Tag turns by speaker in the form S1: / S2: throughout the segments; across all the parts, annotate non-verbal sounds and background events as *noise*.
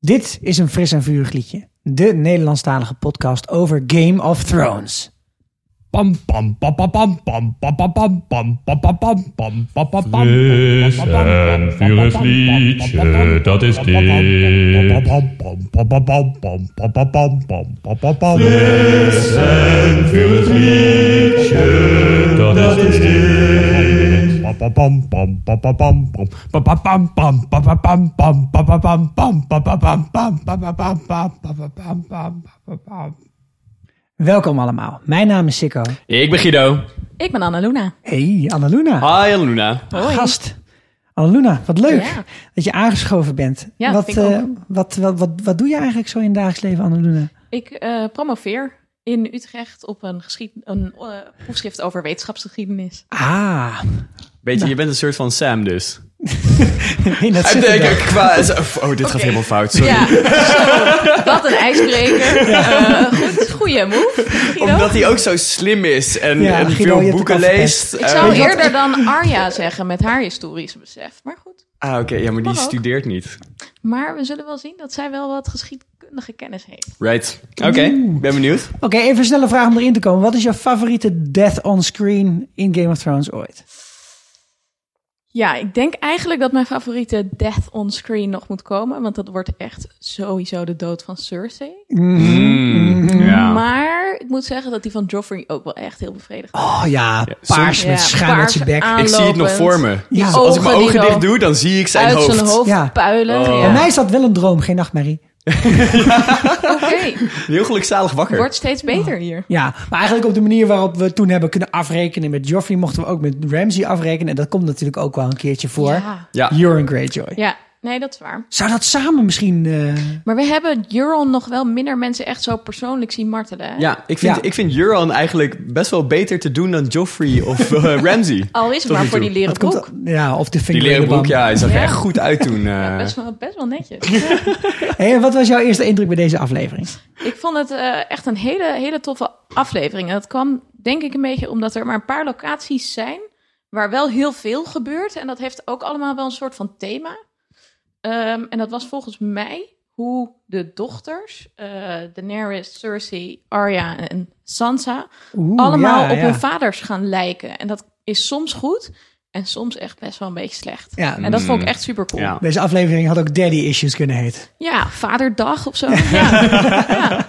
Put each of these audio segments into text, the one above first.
S1: Dit is een fris en vurig liedje. De Nederlandstalige podcast over Game of Thrones.
S2: Pam pam pam pam pam pam pam pam pam pam pam pam pam pam pam pam pam
S3: Fris en vurig liedje, dat is dit. Fris en vurig liedje, dat is dit.
S1: Welkom allemaal. Mijn naam is Sikko.
S4: Ik ben Guido.
S5: Ik ben Annaluna.
S1: Hey, Annaluna.
S4: Hi Luna.
S5: Ah. Hoi.
S1: Gast. Annaluna, wat leuk
S5: Ja.
S1: dat je aangeschoven bent.
S5: Ja,
S1: wat,
S5: vind ik ook.
S1: eh, wat, wat, wat, wat doe je eigenlijk zo in het dagelijks leven, Annaluna?
S5: Ik eh, promoveer in Utrecht op een, geschied- een eh, proefschrift over
S1: *laughs*
S5: wetenschapsgeschiedenis.
S1: Ah,
S4: Beetje, je bent een soort van Sam dus.
S1: in dat zit het ook.
S4: qua... Oh, dit gaat helemaal fout, sorry.
S5: Ja, zo, wat een ijsbreker. Eh, goed, goeie move, Guido.
S4: Omdat hij ook zo slim is en,
S1: Ja,
S4: en
S1: Guido, je
S4: veel
S1: hebt
S4: boeken
S1: het
S4: leest.
S5: Ik zou
S4: Eh,
S5: eerder dan Arja zeggen met haar historische besef. Maar goed.
S4: Ah, oké, ja, maar die
S5: Mag ook.
S4: studeert niet.
S5: Maar we zullen wel zien dat zij wel wat geschiedkundige kennis heeft.
S4: Right. Oké, ben benieuwd.
S1: Oké, even een snelle vraag om erin te komen. Wat is jouw favoriete death on screen in Game of Thrones ooit?
S5: Ja, ik denk eigenlijk dat mijn favoriete death on screen nog moet komen. Want dat wordt echt sowieso de dood van Cersei. Mm.
S4: ja.
S5: Maar ik moet zeggen dat die van Joffrey ook wel echt heel bevredigend is.
S1: Oh ja,
S4: soms-
S1: paars met
S5: Ja,
S1: schuim uit
S5: paars
S1: zijn bek.
S5: aan-
S4: Ik zie het nog
S5: Aanlopend.
S4: voor me.
S1: Ja.
S5: Die
S4: Als ik mijn
S5: die
S4: ogen
S5: zo
S4: dicht doe, dan zie ik zijn
S5: uit
S4: hoofd.
S5: zijn hoofd
S1: Ja.
S5: puilen.
S4: Oh. *laughs*
S1: Bij
S5: Ja.
S1: mij is dat wel een droom, geen nachtmerrie.
S5: Oké,
S4: Heel gelukzalig wakker.
S5: wordt steeds beter hier.
S1: Ja, maar eigenlijk op de manier waarop we toen hebben kunnen afrekenen met Joffrey, mochten we ook met Ramsey afrekenen. En dat komt natuurlijk ook wel een keertje voor.
S5: Ja.
S4: Ja.
S1: Euron Greyjoy.
S5: Ja, nee, dat is waar.
S1: Zou dat samen misschien... eh,
S5: Maar we hebben Euron nog wel minder mensen echt zo persoonlijk zien martelen. hè?
S4: Ja, ik vind,
S1: Ja.
S4: Ik vind Euron eigenlijk best wel beter te doen dan Joffrey of eh, Ramsey.
S5: Al is het
S4: Tot
S5: maar
S4: nu
S5: voor
S4: toe.
S5: die leren
S1: dat komt,
S5: broek.
S1: ja, of de
S4: Die
S1: vinger in
S4: leren
S1: de
S4: broek,
S1: band.
S4: ja, hij zag er
S5: Ja.
S4: echt goed uit toen. eh.
S5: Ja, best, wel, best wel netjes. Ja.
S1: Hey, en wat was jouw eerste indruk bij deze aflevering?
S5: ik vond het eh, echt een hele, hele toffe aflevering. En dat kwam denk ik een beetje omdat er maar een paar locaties zijn... waar wel heel veel gebeurt. En dat heeft ook allemaal wel een soort van thema. Ehm, en dat was volgens mij hoe de dochters... eh Daenerys, Cersei, Arya en Sansa...
S1: Oeh,
S5: allemaal
S1: ja,
S5: op
S1: ja.
S5: hun vaders gaan lijken. En dat is soms goed en soms echt best wel een beetje slecht.
S1: Ja. mm.
S5: En dat vond ik echt super cool.
S4: Ja.
S5: Ja,
S1: Deze aflevering had ook Daddy Issues kunnen heten.
S5: vaderdag of zo. Ja. Ja.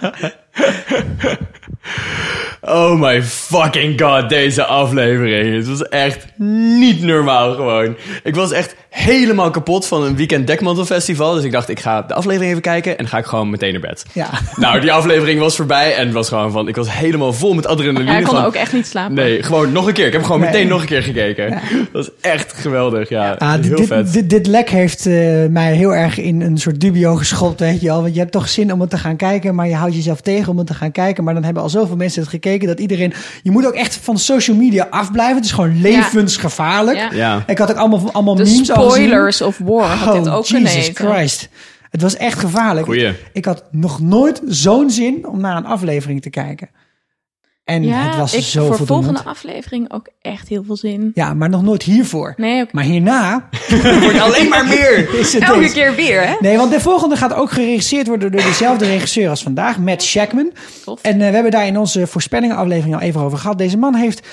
S4: Oh my fucking god, deze aflevering. Het was echt niet normaal gewoon. Ik was echt helemaal kapot van een weekend dekmantelfestival. Dus ik dacht, ik ga de aflevering even kijken en ga ik gewoon meteen naar bed.
S1: Ja.
S4: Nou, die aflevering was voorbij en was gewoon van... Ik was helemaal vol met adrenaline.
S5: Hij kon
S4: van,
S5: ook echt niet slapen.
S4: Nee, gewoon nog een keer. Ik heb gewoon
S1: Nee.
S4: meteen nog een keer gekeken. *laughs* Dat was echt geweldig, ja.
S1: Ah,
S4: Heel
S1: dit,
S4: vet.
S1: dit, dit, dit lek heeft eh, mij heel erg in een soort dubio geschopt, weet je wel. Want je hebt toch zin om het te gaan kijken, maar je houdt jezelf tegen om het te gaan kijken. Maar dan hebben al zoveel mensen het gekeken dat iedereen... Je moet ook echt van social media afblijven. Het is gewoon levensgevaarlijk.
S5: Ja.
S1: *laughs*
S4: Ja.
S1: Ik had ook allemaal, allemaal
S5: De
S1: memes al gezien.
S5: spoilers of war had dit
S1: Oh,
S5: ook kunnen
S1: Jesus
S5: eten.
S1: Christ. Het was echt gevaarlijk.
S4: Goeie.
S1: Ik, ik had nog nooit zo'n zin om naar een aflevering te kijken. En
S5: Ja,
S1: het was
S5: ik
S1: zo
S5: voor
S1: voldoende.
S5: volgende aflevering ook echt heel veel zin.
S1: Ja, maar nog nooit hiervoor.
S5: Nee, Nou, ook
S1: Maar hierna
S4: Het wordt alleen maar meer.
S1: is het
S5: elke
S1: deze.
S5: keer weer, hè?
S1: Nee, want de volgende gaat ook geregisseerd worden door dezelfde regisseur als vandaag, Matt Shackman.
S5: Tof.
S1: En eh, we hebben daar in onze voorspellingen aflevering al even over gehad. Deze man heeft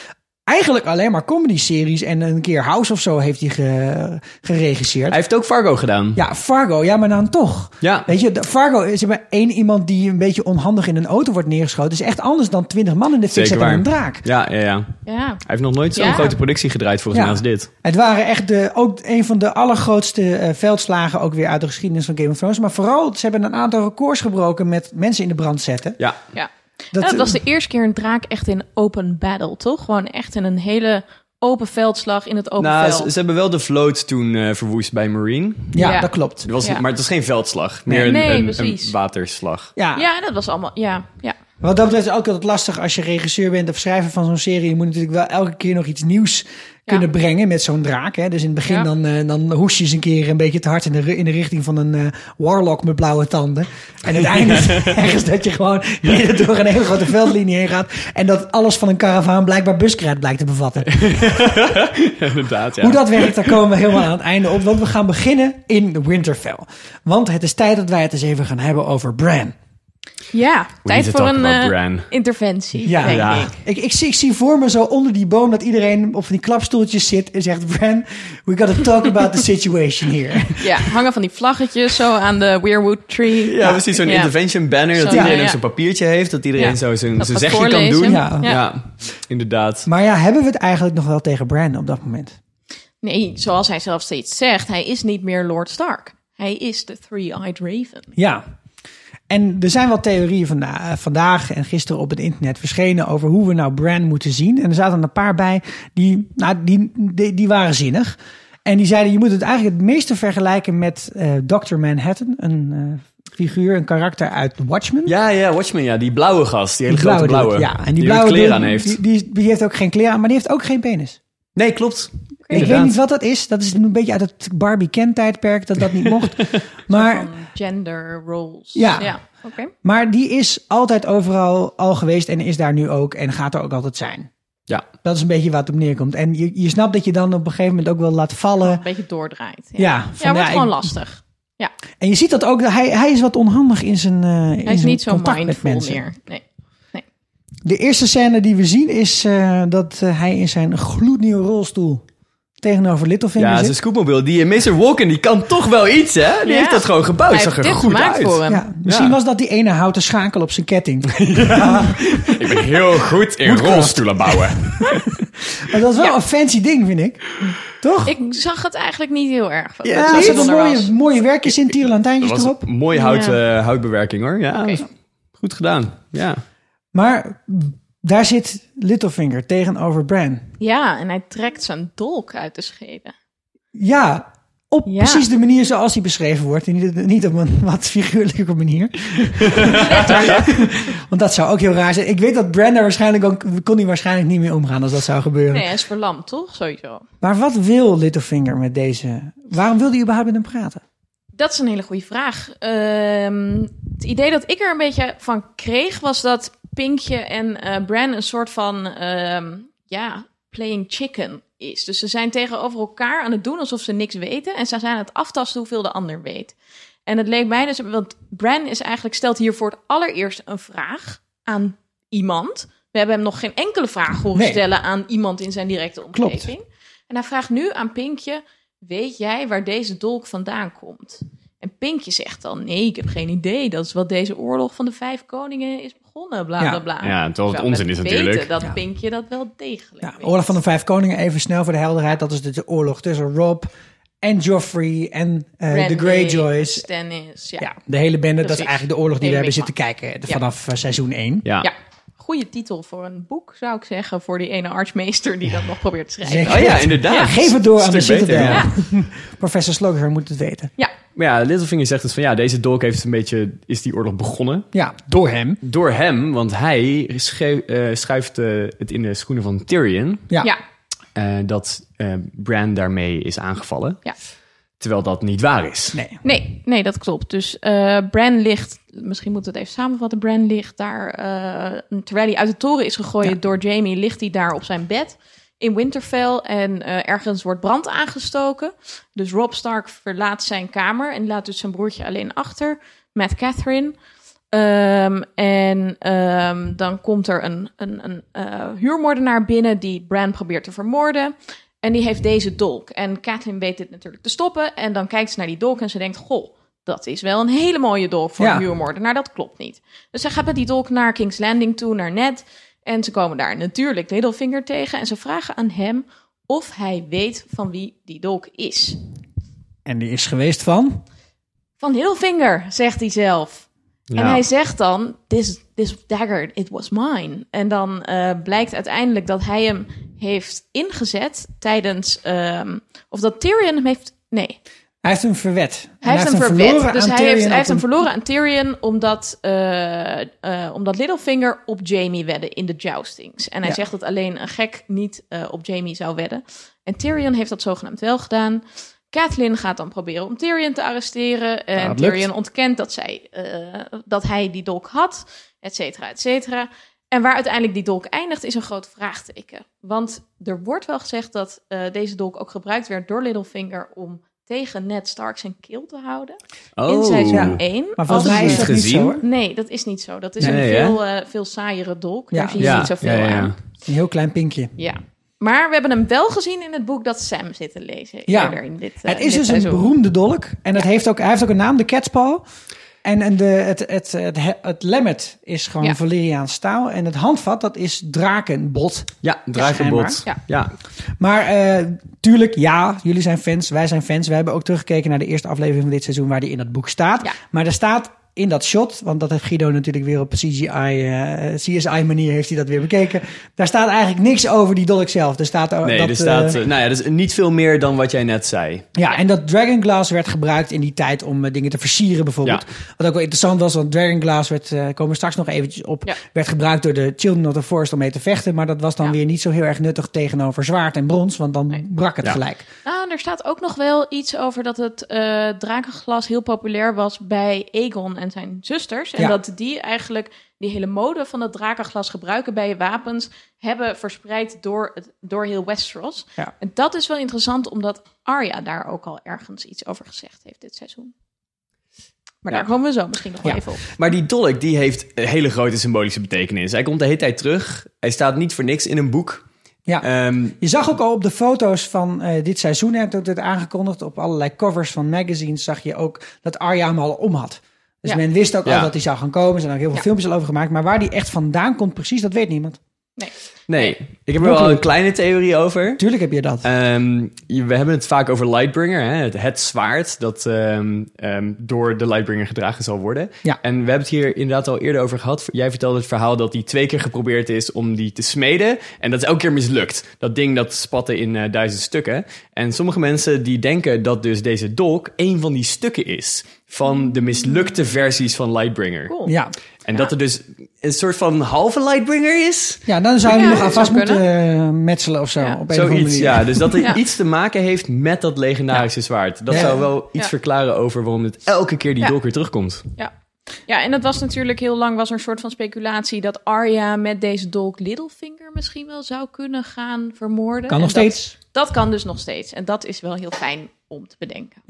S1: eigenlijk alleen maar comedy-series en een keer House of zo heeft hij ge- geregisseerd.
S4: Hij heeft ook Fargo gedaan.
S1: Ja, Fargo, ja, maar dan toch.
S4: Ja.
S1: Weet je, de- Fargo is maar één iemand die een beetje onhandig in een auto wordt neergeschoten. Is echt anders dan twintig man in de fik
S4: Zeker
S1: zetten aan een
S4: waar.
S1: draak.
S4: Ja, ja, ja.
S5: Ja.
S4: Hij heeft nog nooit zo'n
S5: Ja.
S4: grote productie gedraaid volgens
S1: Ja.
S4: mij als dit.
S1: Het waren echt de, ook een van de allergrootste eh, veldslagen ook weer uit de geschiedenis van Game of Thrones. Maar vooral, ze hebben een aantal records gebroken met mensen in de brand zetten.
S4: Ja,
S5: ja. Dat, dat
S1: eh,
S5: was de eerste keer een draak echt in open battle, toch? Gewoon echt in een hele open veldslag in het open
S4: Nou,
S5: veld.
S4: ze, ze hebben wel de vloot toen eh, verwoest bij Marine.
S1: ja,
S5: Ja.
S1: dat klopt.
S4: Het was,
S5: Ja.
S4: Maar het was geen veldslag, meer een-
S5: Nee,
S4: een, een,
S5: precies.
S4: waterslag.
S1: Ja.
S5: Ja, dat was allemaal. Ja, ja.
S1: Maar Wat dat betreft is het ook altijd lastig als je regisseur bent of schrijver van zo'n serie. Je moet natuurlijk wel elke keer nog iets nieuws kunnen brengen met zo'n draak. Hè? Dus in het begin
S5: Ja.
S1: dan, eh, dan hoes je eens een keer een beetje te hard in de, ru- in de richting van een eh, warlock met blauwe tanden. En uiteindelijk
S5: *laughs*
S1: *laughs* ergens dat je gewoon midden door een hele grote veldlinie heen gaat. En dat alles van een karavaan blijkbaar buskruid blijkt te bevatten.
S4: *laughs* Inderdaad, ja.
S1: Hoe dat werkt, daar komen we helemaal aan het einde op. Want we gaan beginnen in Winterfell. Want het is tijd dat wij het eens even gaan hebben over Bran.
S5: Ja, tijd
S4: to
S5: voor
S4: talk
S5: een
S4: about
S5: eh,
S4: Bran.
S5: interventie,
S1: Ja.
S5: denk
S4: Ja.
S5: ik.
S1: Ik, ik, zie, ik zie voor me zo onder die boom dat iedereen op die klapstoeltjes zit en zegt: Bran, we gotta talk about the situation here. *laughs*
S5: Ja, hangen van die vlaggetjes zo aan de Weirwood Tree.
S4: Ja, precies. Zo'n
S5: Ja.
S4: intervention banner. Dat
S5: Zo,
S4: iedereen
S5: ja.
S4: ook zo'n papiertje heeft. Dat iedereen
S5: Ja.
S4: zo zijn,
S5: Dat
S4: zijn
S5: gaat
S4: zegje kan
S5: voorlezen.
S4: doen.
S1: Ja.
S4: Ja. inderdaad.
S1: Maar ja, hebben we het eigenlijk nog wel tegen Bran op dat moment?
S5: Nee, zoals hij zelf steeds zegt, hij is niet meer Lord Stark. Hij is de Three-Eyed Raven.
S1: Ja. En er zijn wel theorieën vanda- eh, vandaag en gisteren op het internet verschenen over hoe we nou Bran moeten zien. En er zaten een paar bij die, nou, die, die, die waren zinnig. En die zeiden, je moet het eigenlijk het meeste vergelijken met eh Dr. Manhattan, een eh, figuur, een karakter uit Watchmen.
S4: Ja, ja, Watchmen, ja. Die blauwe gast. Die hele
S1: Die
S4: grote blauwe.
S1: dude, ja, en die,
S4: er
S1: blauwe
S4: kleren
S1: dude,
S4: aan heeft.
S1: Die, die, die heeft ook geen kleren aan, maar die heeft ook geen penis.
S4: Nee, klopt.
S1: Ik
S4: Inderdaad.
S1: weet niet wat dat is. Dat is een beetje uit het Barbie Ken tijdperk dat dat niet
S4: *laughs*
S1: mocht. maar,
S5: Van gender roles.
S1: Ja.
S5: oké.
S1: maar die is altijd overal al geweest en is daar nu ook en gaat er ook altijd zijn.
S4: Ja.
S1: Dat is een beetje waar het op neerkomt. En je, je snapt dat je dan op een gegeven moment ook wel laat vallen.
S5: Een beetje doordraait. Ja,
S1: Ja, van,
S5: ja wordt
S1: ja,
S5: gewoon
S1: ik-
S5: lastig. Ja,
S1: En je ziet dat ook. dat Hij, hij is wat onhandig in zijn, eh in
S5: hij is
S1: zijn
S5: niet zo
S1: contact met
S5: mindful
S1: mensen.
S5: meer. Nee. nee.
S1: De eerste scène die we zien is eh, dat eh, hij in zijn gloednieuwe rolstoel tegenover Littlefinger
S4: Ja,
S1: zit.
S4: zijn scootmobiel. Die Mr. Walken, die kan toch wel iets, hè? Die
S5: Ja.
S4: heeft dat gewoon gebouwd.
S5: Hij
S4: Zag
S5: heeft
S4: er
S5: dit
S4: goed
S5: gemaakt
S4: uit.
S5: voor hem.
S1: Ja, misschien was dat die ene houten schakel op zijn ketting.
S4: Ik ben heel goed in rolstoelen bouwen.
S1: Maar dat is wel
S5: Ja.
S1: een fancy ding, vind ik. Toch?
S5: Ik zag het eigenlijk niet heel erg. Van
S4: Ja,
S1: ja,
S4: dat
S1: er
S4: is
S1: zitten
S5: er
S1: mooie, mooie werkjes in,
S4: Dat
S1: tierenlantijntjes
S4: was
S1: erop.
S4: een mooie hout, eh, houtbewerking, hoor. Ja, dat is goed gedaan. Ja.
S1: Maar daar zit Littlefinger tegenover Bran.
S5: Ja, en hij trekt zijn dolk uit de schede.
S1: Ja, op
S5: Ja.
S1: precies de manier zoals hij beschreven wordt. En niet, niet op een wat figuurlijke
S4: *laughs*
S1: manier. Want dat zou ook heel raar zijn. Ik weet dat Bran daar waarschijnlijk ook... kon hij waarschijnlijk niet mee omgaan als dat zou gebeuren.
S5: Nee, hij is verlamd, toch? Sowieso.
S1: Maar wat wil Littlefinger met deze... Waarom wil hij überhaupt met hem praten?
S5: Dat is een hele goede vraag. Ehm, het idee dat ik er een beetje van kreeg was dat Pinkje en eh Bran een soort van ehm, ja, playing chicken is. Dus ze zijn tegenover elkaar aan het doen alsof ze niks weten. En ze zijn aan het aftasten hoeveel de ander weet. En het leek mij dus, want Bran is eigenlijk, stelt hier voor het allereerst een vraag aan iemand. We hebben hem nog geen enkele vraag horen
S1: Nee.
S5: stellen aan iemand in zijn directe omgeving. En hij vraagt nu aan Pinkje, weet jij waar deze dolk vandaan komt? En Pinkje zegt dan, nee, ik heb geen idee. Dat is wat deze oorlog van de vijf koningen is begonnen, bla
S1: Ja.
S5: bla bla.
S4: Ja, terwijl het
S5: Terwijl
S4: onzin
S5: we
S4: is
S5: weten
S4: natuurlijk.
S5: dat Pinkje dat wel degelijk
S1: Ja,
S5: weet.
S1: Oorlog van de Vijf Koningen, even snel voor de helderheid. Dat is dus de oorlog tussen Rob en Joffrey en eh
S5: Randy,
S1: de Greyjoys.
S5: Stannis, ja.
S1: Ja,
S5: ja.
S1: de hele bende. Dat is
S5: Precies.
S1: eigenlijk de oorlog die we
S5: Hele
S1: hebben zitten kijken
S5: Ja.
S1: vanaf eh, seizoen 1.
S4: Ja.
S5: Goede titel voor een boek, zou ik zeggen, voor die ene artsmeester die dat nog probeert te schrijven.
S1: Zeker.
S4: Oh ja, inderdaad.
S1: Ja, geef het door aan de
S4: Stuk beter,
S1: Citadel.
S4: ja.
S1: *laughs* Professor Slogger moet het weten.
S5: Ja,
S4: Maar ja, Littlefinger zegt dus van ja, deze dolk heeft een beetje, is die oorlog begonnen.
S1: Ja, door hem.
S4: Door hem, want hij schreef- eh, schuift eh, het in de schoenen van Tyrion.
S1: Ja.
S5: ja.
S1: ja.
S5: ja.
S4: eh, dat eh, Bran daarmee is aangevallen. Terwijl dat niet waar is.
S1: Nee.
S5: Nee, nee, dat klopt. Dus eh Bran ligt, misschien moeten we het even samenvatten. Bran ligt daar, eh, terwijl hij uit de toren is gegooid
S1: Ja.
S5: door Jamie, ligt hij daar op zijn bed in Winterfell. En eh, ergens wordt brand aangestoken. Dus Rob Stark verlaat zijn kamer en laat dus zijn broertje alleen achter met Catherine. Ehm, en ehm, dan komt er een, een, een eh, huurmoordenaar binnen die Bran probeert te vermoorden. En die heeft deze dolk. En Kathleen weet dit natuurlijk te stoppen. En dan kijkt ze naar die dolk en ze denkt: Goh, dat is wel een hele mooie dolk voor
S1: Ja.
S5: een huurmoordenaar. Dat klopt niet. Dus zij gaat met die dolk naar King's Landing toe, naar Ned. En ze komen daar natuurlijk Littlefinger tegen. En ze vragen aan hem of hij weet van wie die dolk is.
S1: En die is geweest van.
S5: Van Littlefinger, zegt hij zelf. En
S4: Ja.
S5: hij zegt dan, this, this dagger, it was mine. En dan eh, blijkt uiteindelijk dat hij hem heeft ingezet tijdens... ehm, of dat Tyrion hem heeft... Nee,
S1: Hij heeft hem verwet. En
S5: Hij heeft hem verwet.
S1: verloren
S5: Dus
S1: aan
S5: hij
S1: Tyrion
S5: heeft, hij
S1: op
S5: heeft hem
S1: een-
S5: verloren aan Tyrion omdat, eh, eh, omdat Littlefinger op Jamie wedde in de joustings. En hij
S1: Ja.
S5: zegt dat alleen een gek niet eh, op Jamie zou wedden. En Tyrion heeft dat zogenaamd wel gedaan. Catelyn gaat dan proberen om Tyrion te arresteren. En
S1: dat Nou, lukt.
S5: Tyrion ontkent dat, zij, eh, dat hij die dolk had, et cetera, et cetera. En waar uiteindelijk die dolk eindigt, is een groot vraagteken. Want er wordt wel gezegd dat eh, deze dolk ook gebruikt werd door Littlefinger om tegen Ned Stark zijn keel te houden.
S4: Oh.
S5: In
S1: Ja.
S5: seizoen 1.
S1: Maar volgens
S4: Als
S1: mij
S4: het
S1: is dat
S4: niet
S1: niet zo
S4: gezien-
S1: hoor.
S5: Nee, dat is niet zo. Dat is
S4: Nee,
S5: een
S4: hè?
S5: veel, eh, veel saaiere dolk.
S1: Ja.
S5: Daar zie je niet zoveel aan.
S1: Een heel klein pinkje.
S5: Ja. Maar we hebben hem wel gezien in het boek dat Sam zit te lezen.
S1: Ja.
S5: Eerder in dit, eh,
S1: Het
S5: dit
S1: is dus een
S5: seizoen.
S1: beroemde dolk. En het heeft ook, hij heeft ook een naam, de Catspaw. En, en de, het, het, het, het, lemmet is gewoon
S5: Ja.
S1: Valeriaans staal. En het handvat, dat is drakenbot.
S4: Ja, dragenbot.
S5: Ja.
S4: Ja.
S1: Maar eh, tuurlijk, ja, jullie zijn fans, wij zijn fans. Wij hebben ook teruggekeken naar de eerste aflevering van dit seizoen... waar die in dat boek staat.
S5: Ja.
S1: Maar er staat in dat shot, want dat heeft Guido natuurlijk weer op CGI, eh, CSI manier heeft hij dat weer bekeken. Daar staat eigenlijk niks over die dolk zelf. Er staat eh,
S4: Nee,
S1: dat,
S4: er staat...
S1: eh,
S4: eh, nou ja, dat is niet veel meer dan wat jij net zei.
S1: Ja, en dat Dragon Glass werd gebruikt in die tijd om eh, dingen te versieren bijvoorbeeld. Wat ook wel interessant was, want Dragon Glass werd, eh, komen we straks nog eventjes op,
S5: Ja.
S1: werd gebruikt door de Children of the Forest om mee te vechten. Maar dat was dan
S5: Ja.
S1: weer niet zo heel erg nuttig tegenover zwaard en brons, want dan
S5: Nee.
S1: brak het
S4: Ja.
S1: gelijk.
S5: Nou, er staat ook nog wel iets over dat het eh, drakenglas heel populair was bij Aegon en zijn zusters. En
S1: Ja.
S5: dat die eigenlijk die hele mode van het drakenglas gebruiken bij je wapens hebben verspreid door, het, door heel Westeros.
S1: Ja.
S5: En dat is wel interessant, omdat Arya daar ook al ergens iets over gezegd heeft dit seizoen. Maar
S4: Ja.
S5: daar komen we zo misschien nog wel
S1: Ja.
S5: even op.
S4: Maar die dolk, die heeft een hele grote symbolische betekenis. Hij komt de hele tijd terug. Hij staat niet voor niks in een boek.
S1: Ja.
S4: Ehm,
S1: Je zag ook al op de foto's van eh, dit seizoen, hè, toen het werd aangekondigd, op allerlei covers van magazines, zag je ook dat Arya hem al om had. Dus
S5: Ja.
S1: men wist ook al
S4: Ja.
S1: dat hij zou gaan komen. Er zijn ook heel veel
S5: Ja.
S1: filmpjes al over gemaakt. Maar waar die echt vandaan komt precies, dat weet niemand.
S5: Nee.
S4: nee, ik heb er wel een kleine theorie over.
S1: Tuurlijk heb je dat.
S4: Ehm, je- we hebben het vaak over Lightbringer, hè? Het, het zwaard dat ehm, ehm, door de Lightbringer gedragen zal worden.
S1: Ja.
S4: En we hebben het hier inderdaad al eerder over gehad. Jij vertelde het verhaal dat die twee keer geprobeerd is om die te smeden. En dat is elke keer mislukt. Dat ding dat spatte in eh, duizend stukken. En sommige mensen die denken dat dus deze dolk een van die stukken is. Van de mislukte versies van Lightbringer.
S5: Cool.
S1: ja.
S4: En dat er dus een soort van halve Lightbringer is.
S1: Ja, dan zou je
S5: Ja,
S1: hem nog
S5: dat
S1: aan
S5: zou
S1: vast moeten eh, metselen of zo.
S5: Ja.
S1: Op een of andere
S4: Zoiets,
S1: manier.
S4: ja. Dus dat het
S5: *laughs* Ja.
S4: iets te maken heeft met dat legendarische zwaard. Dat
S1: Ja.
S4: zou wel iets
S5: Ja.
S4: verklaren over waarom het elke keer die
S5: Ja.
S4: dolk weer terugkomt.
S5: Ja. ja, en dat was natuurlijk heel lang was er een soort van speculatie dat Arya met deze dolk Littlefinger misschien wel zou kunnen gaan vermoorden.
S1: Kan nog
S5: En dat-
S1: steeds.
S5: Dat kan dus nog steeds. En dat is wel heel fijn om te bedenken.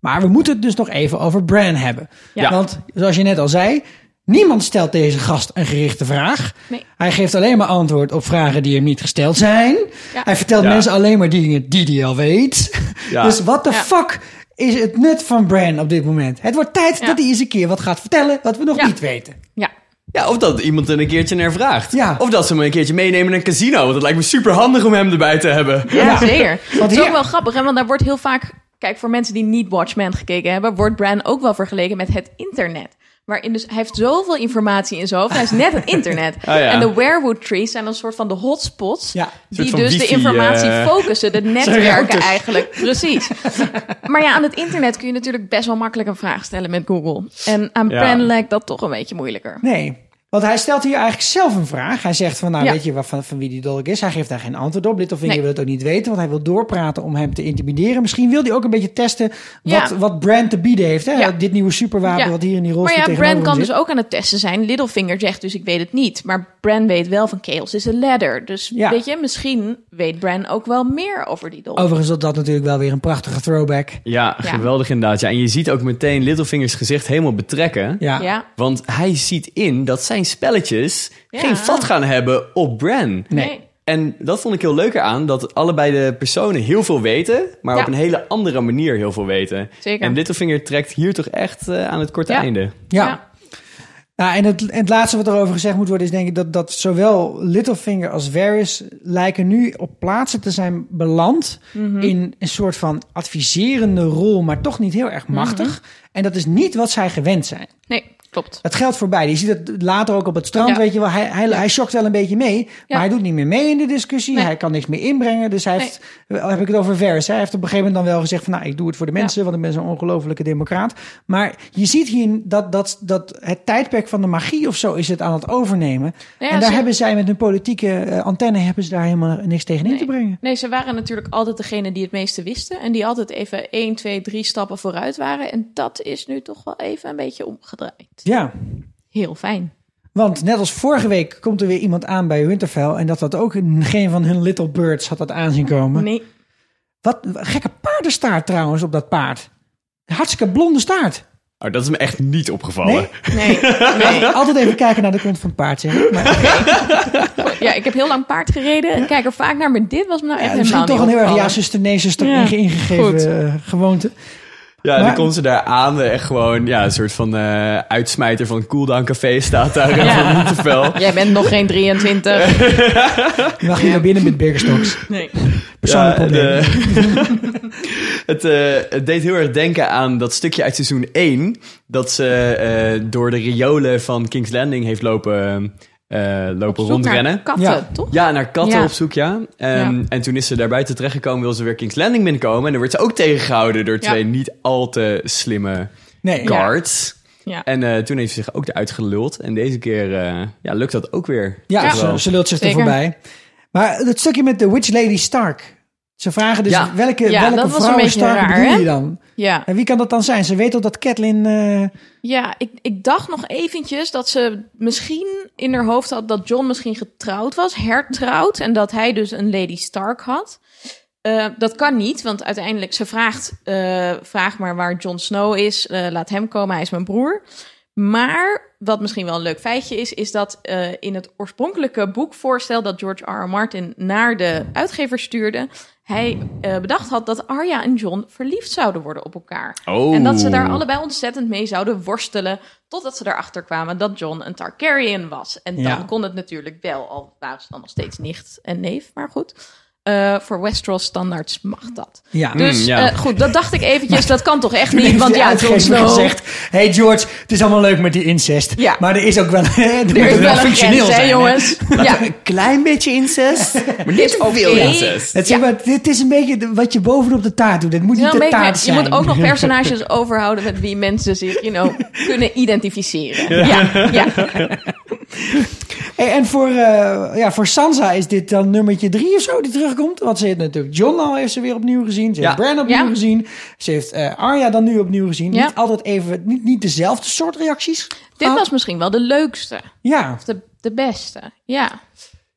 S1: Maar we moeten het dus nog even over Bran hebben.
S5: Ja.
S1: Want zoals je net al zei, niemand stelt deze gast een gerichte vraag.
S5: Nee.
S1: Hij geeft alleen maar antwoord op vragen die hem niet gesteld zijn.
S5: Ja.
S1: Hij vertelt
S4: Ja.
S1: mensen alleen maar dingen die hij al weet.
S4: *laughs* Ja.
S1: Dus wat de
S5: Ja.
S1: fuck is het nut van Bran op dit moment? Het wordt tijd
S5: Ja.
S1: dat hij eens een keer wat gaat vertellen wat we nog
S5: Ja.
S1: niet weten.
S5: Ja,
S4: Ja, of dat iemand er een keertje naar vraagt.
S1: Ja.
S4: Of dat ze hem een keertje meenemen naar een casino. Want het lijkt me super handig om hem erbij te hebben.
S5: ja, zeker. Dat is
S1: hier-
S5: ook wel grappig, hè? want daar wordt heel vaak... Kijk, voor mensen die niet Watchmen gekeken hebben... wordt Bran ook wel vergeleken met het internet. Waarin dus, hij heeft zoveel informatie in zijn hoofd. Hij is net
S4: *laughs*
S5: het internet.
S4: Ah, ja.
S5: En de werewood trees zijn een soort van de hotspots...
S1: Ja.
S4: Een
S5: die
S4: soort
S5: dus
S4: van
S5: de
S4: wifi,
S5: informatie
S4: eh, *laughs*
S5: focussen. De netwerken
S1: routers.
S5: eigenlijk. Precies. maar ja, aan het internet kun je natuurlijk best wel makkelijk een vraag stellen met Google. En aan
S4: Ja.
S5: Bran lijkt dat toch een beetje moeilijker.
S1: Nee. Want hij stelt hier eigenlijk zelf een vraag. Hij zegt van, nou
S5: Ja.
S1: weet je waar, van, van wie die dolk is? Hij geeft daar geen antwoord op. Littlefinger
S5: Nee.
S1: wil het ook niet weten, want hij wil doorpraten om hem te intimideren. Misschien wil hij ook een beetje testen wat,
S5: Ja.
S1: wat Brand te bieden heeft. Hè?
S5: Ja.
S1: Dit nieuwe superwapen
S5: Ja.
S1: wat hier in die rol
S5: Maar
S1: zit
S5: ja,
S1: tegenover
S5: Bran kan
S1: hem
S5: dus
S1: zit.
S5: ook aan het testen zijn. Littlefinger zegt dus ik weet het niet. Maar Bran weet wel van Chaos is a ladder. Dus
S1: Ja. Oh,
S5: weet je, misschien weet Bran ook wel meer over die dolk.
S1: Overigens was dat natuurlijk wel weer een prachtige throwback.
S4: Ja,
S5: Ja.
S4: geweldig inderdaad. Ja, en je ziet ook meteen Littlefingers gezicht helemaal betrekken.
S1: Ja.
S5: Ja.
S4: Want hij ziet in dat zijn spelletjes
S5: Ja.
S4: geen vat gaan hebben op Bran.
S1: Nee.
S4: En dat vond ik heel leuk aan, dat allebei de personen heel veel weten, maar
S5: Ja.
S4: op een hele andere manier heel veel weten.
S5: Zeker.
S4: En Littlefinger trekt hier toch echt eh, aan het korte
S5: Ja.
S4: einde.
S1: Ja.
S5: Ja.
S1: Nou, en, het, en het laatste wat erover gezegd moet worden is denk ik dat, dat zowel Littlefinger als Varys lijken nu op plaatsen te zijn beland in een soort van adviserende rol, maar toch niet heel erg machtig. En dat is niet wat zij gewend zijn.
S5: Nee. Klopt.
S1: Dat geldt voor beide. Je ziet het later ook op het strand,
S5: Ja.
S1: weet je wel. Hij, hij, hij schokt wel een beetje mee, maar hij doet niet meer mee in de discussie.
S5: Nee.
S1: Hij kan niks meer inbrengen. Dus hij heeft, heb ik het over vers. Hij heeft op een gegeven moment dan wel gezegd van... nou, ik doe het voor de mensen, want ik ben zo'n ongelofelijke democraat. Maar je ziet hier dat, dat, dat het tijdperk van de magie of zo is het aan het overnemen.
S5: Ja,
S1: en daar
S5: ze-
S1: hebben zij met hun politieke eh, antenne... hebben ze daar helemaal niks tegen in
S5: Nee.
S1: te brengen.
S5: Nee, ze waren natuurlijk altijd degene die het meeste wisten. En die altijd even 1, 2, 3 stappen vooruit waren. En dat is nu toch wel even een beetje omgedraaid.
S1: Ja,
S5: Heel fijn.
S1: Want net als vorige week komt er weer iemand aan bij Winterfell. En dat dat ook geen van hun little birds had dat aanzien komen.
S5: Nee,
S1: Wat een gekke paardenstaart trouwens op dat paard. Hartstikke blonde staart.
S4: Oh, dat is me echt niet opgevallen.
S1: Nee?
S5: nee, nee.
S1: Altijd even kijken naar de kont van het paard, zeg ik. Maar eh,
S5: Ja, ik heb heel lang paard gereden. Ik kijk er vaak naar, maar dit was me nou echt
S1: ja,
S5: helemaal
S1: misschien toch
S5: niet
S1: een heel erg
S5: opgevallen.
S1: ja, zuster, nee, zuster
S5: Ja,
S1: inge- ingegeven
S5: goed.
S1: eh, gewoonte.
S4: Ja,
S1: Maar-
S4: dan komt ze daar aan. eh, Echt gewoon ja, een soort van eh, uitsmijter van cooldown café staat daar. eh,
S5: Ja.
S4: Van Winterfell.
S5: *laughs* Jij bent nog geen 23.
S1: Je mag hier naar binnen met Birkenstocks.
S5: Nee.
S1: Persoonlijk
S4: Ja,
S1: probleem.
S4: de- *laughs* het, eh, het deed heel erg denken aan dat stukje uit seizoen 1. Dat ze eh, door de riolen van King's Landing heeft lopen, eh, lopen
S5: Zoek naar
S4: rondrennen.
S5: katten,
S1: Ja.
S5: toch?
S4: Ja, naar katten
S5: Ja.
S4: op zoek, ja. Ehm,
S5: Ja.
S4: En toen is ze daar buiten terechtgekomen, wil ze weer King's Landing binnenkomen. En dan wordt ze ook tegengehouden door
S5: Ja.
S4: twee niet al te slimme
S1: Nee,
S5: Ja.
S4: guards.
S5: Ja.
S4: En eh, toen heeft ze zich ook eruit geluld. En deze keer eh, ja, lukt dat ook weer.
S1: ja,
S5: Ja.
S1: ze, ze lult zich er
S5: Zeker.
S1: voorbij. Maar het stukje met de Witch Lady Stark. Ze vragen dus
S4: Ja.
S1: welke,
S5: Ja, dat
S1: welke
S5: was een
S1: vrouw
S5: beetje
S1: Stark
S5: raar,
S1: bedoel
S5: hè?
S1: je dan?
S5: ja.
S1: En wie kan dat dan zijn? Ze weet toch dat Catelyn... eh,
S5: Ja, ik, ik dacht nog eventjes dat ze misschien in haar hoofd had dat John misschien getrouwd was, hertrouwd, en dat hij dus een Lady Stark had. Eh, dat kan niet, want uiteindelijk ze vraagt, eh, vraag maar waar Jon Snow is, eh, laat hem komen, hij is mijn broer. Maar wat misschien wel een leuk feitje is, is dat eh, in het oorspronkelijke boekvoorstel dat George R. R. Martin naar de uitgever stuurde, hij eh, bedacht had dat Arya en John verliefd zouden worden op elkaar.
S4: Oh.
S5: En dat ze daar allebei ontzettend mee zouden worstelen. Totdat ze erachter kwamen dat John een Targaryen was. En dan
S1: Ja.
S5: kon het natuurlijk wel, al waren ze dan nog steeds nicht en neef. Maar goed, Eh, voor Westeros standaards mag dat.
S1: ja.
S5: Dus
S4: ja.
S5: eh, goed, dat dacht ik eventjes. Dat kan toch
S1: *laughs*
S5: echt niet?
S1: Heeft
S5: Want
S1: de
S5: ja, Jon
S1: uitgever
S5: Snow...
S1: gezegd... hey George, het is allemaal leuk met die incest.
S5: Ja.
S1: Maar er is ook wel... *laughs* er moet
S5: Er is wel een
S1: functioneel
S5: grens, hè,
S1: zijn, *laughs*
S5: jongens? Ja,
S4: Een klein beetje incest, maar
S5: Is
S4: niet te veel
S5: oké.
S4: incest.
S1: Het, is
S5: Ja.
S1: maar, dit is een beetje de- wat je bovenop de taart doet. Het moet
S5: Ja,
S1: niet
S5: een
S1: de
S5: beetje-
S1: taart
S5: je
S1: zijn.
S5: moet ook nog personages overhouden met wie mensen zich you know, kunnen identificeren. ja.
S1: *laughs*
S5: ja.
S1: *laughs* Hey, en voor, eh, ja, voor Sansa is dit dan nummertje drie of zo die terugkomt. Want ze heeft natuurlijk John al heeft ze weer opnieuw gezien. Ze
S4: Ja.
S1: heeft Bran opnieuw
S5: Ja.
S1: gezien. Ze heeft eh, Arya dan nu opnieuw gezien.
S5: Ja.
S1: Niet altijd even... Niet, niet dezelfde soort reacties.
S5: Dit
S1: Ah,
S5: was misschien wel de leukste.
S1: Ja.
S5: De, de beste, ja.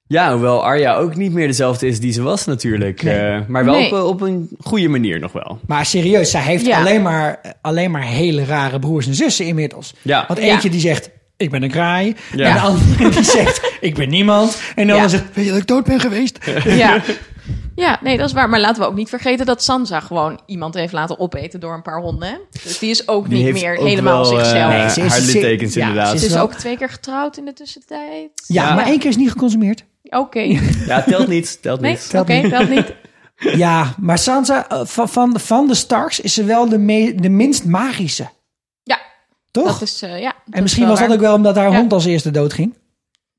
S4: Ja, hoewel Arya ook niet meer dezelfde is die ze was natuurlijk. Eh, maar wel
S5: Nee.
S4: op, een- op een goede manier nog wel.
S1: Maar serieus, zij heeft
S5: Ja.
S1: alleen, maar, alleen maar hele rare broers en zussen inmiddels.
S4: Ja.
S1: Want eentje
S5: Ja.
S1: die zegt, ik ben een kraai.
S4: Ja.
S1: En de andere die zegt, ik ben niemand. En de
S5: Ja.
S1: ander zegt, weet je dat ik dood ben geweest?
S5: Ja. ja, nee, dat is waar. Maar laten we ook niet vergeten dat Sansa gewoon iemand heeft laten opeten door een paar honden. hè? Dus die is ook
S4: Die
S5: niet
S4: heeft
S5: meer
S4: ook
S5: helemaal
S4: wel, eh,
S5: zichzelf.
S1: Nee, ze is-
S4: haar
S1: ze-
S4: littekens
S1: ja,
S4: inderdaad.
S1: ze
S5: ze
S1: is
S5: is
S1: wel-
S5: ook twee keer getrouwd in de tussentijd.
S1: Ja, maar één keer is niet geconsumeerd.
S5: Oké.
S1: *laughs*
S4: Ja, telt niet, telt
S5: Nee,
S4: niet.
S5: oké, dat niet.
S1: Ja, maar Sansa, eh, van, van, van de Starks is ze wel de, me- de minst magische,
S5: Ja,
S1: toch?
S5: dat is, eh, ja. dat
S1: en misschien
S5: is
S1: was
S5: wel
S1: dat
S5: waar.
S1: ook wel omdat haar
S5: Ja.
S1: hond als eerste dood ging.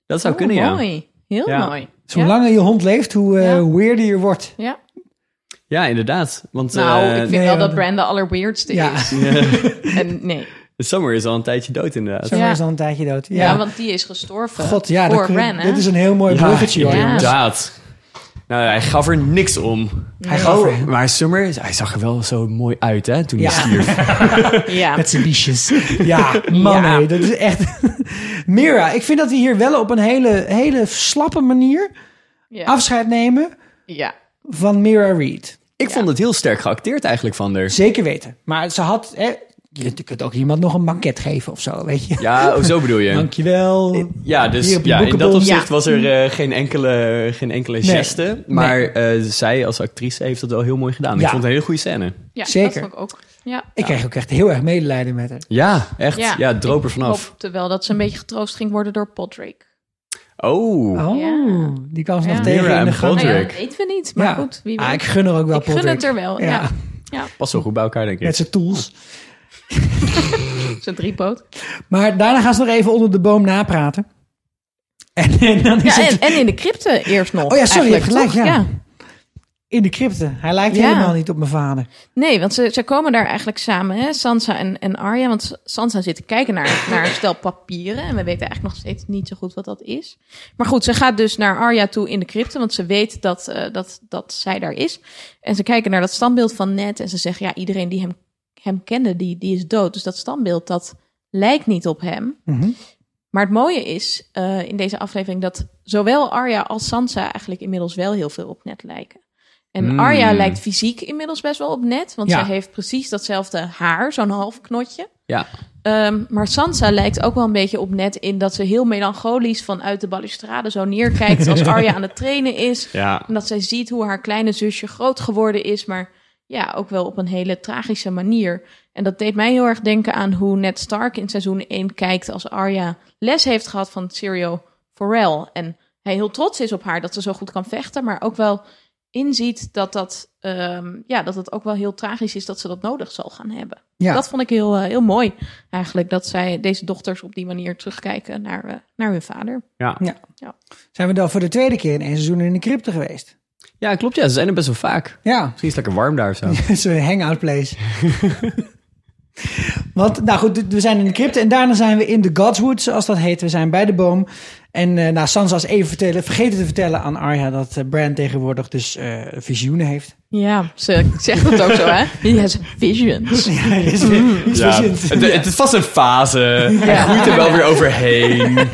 S4: Dat zou
S5: Oh,
S4: kunnen, ja.
S5: Mooi, heel
S4: Ja.
S5: mooi.
S1: Dus hoe langer je hond leeft, hoe eh
S5: Ja.
S1: weirder je wordt.
S5: Ja.
S4: Eh,
S5: ja.
S4: Ja, inderdaad. Want
S5: Nou,
S4: eh,
S5: ik vind
S1: nee,
S5: wel
S1: want-
S5: dat Brand de allerweirdste
S1: Ja.
S5: is. En nee.
S4: Summer is al een tijdje dood inderdaad.
S1: Zo
S5: Ja.
S1: is dan een tijdje dood. *laughs* Ja,
S5: Ja. want die is gestorven.
S1: God, ja,
S5: voor
S1: dat,
S5: Bran, hè?
S1: dit is een heel mooi bruggetje. hoor,
S5: ja.
S1: jongens.
S4: inderdaad. Nou, hij gaf er niks om.
S1: Hij gaf er-
S4: Oh, maar Summer, hij zag er wel zo mooi uit, hè, toen
S1: Ja.
S4: hij stierf.
S5: ja.
S1: Met zijn biesjes. Ja, man,
S5: Ja.
S1: hé, dat is echt. *laughs* Mira, ik vind dat we hier wel op een hele, hele slappe manier
S5: ja.
S1: afscheid nemen
S5: ja.
S1: van Mira Reed.
S4: Ik vond het heel sterk geacteerd eigenlijk van haar.
S1: Zeker weten. Maar ze had. Hè, je kunt ook iemand nog een banket geven of zo, weet je.
S4: Ja, oh, zo bedoel je.
S1: Dankjewel.
S4: Ja, dus
S1: Hier op je
S4: ja, in dat
S1: boekenbon.
S4: opzicht was er eh, geen enkele, geen enkele geste. Maar eh, zij als actrice heeft dat wel heel mooi gedaan. Ik
S1: Ja.
S4: vond het een hele goede scène.
S5: Ja,
S1: Zeker.
S5: dat vond ik ook. Ja.
S1: Ik kreeg ook echt heel erg medelijden met haar.
S4: Ja, echt. Ja, het droop er
S5: Ik
S4: vanaf.
S5: hoopte wel dat ze een beetje getroost ging worden door Podrick.
S4: Oh,
S1: Oh,
S5: Ja.
S1: die kan ze
S5: Ja.
S1: nog tegen
S4: Mira
S1: in de
S4: en
S1: gang.
S5: Nou ja,
S4: Podrick.
S5: dat weten we niet, maar
S1: Ja.
S5: goed, wie weet.
S1: Ah, ik gun er ook wel
S5: Ik gun
S1: Podrick.
S5: het er wel, ja.
S1: Ja.
S5: ja.
S4: pas wel goed bij elkaar, denk ik.
S1: Met zijn tools.
S5: Zijn driepoot.
S1: Maar daarna gaan ze nog even onder de boom napraten. En, en dan is
S5: Ja,
S1: het
S5: en, en in de crypte eerst nog.
S1: Oh ja, sorry, je hebt
S5: eigenlijk,
S1: gelijk,
S5: toch?
S1: ja. in de crypte. Hij lijkt
S5: Ja.
S1: helemaal niet op mijn vader.
S5: Nee, want ze, ze komen daar eigenlijk samen, hè, Sansa en, en Arya. Want Sansa zit te kijken naar, naar een stel papieren. En we weten eigenlijk nog steeds niet zo goed wat dat is. Maar goed, ze gaat dus naar Arya toe in de crypte. Want ze weet dat, eh, dat, dat zij daar is. En ze kijken naar dat standbeeld van Ned. En ze zeggen, ja, iedereen die hem, hem kende, die, die is dood. Dus dat standbeeld, dat lijkt niet op hem. Maar het mooie is eh, in deze aflevering dat zowel Arya als Sansa eigenlijk inmiddels wel heel veel op Ned lijken. En Arya lijkt fysiek inmiddels best wel op Ned, want
S1: Ja.
S5: zij heeft precies datzelfde haar, zo'n half knotje.
S4: Ja.
S5: Ehm, maar Sansa lijkt ook wel een beetje op Ned in dat ze heel melancholisch vanuit de balustrade zo neerkijkt als Arya aan het trainen is.
S4: Ja.
S5: En dat zij ziet hoe haar kleine zusje groot geworden is, maar ja, ook wel op een hele tragische manier. En dat deed mij heel erg denken aan hoe Ned Stark in seizoen 1 kijkt als Arya les heeft gehad van Tyrion Forel. En hij heel trots is op haar dat ze zo goed kan vechten, maar ook wel inziet dat dat, ehm, ja, dat het ook wel heel tragisch is dat ze dat nodig zal gaan hebben.
S1: Ja.
S5: Dat vond ik heel, eh, heel mooi eigenlijk, dat zij deze dochters op die manier terugkijken naar, eh, naar hun vader.
S4: Ja.
S1: Ja.
S5: Ja.
S1: Zijn we dan voor de tweede keer in één seizoen in de crypte geweest?
S4: ja, klopt. Ja, ze zijn er best wel vaak.
S1: Ja, *laughs*
S4: Misschien is het lekker warm daar of zo.
S1: het is een hangout *laughs* place. Want, nou goed, we zijn in de crypte en daarna zijn we in de Godswood, zoals dat heet. We zijn bij de boom. En eh nou, Sansa is even vertellen, vergeten te vertellen aan Arya dat eh, Bran tegenwoordig dus eh, visioenen heeft. *laughs*
S5: Ja, ze zegt het ook zo, hè? He has
S1: *laughs*
S5: visions.
S1: ja, hij is- hij is
S4: Ja,
S1: visioens.
S4: het, het is vast een fase. Hij groeit er wel weer overheen.
S5: *laughs*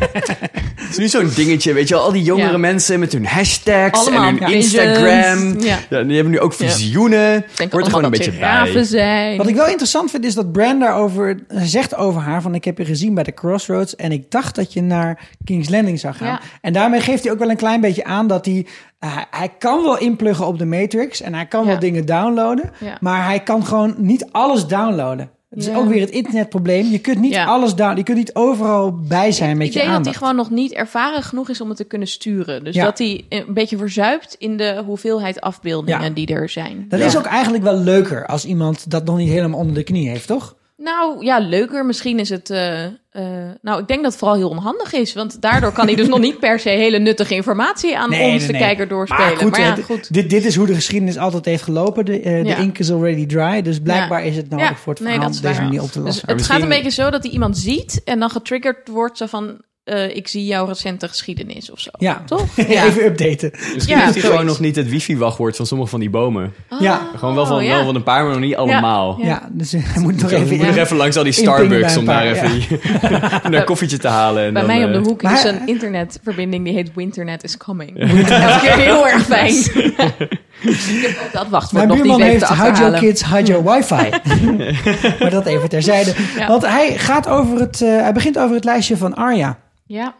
S4: Het is nu zo'n dingetje, weet je wel. Al die jongere
S5: Ja.
S4: mensen met hun hashtags
S5: Allemaal
S4: en hun
S5: visions.
S4: Instagram.
S5: Ja.
S4: Ja. die hebben nu ook visioenen.
S5: Ik denk
S4: Wordt er
S5: allemaal
S4: gewoon een
S5: dat ze
S4: beetje
S5: raven
S4: bij.
S5: zijn.
S1: Wat ik wel interessant vind is dat Bran daarover zegt over haar van ik heb je gezien bij de Crossroads en ik dacht dat je naar King's Landing zou gaan.
S5: Ja.
S1: En daarmee geeft hij ook wel een klein beetje aan dat hij eh, hij kan wel inpluggen op de Matrix en hij kan
S5: Ja.
S1: wel dingen downloaden,
S5: Ja.
S1: maar hij kan gewoon niet alles downloaden. Het is
S5: Ja.
S1: ook weer het internetprobleem. Je kunt niet
S5: Ja.
S1: alles down, je kunt niet overal bij zijn met je
S5: ik denk dat hij
S1: aandacht.
S5: gewoon nog niet ervaren genoeg is om het te kunnen sturen. Dus
S1: Ja.
S5: dat hij een beetje verzuipt in de hoeveelheid afbeeldingen
S1: Ja.
S5: die er zijn.
S1: Dat
S5: Ja.
S1: is ook eigenlijk wel leuker als iemand dat nog niet helemaal onder de knie heeft, toch?
S5: Nou ja, leuker. Misschien is het. eh, eh, nou, ik denk dat het vooral heel onhandig is. Want daardoor kan hij dus nog niet per se hele nuttige informatie aan ons, de kijker, doorspelen. Maar,
S1: Maar goed,
S5: ja,
S1: hè, d-
S5: goed.
S1: Dit, dit is hoe de geschiedenis altijd heeft gelopen. De, eh,
S5: Ja.
S1: de ink is already dry. Dus blijkbaar
S5: Ja.
S1: is het nodig
S5: Ja,
S1: voor het
S5: nee,
S1: verhaal
S5: dat
S1: om
S5: is
S1: deze
S5: waar.
S1: manier op te
S5: Dus
S1: lossen.
S5: het gaat
S4: misschien-
S5: een beetje zo dat hij iemand ziet en dan getriggerd wordt zo van. eh, ik zie jouw recente geschiedenis of zo.
S1: *laughs* ja,
S5: Toch?
S1: even updaten.
S4: Misschien
S5: Ja,
S4: heeft hij
S5: zoiets.
S4: gewoon nog niet het wifi-wachtwoord van sommige van die bomen.
S1: Ja.
S5: Ah,
S4: Gewoon wel van,
S5: ja.
S4: wel van een paar, maar nog niet allemaal.
S1: Ja, dus eh, hij moet nog
S4: We
S1: even...
S4: moeten nog even langs al die
S1: In ping bij
S4: Starbucks
S1: een
S4: om daar
S1: paar,
S4: even *laughs* om daar koffietje te halen. En
S5: Bij
S4: dan,
S5: mij
S4: eh,
S5: op de hoek
S1: Maar-
S5: is een internetverbinding die heet Winternet is coming. Dat
S4: *laughs*
S5: is heel erg fijn. *laughs* Ik heb ook dat wachtwoord
S1: Mijn
S5: nog niet
S1: buurman
S5: weten
S1: heeft
S5: te
S1: hide your
S5: achterhalen.
S1: kids, hide your wifi. maar dat even terzijde.
S5: Hmm. *laughs* Ja.
S1: Want hij, gaat over het, eh, hij begint over het lijstje van Arya.
S5: Ja.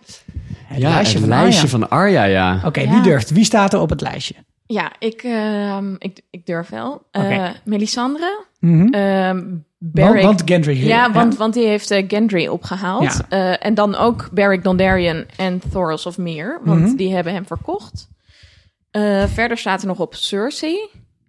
S1: Het
S4: ja,
S1: lijstje
S4: een
S1: van
S4: lijstje
S1: Arya.
S4: van Arja, ja.
S1: Oké,
S5: Ja.
S1: wie durft? Wie staat er op het lijstje?
S5: Ja, ik, ehm, ik, ik durf wel. Eh
S1: Oké.
S5: Melisandre.
S1: Mhm.
S5: ehm
S1: Want,
S5: Beric.
S1: want Gendry. hier.
S5: ja, want, want die heeft eh, Gendry opgehaald.
S1: Ja.
S5: Eh, en dan ook Beric Dondarrion en Thoros of Meer. Want
S1: Mhm.
S5: die hebben hem verkocht. Eh, verder staat er nog op Cersei.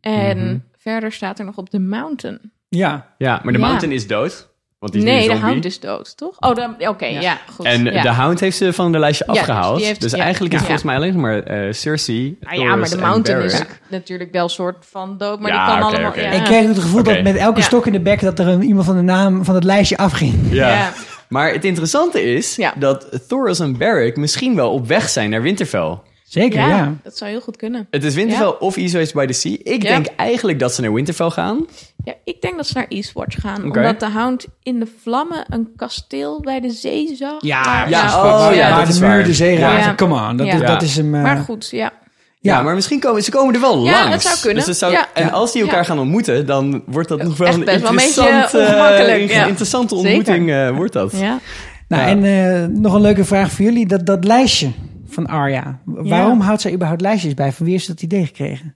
S5: En
S1: Mhm.
S5: verder staat er nog op The Mountain.
S1: ja.
S4: Ja, maar de
S5: Ja.
S4: Mountain is dood. Want die is nu
S5: nee,
S4: een
S5: de
S4: zombie.
S5: hound is dood, toch? Oh, dan- oké, ja. goed.
S4: En
S5: ja.
S4: de Hound heeft ze van de lijstje
S5: Ja, dus die
S4: afgehaald. dus
S5: heeft- ja.
S4: eigenlijk is het
S5: Ja.
S4: volgens mij alleen nog maar eh, Cersei.
S5: Ah, ja, maar
S4: Doris
S5: de
S4: en
S5: mountain is
S4: Beric.
S5: natuurlijk wel een soort van dood, maar
S4: Ja,
S5: die kan
S4: oké,
S5: allemaal...
S4: oké.
S5: Ja.
S1: Ik kreeg het gevoel
S4: Oké.
S1: dat met elke
S5: Ja.
S1: stok in de bek... dat er een, iemand van de naam van het lijstje afging.
S4: Ja.
S5: Ja.
S4: Maar het interessante is
S5: Ja.
S4: dat Thoros en Beric misschien wel op weg zijn naar Winterfell.
S1: Zeker,
S5: Ja,
S1: ja.
S5: dat zou heel goed kunnen.
S4: Het is Winterfell of East West by the Sea. Ik
S5: Ja.
S4: denk eigenlijk dat ze naar Winterfell gaan.
S5: Ja, ik denk dat ze naar Eastwatch gaan,
S4: Oké.
S5: omdat de hound in de vlammen een kasteel bij de zee zag.
S1: Ja,
S5: Waar-
S4: ja,
S5: nou,
S4: oh,
S1: Maar
S4: ja, dat
S1: de
S4: is
S1: muur,
S4: waar.
S1: de zee raakt.
S5: Ja.
S1: Come on, dat,
S5: Ja.
S1: is, dat is hem... eh,
S5: Maar goed, ja.
S4: Ja, maar misschien komen ze komen er wel
S5: Ja,
S4: langs.
S5: het zou kunnen.
S4: Dus het zou-
S5: Ja.
S4: En als die elkaar
S5: Ja.
S4: gaan ontmoeten, dan wordt dat nog wel
S5: echt
S4: een
S5: best wel een beetje
S4: interessante, eh,
S5: ongemakkelijk, ja.
S4: interessante
S5: Zeker.
S4: ontmoeting. eh, wordt dat.
S5: ja.
S1: Nou,
S4: Ja.
S1: en eh, nog een leuke vraag voor jullie. Dat, dat lijstje van Arya. W- Waarom houdt zij überhaupt lijstjes bij? Van wie heeft ze dat idee gekregen?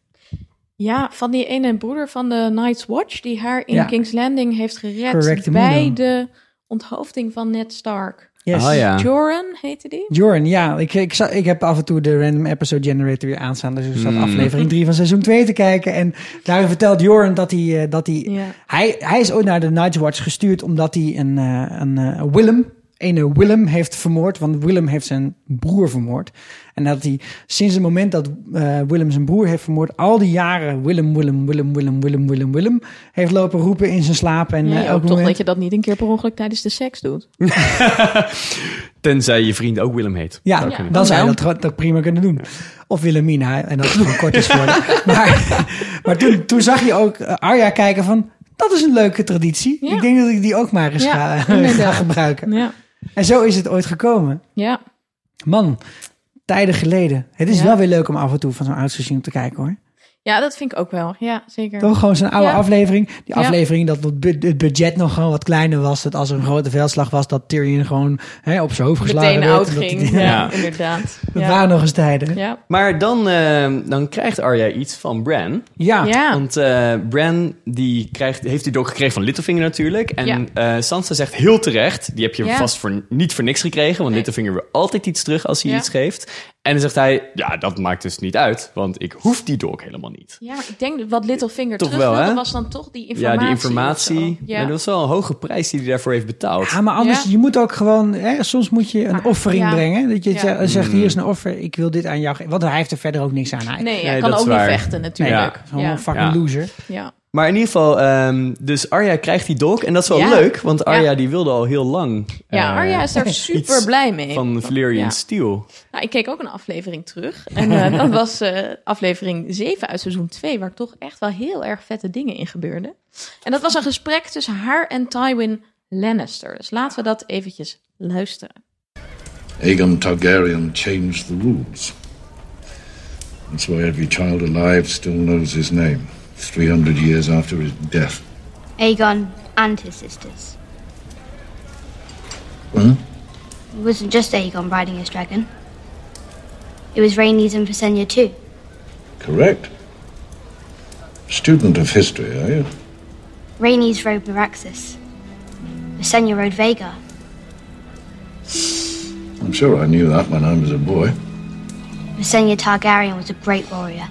S5: Ja, van die ene broeder van de Night's Watch, die haar in
S1: Ja.
S5: King's Landing heeft gered
S1: Correctamundo.
S5: bij de onthoofding van Ned Stark.
S1: Yes.
S4: Oh ja.
S5: Joran heette die.
S1: Joran, ja. Ik, ik, zou- ik heb af en toe de Random Episode Generator weer aanstaan. Dus ik zat
S4: Mm.
S1: aflevering 3 van seizoen 2 te kijken. En daarin vertelt Joran dat hij... eh, dat hij,
S5: Ja.
S1: hij, hij is ooit naar de Night's Watch gestuurd omdat hij een, eh, een eh, Willem... Ene Willem heeft vermoord, want Willem heeft zijn broer vermoord. En dat hij sinds het moment dat eh, Willem zijn broer heeft vermoord, al die jaren Willem, Willem, Willem, Willem, Willem, Willem, Willem heeft lopen roepen in zijn slaap. En
S5: Ja,
S1: eh,
S5: je
S1: elk
S5: hoopt toch
S1: moment-
S5: dat je dat niet een keer per ongeluk tijdens de seks doet.
S4: Tenzij je vriend ook Willem heet.
S1: Ja,
S5: Ja,
S1: dan
S5: dan
S1: zou je
S5: wel.
S1: dat, gewoon- dat prima kunnen doen. Of Willemina, en dat het gewoon kort is geworden.
S5: *laughs*
S1: maar maar toen, toen zag je ook eh, Arja kijken van... Dat is een leuke traditie.
S5: Ja.
S1: Ik denk dat ik die ook maar eens
S5: Ja,
S1: ga, *laughs* ga
S5: inderdaad.
S1: gebruiken.
S5: Ja,
S1: En zo is het ooit gekomen.
S5: ja.
S1: Man, tijden geleden. Het is
S5: Ja.
S1: wel weer leuk om af en toe van zo'n oud seizoen te kijken hoor.
S5: ja dat vind ik ook wel. Ja, zeker.
S1: Toch gewoon zo'n oude
S5: Ja.
S1: aflevering. Die
S5: Ja.
S1: aflevering dat het bu- het budget nog gewoon wat kleiner was. Dat als er een grote veldslag was, dat Tyrion gewoon hè, op zijn hoofd geslagen
S5: Meteen
S1: werd.
S5: oud
S1: en dat
S5: ging.
S1: hij-
S5: Ja,
S4: Ja.
S5: inderdaad.
S1: *laughs* Dat
S5: Ja.
S1: waren nog eens tijden.
S5: Ja.
S4: Maar dan, eh, dan krijgt Arya iets van Bran.
S1: Ja.
S5: ja.
S4: Want eh, Bran die krijgt, heeft die ook gekregen van Littlefinger natuurlijk. En
S5: Ja.
S4: eh, Sansa zegt heel terecht, die heb je
S5: Ja.
S4: vast voor, niet voor niks gekregen. Want
S5: Nee.
S4: Littlefinger wil altijd iets terug als hij
S5: Ja.
S4: iets geeft. En dan zegt hij, ja, dat maakt dus niet uit. Want ik hoef die dok helemaal niet.
S5: ja, ik denk dat wat Littlefinger
S4: Toch
S5: terug wilde,
S4: wel, hè?
S5: was dan toch die
S4: Ja,
S5: informatie.
S4: die
S5: of
S4: informatie.
S5: zo. Ja.
S4: En dat was wel een hoge prijs die hij daarvoor heeft betaald.
S1: Ja, maar anders,
S5: Ja.
S1: je moet ook gewoon, hè, soms moet je een
S5: Maar,
S1: offering
S5: ja.
S1: brengen. Dat je
S5: Ja.
S1: zegt- zegt, hier is
S4: Mm.
S1: een offer, ik wil dit aan jou geven. Want hij heeft er verder ook niks aan. Hij
S5: Nee, hij
S4: Nee,
S5: kan
S4: dat
S5: ook
S4: is waar.
S5: niet vechten natuurlijk.
S1: is gewoon
S5: ja.
S1: een fucking
S4: Ja.
S1: loser.
S5: Ja.
S4: Maar in ieder geval, ehm, dus Arya krijgt die dolk. En dat is wel
S5: Ja.
S4: leuk, want Arya
S5: Ja.
S4: die wilde al heel lang
S5: Ja,
S4: eh, *laughs*
S5: Arya is daar super blij mee.
S4: van Valyrian
S5: Ja.
S4: Steel.
S5: Nou, ik keek ook een aflevering terug. En eh, dat was eh, aflevering 7 uit seizoen 2, waar toch echt wel heel erg vette dingen in gebeurden. En dat was een gesprek tussen haar en Tywin Lannister. Dus laten we dat eventjes luisteren.
S6: Aegon Targaryen changed the rules. That's why every child alive still knows his name, 300 years after his death.
S7: Aegon and his sisters. Hmm? It wasn't just Aegon riding his dragon. It was Rhaenys and Visenya too.
S6: Correct. Student of history, are you?
S7: Rhaenys rode Meraxes. Visenya rode Vega.
S6: I'm sure I knew that when I was a boy.
S7: Visenya Targaryen was a great warrior.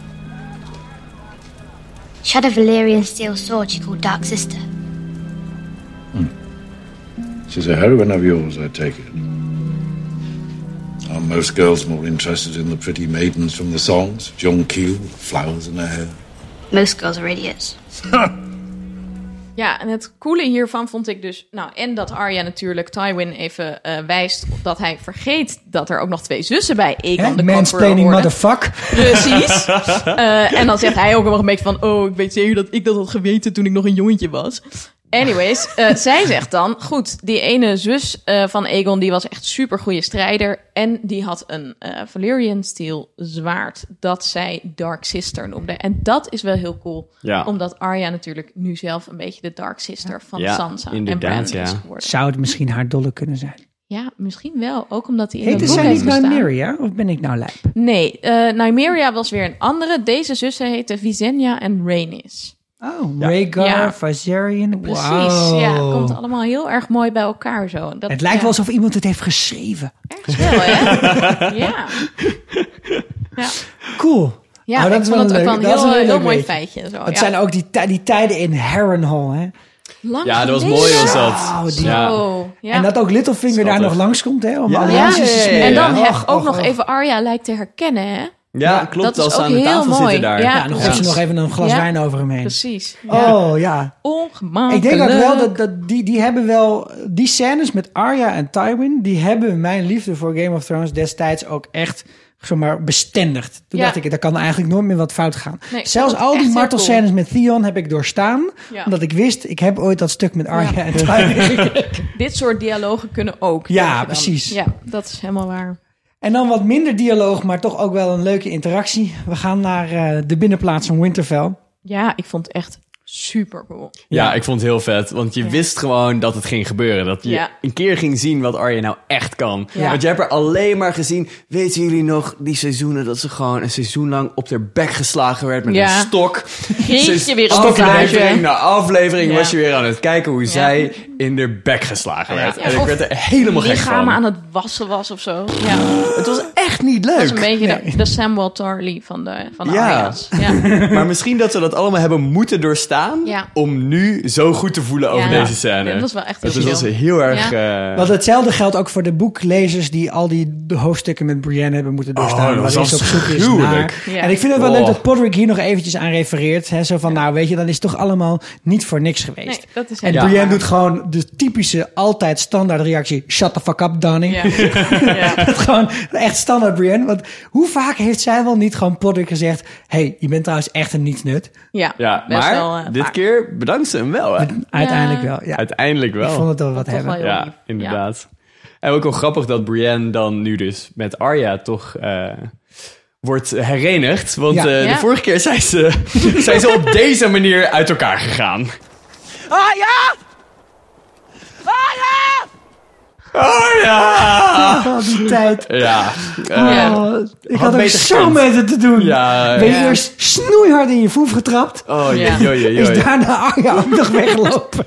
S7: She had a Valyrian steel sword she called Dark Sister.
S6: She's a heroine of yours, I take it. Are most girls more interested in the pretty maidens from the songs? John Keel, flowers in her hair.
S7: Most girls are idiots.
S5: Ja, en het coole hiervan vond ik dus... Nou, en dat Arya natuurlijk Tywin even eh, wijst dat hij vergeet dat er ook nog twee zussen bij Aegon de
S1: Hè?
S5: Conqueror
S1: Mansplaining
S5: worden.
S1: motherfuck.
S4: *laughs*
S5: Precies. Eh, en dan zegt hij ook nog een beetje van... Oh, ik weet zeker dat ik dat had geweten toen ik nog een jongetje was. Anyways, eh, zij zegt dan... Goed, die ene zus eh, van Aegon... die was echt super goede strijder. En die had een eh, Valyrian steel zwaard... dat zij Dark Sister noemde. En dat is wel heel cool.
S4: Ja.
S5: Omdat Arya natuurlijk nu zelf een beetje de Dark Sister... van
S4: Ja,
S5: Sansa en
S4: inderdaad,
S5: Bran
S4: ja.
S5: is geworden.
S1: Zou het misschien haar dolle kunnen zijn?
S5: Ja, misschien wel. Ook omdat hij in het
S1: Heette
S5: boek
S1: zij
S5: heeft
S1: niet
S5: gestaan.
S1: Nymeria? Of ben ik nou lijp?
S5: Nee, eh Nymeria was weer een andere. Deze zussen heten Visenya en Rhaenys.
S1: Oh, Rhaegar,
S5: Ja.
S1: Viserion.
S5: Precies,
S1: Wauw.
S5: ja. Komt allemaal heel erg mooi bij elkaar zo. Dat,
S1: Het lijkt
S5: ja,
S1: wel alsof iemand het heeft geschreven.
S5: ergens wel, hè? ja.
S1: Cool.
S5: Ja,
S1: Oh,
S5: ik vond het ook wel een
S1: dat is
S5: heel, heel,
S1: leuk
S5: mooi
S1: weetje.
S5: feitje. en Zo.
S1: Het
S5: ja.
S1: zijn ook die, tij- die tijden in Harrenhal, hè?
S5: Lang
S4: Ja, dat was
S5: geleden.
S4: mooi was dat.
S1: Oh, die-
S4: ja.
S5: Zo, ja.
S1: En dat ook Littlefinger daar
S4: Schattig.
S1: nog langskomt, hè? Om
S4: Ja.
S1: alle
S4: Ja,
S1: lances
S4: ja,
S1: te
S4: ja, ja.
S1: smeren.
S5: En dan
S4: Ja.
S5: hef- ook
S1: Och,
S5: nog
S1: och.
S5: even Arya lijkt te herkennen, hè?
S4: Ja, klopt.
S5: dat is
S4: als ze
S5: ook
S4: aan de
S5: heel
S4: tafel
S5: mooi.
S4: zitten daar.
S5: Ja.
S1: Ja, en dan gooit ze
S5: precies.
S1: nog even een glas
S5: Ja.
S1: wijn over hem heen.
S5: Precies. Ja. Oh,
S1: Oh ja. Ik
S5: Ongemakkelijk.
S1: denk ook wel dat, dat die, die hebben wel. Die scènes met Arya en Tywin. die hebben mijn liefde voor Game of Thrones destijds ook echt. zomaar bestendigd. Toen
S5: Ja.
S1: dacht ik, daar kan eigenlijk nooit meer wat fout gaan.
S5: Nee, ik
S1: Zelfs
S5: vond het
S1: al
S5: echt
S1: die
S5: heel
S1: martelscènes met Theon heb ik doorstaan.
S5: Ja.
S1: Omdat ik wist, ik heb ooit dat stuk met Arya
S5: Ja.
S1: en Tywin. *laughs* gekeken.
S5: Dit soort dialogen kunnen ook.
S1: Ja,
S5: denk je dan.
S1: precies.
S5: Ja, dat is helemaal waar.
S1: en dan wat minder dialoog, maar toch ook wel een leuke interactie. We gaan naar eh, de binnenplaats van Winterfell.
S5: Ja, ik vond het echt super cool.
S4: Ja, ik vond het heel vet. Want je wist gewoon dat het ging gebeuren. Dat je
S5: Ja.
S4: een keer ging zien wat Arya nou echt kan.
S5: Ja.
S4: Want je hebt er alleen maar gezien... Weten jullie nog die seizoenen dat ze gewoon een seizoen lang op haar bek geslagen werd met
S5: Ja.
S4: een stok?
S5: *laughs* Jeetje,
S4: Ze-
S5: weer een
S4: aflevering
S5: stage.
S4: na aflevering
S5: Ja.
S4: was je weer aan het kijken hoe zij in de bek geslagen werd.
S5: Ja,
S4: en ik
S5: of
S4: werd er helemaal gek van.
S5: lichamen aan het wassen was of zo. Ja.
S4: Het was echt niet leuk.
S5: Dat is een beetje de, de Samuel Tarly van de, van de
S4: Ja.
S5: Arias. Ja.
S4: Maar misschien dat ze dat allemaal hebben moeten doorstaan...
S5: Ja.
S4: om nu zo goed te voelen *laughs* over
S5: Ja.
S4: deze scène.
S5: Dat was wel echt heel
S4: Het was
S5: chill.
S4: heel erg... eh,
S1: Want hetzelfde geldt ook voor de boeklezers die al die de hoofdstukken met Brienne hebben moeten doorstaan.
S4: Oh, dat
S1: waarin
S4: is
S1: ze op zoek is
S4: afschuwelijk.
S1: naar.
S5: Ja.
S1: En ik vind het wel leuk
S4: Oh.
S1: dat Podrick hier nog eventjes aan refereert. Hè, zo van, nou weet je, dan is het toch allemaal niet voor niks geweest.
S5: Nee, dat is
S1: en
S5: helemaal
S1: Brienne
S5: waar.
S1: doet gewoon de typische, altijd standaard reactie. Shut the fuck up, Danny.
S4: *laughs*
S5: Ja. Ja.
S1: *laughs* Dat gewoon echt standaard Brienne. Want hoe vaak heeft zij wel niet gewoon Podrick gezegd... hey, je bent trouwens echt een nietsnut.
S5: Ja,
S4: ja,
S5: best
S4: maar
S5: wel, eh,
S4: dit
S5: vaak.
S4: keer bedankt ze hem wel. Hè?
S1: Uiteindelijk wel, ja.
S4: Uiteindelijk wel.
S1: Ik vond het wel wat hebben.
S5: wel heel lief.
S4: Ja, inderdaad. En ook wel grappig dat Brienne dan nu dus met Arya toch eh, wordt herenigd. Want
S1: Ja.
S4: eh,
S5: Ja.
S4: de vorige keer zijn ze, *laughs* zijn ze op deze manier uit elkaar gegaan.
S1: Ah,
S4: Arya!
S1: Oh, die tijd.
S4: Arya! Ja,
S5: Ja.
S4: eh,
S1: Oh, ik
S4: Had
S1: had, ook
S4: beter
S1: zo
S4: gekund.
S1: met te doen.
S4: ja.
S1: Ben je
S4: Eh, ja.
S1: eerst snoeihard in je voef getrapt...
S4: Oh,
S5: Ja.
S4: jee, jee, jee,
S1: Is
S4: jee.
S1: daarna Arja ook
S4: *laughs*
S1: nog weglopen.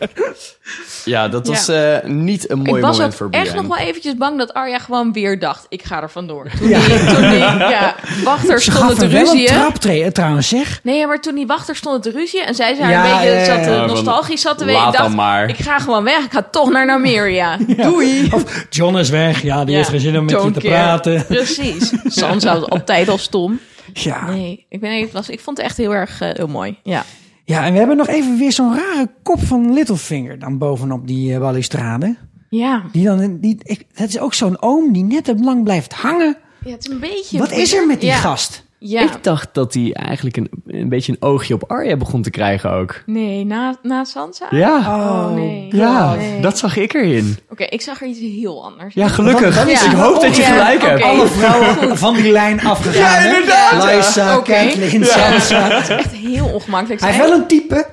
S4: Ja, dat was eh, niet een mooi
S5: Ik was
S4: moment
S5: ook
S4: voor Brienne.
S5: echt nog wel eventjes bang dat Arya gewoon weer dacht, ik ga er
S4: *laughs*
S5: vandoor. Toen die, toen die ja, wachter
S1: Ze
S5: stonden
S1: gaf
S5: te
S1: er wel een
S5: ruzie.
S1: traptreden trouwens, zeg.
S5: Nee, maar toen die wachter stonden te ruzie en zij zei
S1: Ja,
S5: een beetje
S1: ja, ja,
S5: zat, eh,
S4: ja.
S5: nostalgisch zat te weten.
S4: Laat
S5: Ik dacht,
S4: dan maar.
S5: ik ga gewoon weg. Ik ga toch naar
S4: *laughs*
S5: Nameria. Doei.
S1: Of John is weg. Ja, die
S5: Ja,
S1: heeft geen zin om met je
S5: don't
S1: te
S5: care.
S1: praten.
S5: *laughs* Precies. Sansa was altijd al stom.
S1: Ja.
S5: Nee, ik, ben, even- ik vond het echt heel erg eh, heel mooi. Ja.
S1: ja, en we hebben nog even weer zo'n rare kop van Littlefinger dan bovenop die eh, balustrade.
S5: Ja.
S1: Die dan, in- die, ik, het is ook zo'n oom die net te lang blijft hangen.
S5: ja, het is een beetje...
S1: Wat is er met die
S5: Ja.
S1: gast?
S5: Ja.
S4: Ik dacht dat hij eigenlijk een, een beetje een oogje op Arya begon te krijgen ook.
S5: Nee, na, na Sansa?
S4: Ja.
S5: Oh, nee.
S4: Ja,
S5: Nee.
S4: dat zag ik erin.
S5: Oké, ik zag er iets heel anders.
S4: Ja, gelukkig.
S1: Dan- dan is
S5: Ja.
S4: Ik hoop dat je
S5: Ja,
S4: gelijk hebt.
S5: oké.
S1: Alle vrouwen van die lijn afgegaan.
S4: Ja,
S1: hè?
S4: inderdaad, ja.
S1: Lysa,
S5: Oké.
S1: Catelyn, Sansa.
S5: Echt heel ongemakkelijk.
S1: Hij heeft wel een type.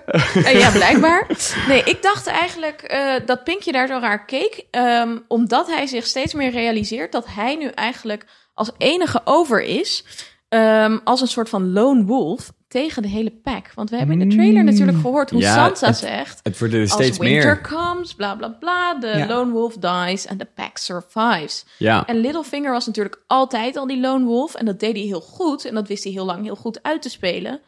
S4: *laughs*
S5: Eh, ja, blijkbaar. Nee, ik dacht eigenlijk eh, dat Pinkje daar zo raar keek. ehm, omdat hij zich steeds meer realiseert dat hij nu eigenlijk als enige over is. ehm, als een soort van lone wolf tegen de hele pack. Want we hebben in de trailer natuurlijk gehoord hoe
S4: Ja,
S5: Sansa
S4: het-
S5: zegt.
S4: Het wordt er
S5: Als
S4: steeds
S5: winter
S4: meer.
S5: comes, bla bla bla. De
S1: Ja.
S5: lone wolf dies and the pack survives.
S4: Ja.
S5: En Littlefinger was natuurlijk altijd al die lone wolf. En dat deed hij heel goed. En dat wist hij heel lang heel goed uit te spelen.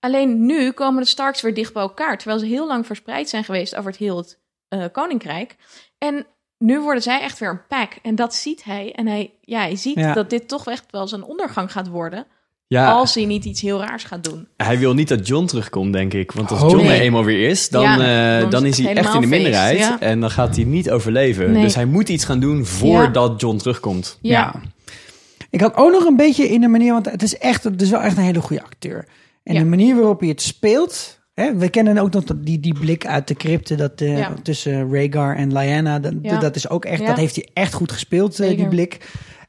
S5: Alleen nu komen de Starks weer dicht bij elkaar. Terwijl ze heel lang verspreid zijn geweest over het heel het eh, koninkrijk. En nu worden zij echt weer een pack. En dat ziet hij. En hij, ja, hij ziet
S1: Ja.
S5: dat dit toch echt wel zijn ondergang gaat worden.
S4: Ja,
S5: Als hij niet iets heel raars gaat doen.
S4: hij wil niet dat John terugkomt, denk ik. Want als
S1: Oh,
S4: John
S5: nee.
S4: er eenmaal weer is, dan,
S5: Ja,
S4: eh,
S5: dan
S4: dan
S5: is
S4: is
S5: het
S4: hij echt in de
S5: helemaal
S4: minderheid.
S5: feest, ja.
S4: En dan gaat hij niet overleven.
S5: Nee.
S4: Dus hij moet iets gaan doen voordat John terugkomt.
S5: Ja.
S1: Ik had ook nog een beetje in de manier, want het is echt, het is wel echt een hele goede acteur. En
S5: Ja.
S1: de manier waarop hij het speelt. Hè, we kennen ook nog dat- die, die blik uit de crypte dat, eh,
S5: Ja.
S1: tussen Rhaegar en Lyanna. Dat,
S5: Ja.
S1: dat is ook echt,
S5: Ja.
S1: dat heeft hij echt goed gespeeld, eh, die
S5: Zeker.
S1: blik.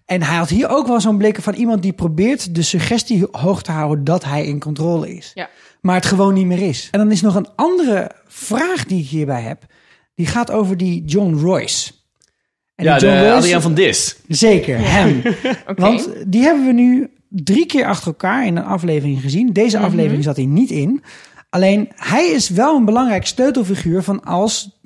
S1: En hij had hier ook wel zo'n blik van iemand die probeert de suggestie hoog te houden dat hij in controle is.
S5: Ja.
S1: Maar het gewoon niet meer is. En dan is nog een andere vraag die ik hierbij heb. Die gaat over die John Royce. En
S4: Ja,
S1: die John
S4: de
S1: Royce-
S4: Adriaan van Dis.
S1: Zeker, hem.
S5: Oké.
S1: Want die hebben we nu drie keer achter elkaar in een aflevering gezien. Deze
S5: Mhm.
S1: aflevering zat hij niet in. Alleen hij is wel een belangrijk sleutelfiguur van als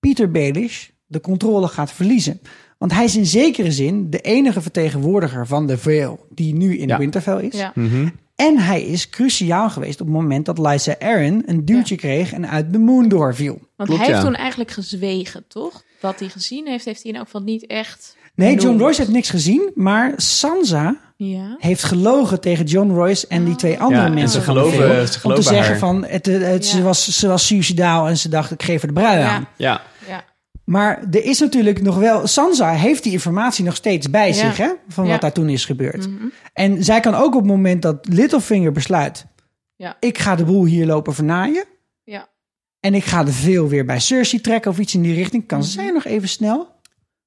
S1: Peter Baelish de controle gaat verliezen. Want hij is in zekere zin de enige vertegenwoordiger van de Veil die nu in
S4: Ja.
S1: Winterfell is.
S5: Ja.
S1: En hij is cruciaal geweest op het moment dat Lysa Arryn een duwtje kreeg en uit de Moondoor viel.
S4: Klopt,
S5: Want hij heeft
S4: ja.
S5: toen eigenlijk gezwegen, toch? Wat hij gezien heeft, heeft hij in elk geval niet echt...
S1: Nee, John
S5: benoemd.
S1: Royce heeft niks gezien, maar Sansa
S5: Ja.
S1: heeft gelogen tegen John Royce en die
S5: Ah.
S1: twee andere
S4: Ja, en
S1: mensen.
S4: ze
S1: van de
S4: geloven-
S1: film,
S4: ze
S1: om te
S4: geloven
S1: zeggen
S4: haar.
S1: van, het, eh, het- ze,
S5: Ja.
S1: was, ze was suicidaal en ze dacht, ik geef er de brui aan.
S5: Ja.
S4: Ja.
S5: ja.
S1: Maar er is natuurlijk nog wel... Sansa heeft die informatie nog steeds bij
S5: Ja.
S1: zich, hè? Van wat
S5: Ja. Mhm.
S1: daar toen is gebeurd. En zij kan ook op het moment dat Littlefinger besluit...
S5: Ja.
S1: ik ga de boel hier lopen vernaaien...
S5: Ja. Mhm.
S1: en ik ga de veel weer bij Cersei trekken of iets in die richting... kan zij nog even snel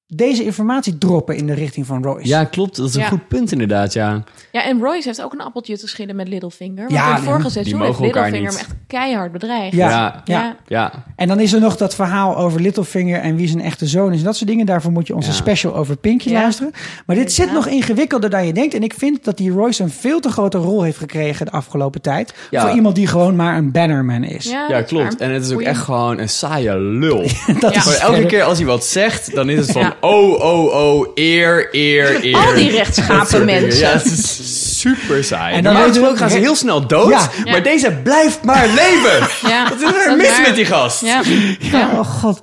S1: deze informatie droppen in de richting van Royce.
S4: Ja, klopt. Dat is een
S5: Ja.
S4: goed punt inderdaad, ja.
S5: Ja, en Royce heeft ook een appeltje te schillen met Littlefinger. Want
S1: Ja,
S5: in
S1: die-
S5: het vorige
S4: die
S5: seizoen
S4: mogen
S5: heeft Littlefinger hem
S4: elkaar
S5: echt keihard bedreigd.
S1: Ja.
S4: Ja.
S1: Ja.
S4: Ja,
S1: En dan is er nog dat verhaal over Littlefinger en wie zijn echte zoon is en dat soort dingen. Daarvoor moet je onze
S4: Ja.
S1: special over Pinkje
S5: Ja.
S1: luisteren. Maar dit zit nog ingewikkelder dan je denkt. En ik vind dat die Royce een veel te grote rol heeft gekregen de afgelopen tijd.
S4: Ja.
S1: Voor iemand die gewoon maar een bannerman is.
S5: Ja,
S4: ja
S5: dat is
S4: klopt.
S5: waar.
S4: En het is ook
S5: Goeie.
S4: echt gewoon een saaie *laughs* lul.
S1: Dat
S5: Ja.
S1: is
S4: Maar
S1: het
S4: elke
S1: verder.
S4: keer als hij wat zegt, dan is het van...
S5: Ja.
S4: Oh, oh, oh, eer, eer, eer.
S5: Al die
S4: Dat soort
S5: rechtschapen
S4: dingen.
S5: mensen.
S4: *laughs* Ja, het is super saai.
S1: En dan
S4: En dan Normaal
S1: weten we
S4: gesproken gaan ze
S1: ook-
S4: heel snel dood,
S1: Ja.
S4: maar
S5: Ja.
S4: deze blijft maar
S5: *laughs*
S4: leven.
S5: Ja,
S4: Wat is er
S5: dat
S4: mis
S5: waar.
S4: met die gast?
S5: Ja. Ja.
S1: Oh god.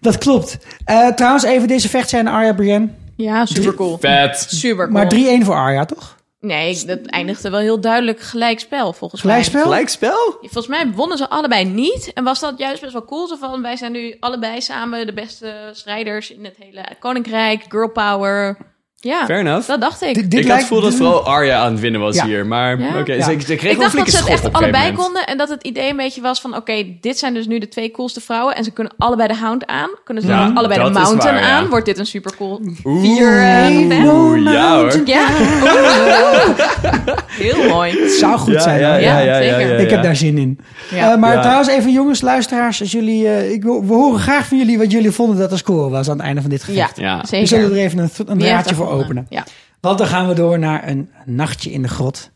S1: Dat klopt. Eh, trouwens, even deze vechtscène Arya Brienne.
S5: ja, super cool.
S4: Vet.
S5: Super cool.
S1: Maar 3-1 voor Arya, toch?
S5: Nee, ik- dat eindigde wel heel duidelijk gelijkspel volgens mij.
S1: Gelijkspel?
S4: Gelijkspel?
S5: Volgens mij wonnen ze allebei niet. En was dat juist best wel cool. Zo van, wij zijn nu allebei samen de beste strijders in het hele koninkrijk. Girl power. Ja,
S4: Fair enough.
S5: dat dacht ik.
S1: Dit- dit
S4: Ik had
S1: lijkt-
S4: het gevoel dat vooral Arya aan het winnen was
S1: Ja.
S4: hier. Maar
S5: Ja.
S4: oké,
S1: Ja.
S4: ze, ze kreeg
S5: ik
S4: wel een
S5: dacht dat
S4: flinke
S5: ze het
S4: schop
S5: echt
S4: op een gegeven
S5: allebei
S4: moment.
S5: konden. En dat het idee een beetje was van... Oké, dit zijn dus nu de twee coolste vrouwen. En ze kunnen allebei de Hound aan. Kunnen ze
S4: Ja,
S5: dan allebei de
S4: dat is
S5: Mountain
S4: waar, ja.
S5: aan. Wordt dit een super
S4: *laughs*
S5: cool
S4: Oeh.
S5: vier eh, gevecht?
S4: Oeh, ja hoor.
S5: Ja. Oeh. Heel mooi.
S1: Het zou goed zijn. hoor.
S5: ja. ja,
S1: Ik heb daar zin in.
S5: Ja.
S1: Eh, maar
S4: Ja.
S1: trouwens, even jongens, luisteraars. Als jullie, eh, ik, wil- we horen graag van jullie wat jullie vonden dat de score was aan het einde van dit gevecht.
S5: Ja,
S4: Ja.
S5: zeker.
S1: We zullen er even een, th- een
S5: Wie heeft
S1: draadje voor
S5: er gewonnen?
S1: openen.
S5: Ja.
S1: Want dan gaan we door naar een nachtje in de grot.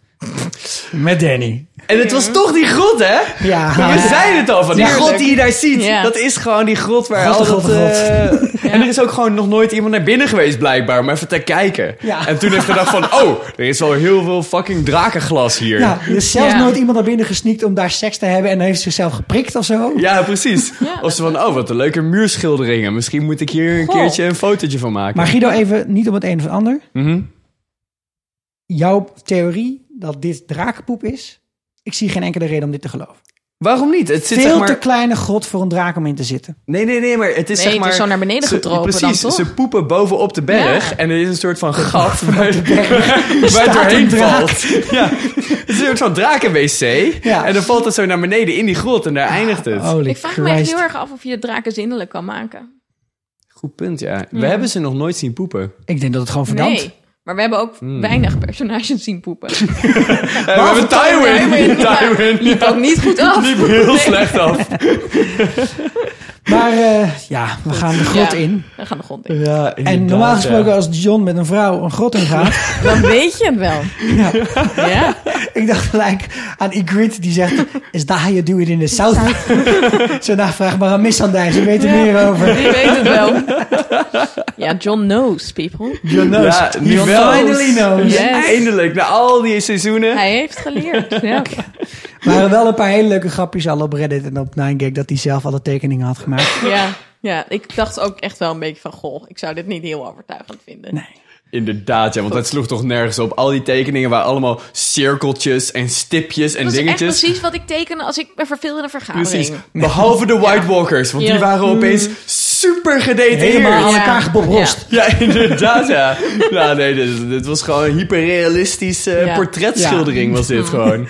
S1: Met Danny.
S4: En het was toch die grot, hè? *laughs*
S1: Ja. Nou,
S4: We zeiden het al, van die
S1: Tuurlijk.
S4: grot die je daar ziet,
S5: Ja.
S4: dat is gewoon die grot waar
S1: Grotte,
S4: al dat...
S1: grotte,
S4: eh, En er is ook gewoon nog nooit iemand naar binnen geweest, blijkbaar, om even te kijken.
S1: Ja.
S4: En toen heeft hij gedacht van, oh, er is al heel veel fucking drakenglas hier.
S1: Ja,
S4: Ja,
S1: er is zelfs
S5: Ja.
S1: nooit iemand naar binnen gesneakt om daar seks te hebben. En dan heeft ze zichzelf geprikt of zo.
S4: precies.
S5: Ja.
S4: Of ze van, oh, wat een leuke muurschilderingen. Misschien moet ik hier een
S5: Goh.
S4: keertje een fotootje van maken.
S1: Maar Guido, even niet om het een of het ander.
S4: Mhm.
S1: Jouw theorie dat dit drakenpoep is. Ik zie geen enkele reden om dit te geloven.
S4: Waarom niet? Het zit
S1: Veel
S4: zeg maar...
S1: te kleine grot voor een draak om in te zitten.
S4: Nee, nee, nee, maar het is
S5: Nee,
S4: zeg
S5: het
S4: maar...
S5: is zo naar beneden
S4: ze-
S5: gedropen dan,
S4: Precies,
S5: toch?
S4: ze poepen bovenop de berg
S5: Ja.
S4: en er is een soort van gat waar, waar het doorheen
S1: een draak.
S4: valt. Ja, het is een soort van drakenwc
S1: Ja. Oh.
S4: en dan valt het zo naar beneden in die grot en daar eindigt het.
S1: Holy
S5: Ik vraag
S1: Christ.
S5: me echt heel erg af of je draken zinnelijk kan maken.
S4: Goed punt, ja. We hebben ze nog nooit zien poepen.
S1: Ik denk dat het gewoon verdampt.
S5: Nee. Maar we hebben ook
S4: Hmm.
S5: weinig personages zien
S4: *laughs*
S5: poepen.
S4: Eh, we hebben Tywin.
S5: Tywin, ja.
S4: Tywin, ja.
S5: Liep ook niet goed af.
S4: Liep heel
S5: Nee.
S4: slecht af.
S1: Maar eh, ja, we gaan de grot
S5: Ja,
S1: in.
S5: We gaan de grond in.
S4: Ja,
S1: En normaal gesproken als John met een vrouw een grot in
S4: *laughs*
S1: gaat...
S5: Dan weet je het wel. Ja.
S1: ik dacht gelijk aan Ygritte die zegt... Is that how you do it in the south? *laughs* Zo nou, vraag maar aan Miss Sandij. Ze weet er meer over.
S4: *laughs*
S5: Die weet het wel. Ja, John knows, people.
S1: John knows.
S4: Ja,
S1: He
S4: nu wel.
S1: finally knows.
S5: Ja. Yes.
S4: Eindelijk, na al die seizoenen.
S5: Hij heeft geleerd. Ja.
S1: Er waren wel een paar hele leuke grapjes al op Reddit en op 9gag... dat hij zelf alle tekeningen had gemaakt.
S5: Ja. ja, ik dacht ook echt wel een beetje van... Goh, ik zou dit niet heel overtuigend vinden.
S4: Inderdaad, ja, want dat sloeg toch nergens op. Al die tekeningen waren allemaal cirkeltjes en stipjes en
S5: Dat is echt
S4: dingetjes.
S5: precies wat ik teken als ik me verveel in een vergadering.
S4: Precies. Behalve de White Walkers, want
S5: Ja. Mm.
S4: die waren opeens super gedetailleerd.
S1: Helemaal aan
S5: Ja.
S1: elkaar gebobrost.
S4: Ja, inderdaad, ja. Nou, nee, dit, dit was gewoon een hyperrealistische eh,
S5: Ja. Mm.
S4: portretschildering was dit gewoon.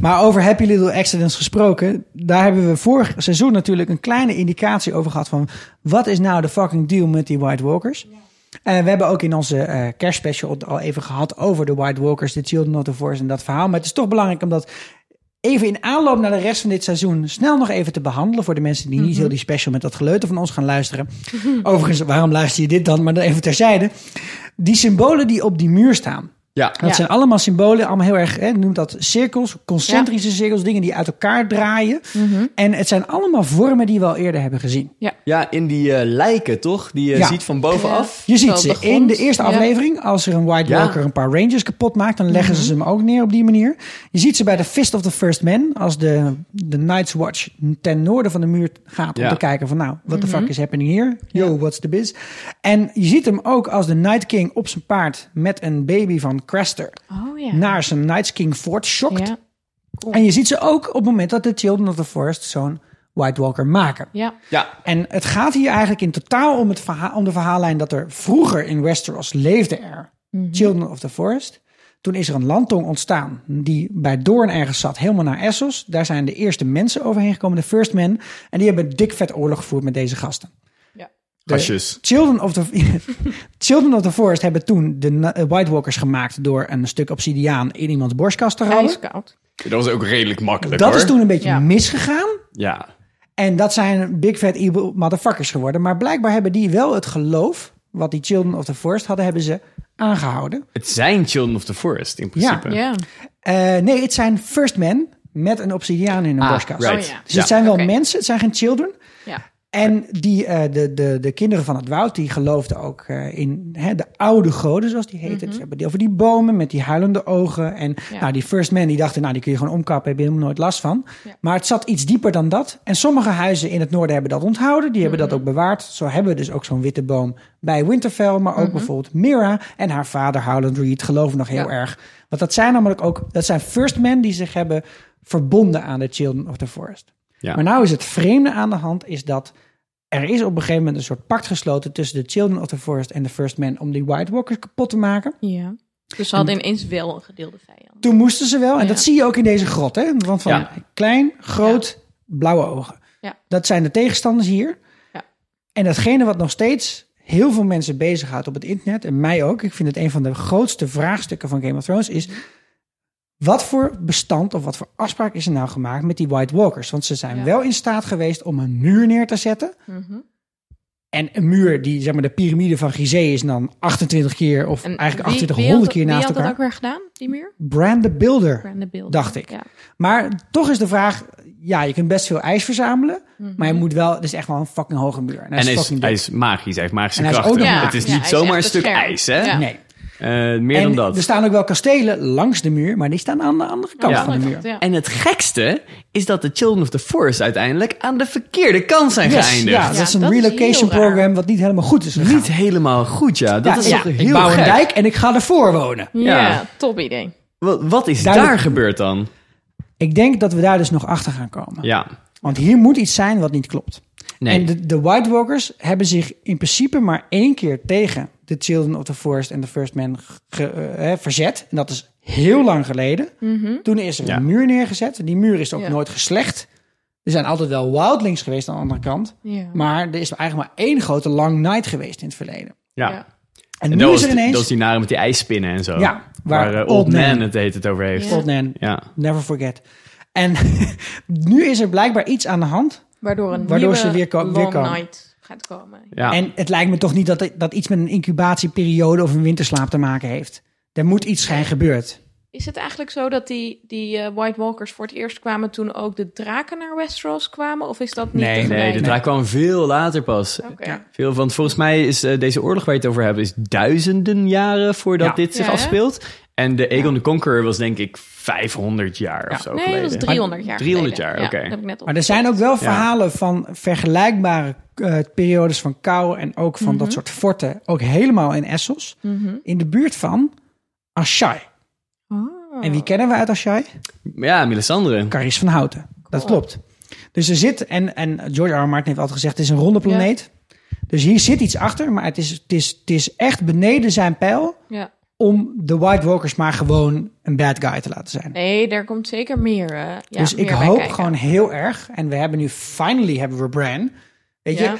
S1: Maar over Happy Little Accidents gesproken, daar hebben we vorig seizoen natuurlijk een kleine indicatie over gehad van wat is nou de fucking deal met die White Walkers? En we hebben ook in onze eh kerstspecial het al even gehad over de White Walkers, de Children of the Force en dat verhaal. Maar het is toch belangrijk om dat even in aanloop naar de rest van dit seizoen snel nog even te behandelen voor de mensen die niet heel die special met dat geleuter van ons gaan luisteren. *laughs* Overigens, waarom luister je dit dan? Maar dan even terzijde. Die symbolen die op die muur staan,
S4: Ja,
S1: dat
S5: Ja.
S1: zijn allemaal symbolen, allemaal heel erg, hè, noem dat cirkels, concentrische cirkels, dingen die uit elkaar draaien.
S5: Mhm.
S1: En het zijn allemaal vormen die we al eerder hebben gezien.
S4: ja in die eh, lijken, toch? Die je
S1: Ja.
S4: ziet van bovenaf.
S1: Je ziet
S5: Zo
S1: ze
S5: op de
S1: in de
S5: grond.
S1: eerste
S5: Ja.
S1: aflevering, als er een White
S4: Ja.
S1: Walker een paar Rangers kapot maakt, dan leggen
S5: Mhm.
S1: ze hem ook neer op die manier. Je ziet ze bij de Fist of the First Man, als de, de Night's Watch ten noorden van de muur gaat om
S4: Ja.
S1: te kijken van nou, what the
S5: Mhm.
S1: fuck is happening here? Yo, what's the biz? En je ziet hem ook als de Night King op zijn paard met een baby van Craster
S5: Oh ja.
S1: naar zijn Night's King fort schokt.
S5: Ja.
S1: En je ziet ze ook op het moment dat de Children of the Forest zo'n White Walker maken.
S5: ja.
S4: Ja,
S1: En het gaat hier eigenlijk in totaal om, het verha- om de verhaallijn dat er vroeger in Westeros leefde er
S5: Mhm.
S1: Children of the Forest. Toen is er een landtong ontstaan die bij Doorn ergens zat, helemaal naar Essos. Daar zijn de eerste mensen overheen gekomen, de First Men. En die hebben een dik vet oorlog gevoerd met deze gasten.
S5: Ja.
S1: de
S4: Hasjes.
S1: Children of, the, *laughs* Children of the Forest hebben toen de na- eh, White Walkers gemaakt door een stuk obsidiaan in iemands borstkast te rammen.
S5: Ijskoud.
S4: Dat was ook redelijk makkelijk
S1: Dat
S4: hoor.
S1: is toen een beetje
S5: Ja.
S1: misgegaan.
S4: Ja.
S1: En dat zijn big fat evil motherfuckers geworden. Maar blijkbaar hebben die wel het geloof wat die Children of the Forest hadden, hebben ze aangehouden.
S4: Het zijn Children of the Forest in principe.
S5: Ja.
S1: Eh, nee, het zijn first men met een obsidiaan in hun borstkast.
S4: right.
S5: Oh ja.
S1: Dus
S4: Ja.
S1: het zijn wel
S5: Oké.
S1: mensen, het zijn geen children.
S5: ja.
S1: En die, eh, de, de, de kinderen van het woud, die geloofden ook eh, in hè, de oude goden, zoals die heten. Ze hebben die over die bomen met die huilende ogen. En
S5: Mhm. Ja.
S1: nou, die first men, die dachten, nou, die kun je gewoon omkappen, heb je helemaal nooit last van. Maar het zat iets dieper dan dat. En sommige huizen in het noorden hebben dat onthouden. Die hebben
S5: Mhm.
S1: dat ook bewaard. Zo hebben we dus ook zo'n witte boom bij Winterfell. Maar ook bijvoorbeeld Mira en haar vader, Howland Reed, geloven nog heel
S5: Mhm. Ja.
S1: erg. Want dat zijn namelijk ook, dat zijn first men die zich hebben verbonden aan de Children of the Forest.
S4: Ja.
S1: Maar nou is het vreemde aan de hand, is dat er is op een gegeven moment een soort pact gesloten tussen de Children of the Forest en de First Men om die White Walkers kapot te maken.
S5: ja. Dus ze hadden ineens wel een gedeelde vijand.
S1: Toen moesten ze wel, en
S5: Oh Ja.
S1: dat zie je ook in deze grot, hè? Want van
S4: Ja.
S1: klein, groot, blauwe ogen.
S5: Ja.
S1: Dat zijn de tegenstanders hier.
S5: Ja.
S1: En datgene wat nog steeds heel veel mensen bezighoudt op het internet, en mij ook, ik vind het een van de grootste vraagstukken van Game of Thrones, is wat voor bestand of wat voor afspraak is er nou gemaakt met die White Walkers? Want ze zijn
S5: Ja. Mhm.
S1: wel in staat geweest om een muur neer te zetten. En een muur die, zeg maar, de piramide van Gizeh is dan 28 keer of
S5: En
S1: eigenlijk
S5: wie-
S1: 2800
S5: wie
S1: keer
S5: had-
S1: naast
S5: Wie had dat
S1: elkaar.
S5: ook weer gedaan, die muur?
S1: Brand the Builder.
S5: Brand the Builder.
S1: Dacht ik.
S5: Ja.
S1: Maar toch is de vraag, ja, je kunt best veel ijs verzamelen, maar je moet wel, het is echt wel een fucking hoge muur. En hij
S4: En
S1: is
S4: hij is,
S1: fucking
S4: hij
S1: dik.
S4: is magisch, hij heeft magische
S1: En hij is
S4: krachten.
S1: ook nog
S4: het is
S5: magisch.
S4: niet
S5: Ja, hij is
S4: zomaar een
S5: echt
S4: stuk
S5: beschermd.
S4: ijs, hè?
S5: Ja.
S1: Nee.
S4: Eh, meer dan
S1: en
S4: dat.
S1: er staan ook wel kastelen langs de muur, maar die staan aan de andere kant
S4: Ja.
S1: van de muur.
S5: Oh, Ja.
S4: En het gekste is dat de Children of the Forest uiteindelijk aan de verkeerde kant zijn
S1: Yes,
S4: geëindigd.
S1: ja, dat is een
S5: dat is
S1: relocation
S5: heel raar.
S1: program wat niet helemaal goed is gegaan.
S4: Niet helemaal goed, ja. Dat
S1: Ja,
S4: is
S1: ja,
S4: toch heel
S1: ik bouw
S4: gek.
S1: een dijk en ik ga ervoor wonen.
S5: Ja,
S4: Ja.
S5: top idee.
S4: Wat, wat is
S1: Duidelijk-
S4: daar gebeurd dan?
S1: Ik denk dat we daar dus nog achter gaan komen.
S4: Ja.
S1: Want hier moet iets zijn wat niet klopt.
S4: Nee.
S1: En de, de White Walkers hebben zich in principe maar één keer tegen de Children of the Forest en de First Men ge- eh, eh, verzet. En dat is heel lang geleden. Toen is er
S4: Ja.
S1: een muur neergezet. Die muur is ook
S5: Ja.
S1: nooit geslecht. Er zijn altijd wel wildlings geweest aan de andere kant.
S5: Ja.
S1: Maar er is eigenlijk maar één grote long night geweest in het verleden.
S4: ja.
S5: Ja.
S1: En,
S4: En
S1: nu
S4: dat
S1: is
S4: was,
S1: er
S4: die-
S1: ineens...
S4: dat is die nare met die ijsspinnen en zo.
S1: Ja,
S4: Waar, eh, Old Man, het heet het over heeft.
S5: Ja.
S1: Old Nan.
S4: Ja.
S1: Never forget. En *laughs* nu is er blijkbaar iets aan de hand.
S5: Waardoor een
S1: Waardoor
S5: nieuwe
S1: ze weer ko- weer
S5: long
S1: komen.
S5: night gaat komen.
S4: Ja.
S1: En het lijkt me toch niet dat dat iets met een incubatieperiode of een winterslaap te maken heeft. Er moet iets zijn gebeurd.
S5: Is het eigenlijk zo dat die, die eh, White Walkers voor het eerst kwamen toen ook de draken naar Westeros kwamen? Of is dat niet
S1: Nee, nee,
S4: nee,
S5: tegelijk?
S4: de draak kwam veel later pas.
S5: Oké.
S4: Veel, want volgens mij is eh, deze oorlog waar je het over hebt... is duizenden jaren voordat
S1: Ja.
S4: dit zich
S5: Ja, hè?
S4: afspeelt. En de Aegon de Conqueror was denk ik 500 jaar of zo
S5: Nee,
S4: geleden.
S5: dat is 300 jaar
S4: 300
S5: geleden.
S4: jaar,
S5: Ja,
S4: oké.
S5: dat heb ik net op.
S1: Maar er zijn ook wel verhalen van vergelijkbare eh, periodes van kou en ook van dat soort forten. Ook helemaal in Essos. In de buurt van Ashai. En wie kennen we uit Ashai?
S4: Ja, Melisandre.
S1: Caris van Houten. Dat klopt. Dus er zit, en, en George R. R. Martin heeft altijd gezegd, het is een ronde planeet. Dus hier zit iets achter, maar het is, het is, het is echt beneden zijn pijl.
S5: Ja.
S1: om de White Walkers maar gewoon een bad guy te laten zijn.
S5: Nee, daar komt zeker meer. eh, ja,
S1: dus ik
S5: meer bij
S1: hoop
S5: kijken.
S1: gewoon heel erg, en we hebben nu finally hebben we Bran. Weet
S5: Ja.
S1: je,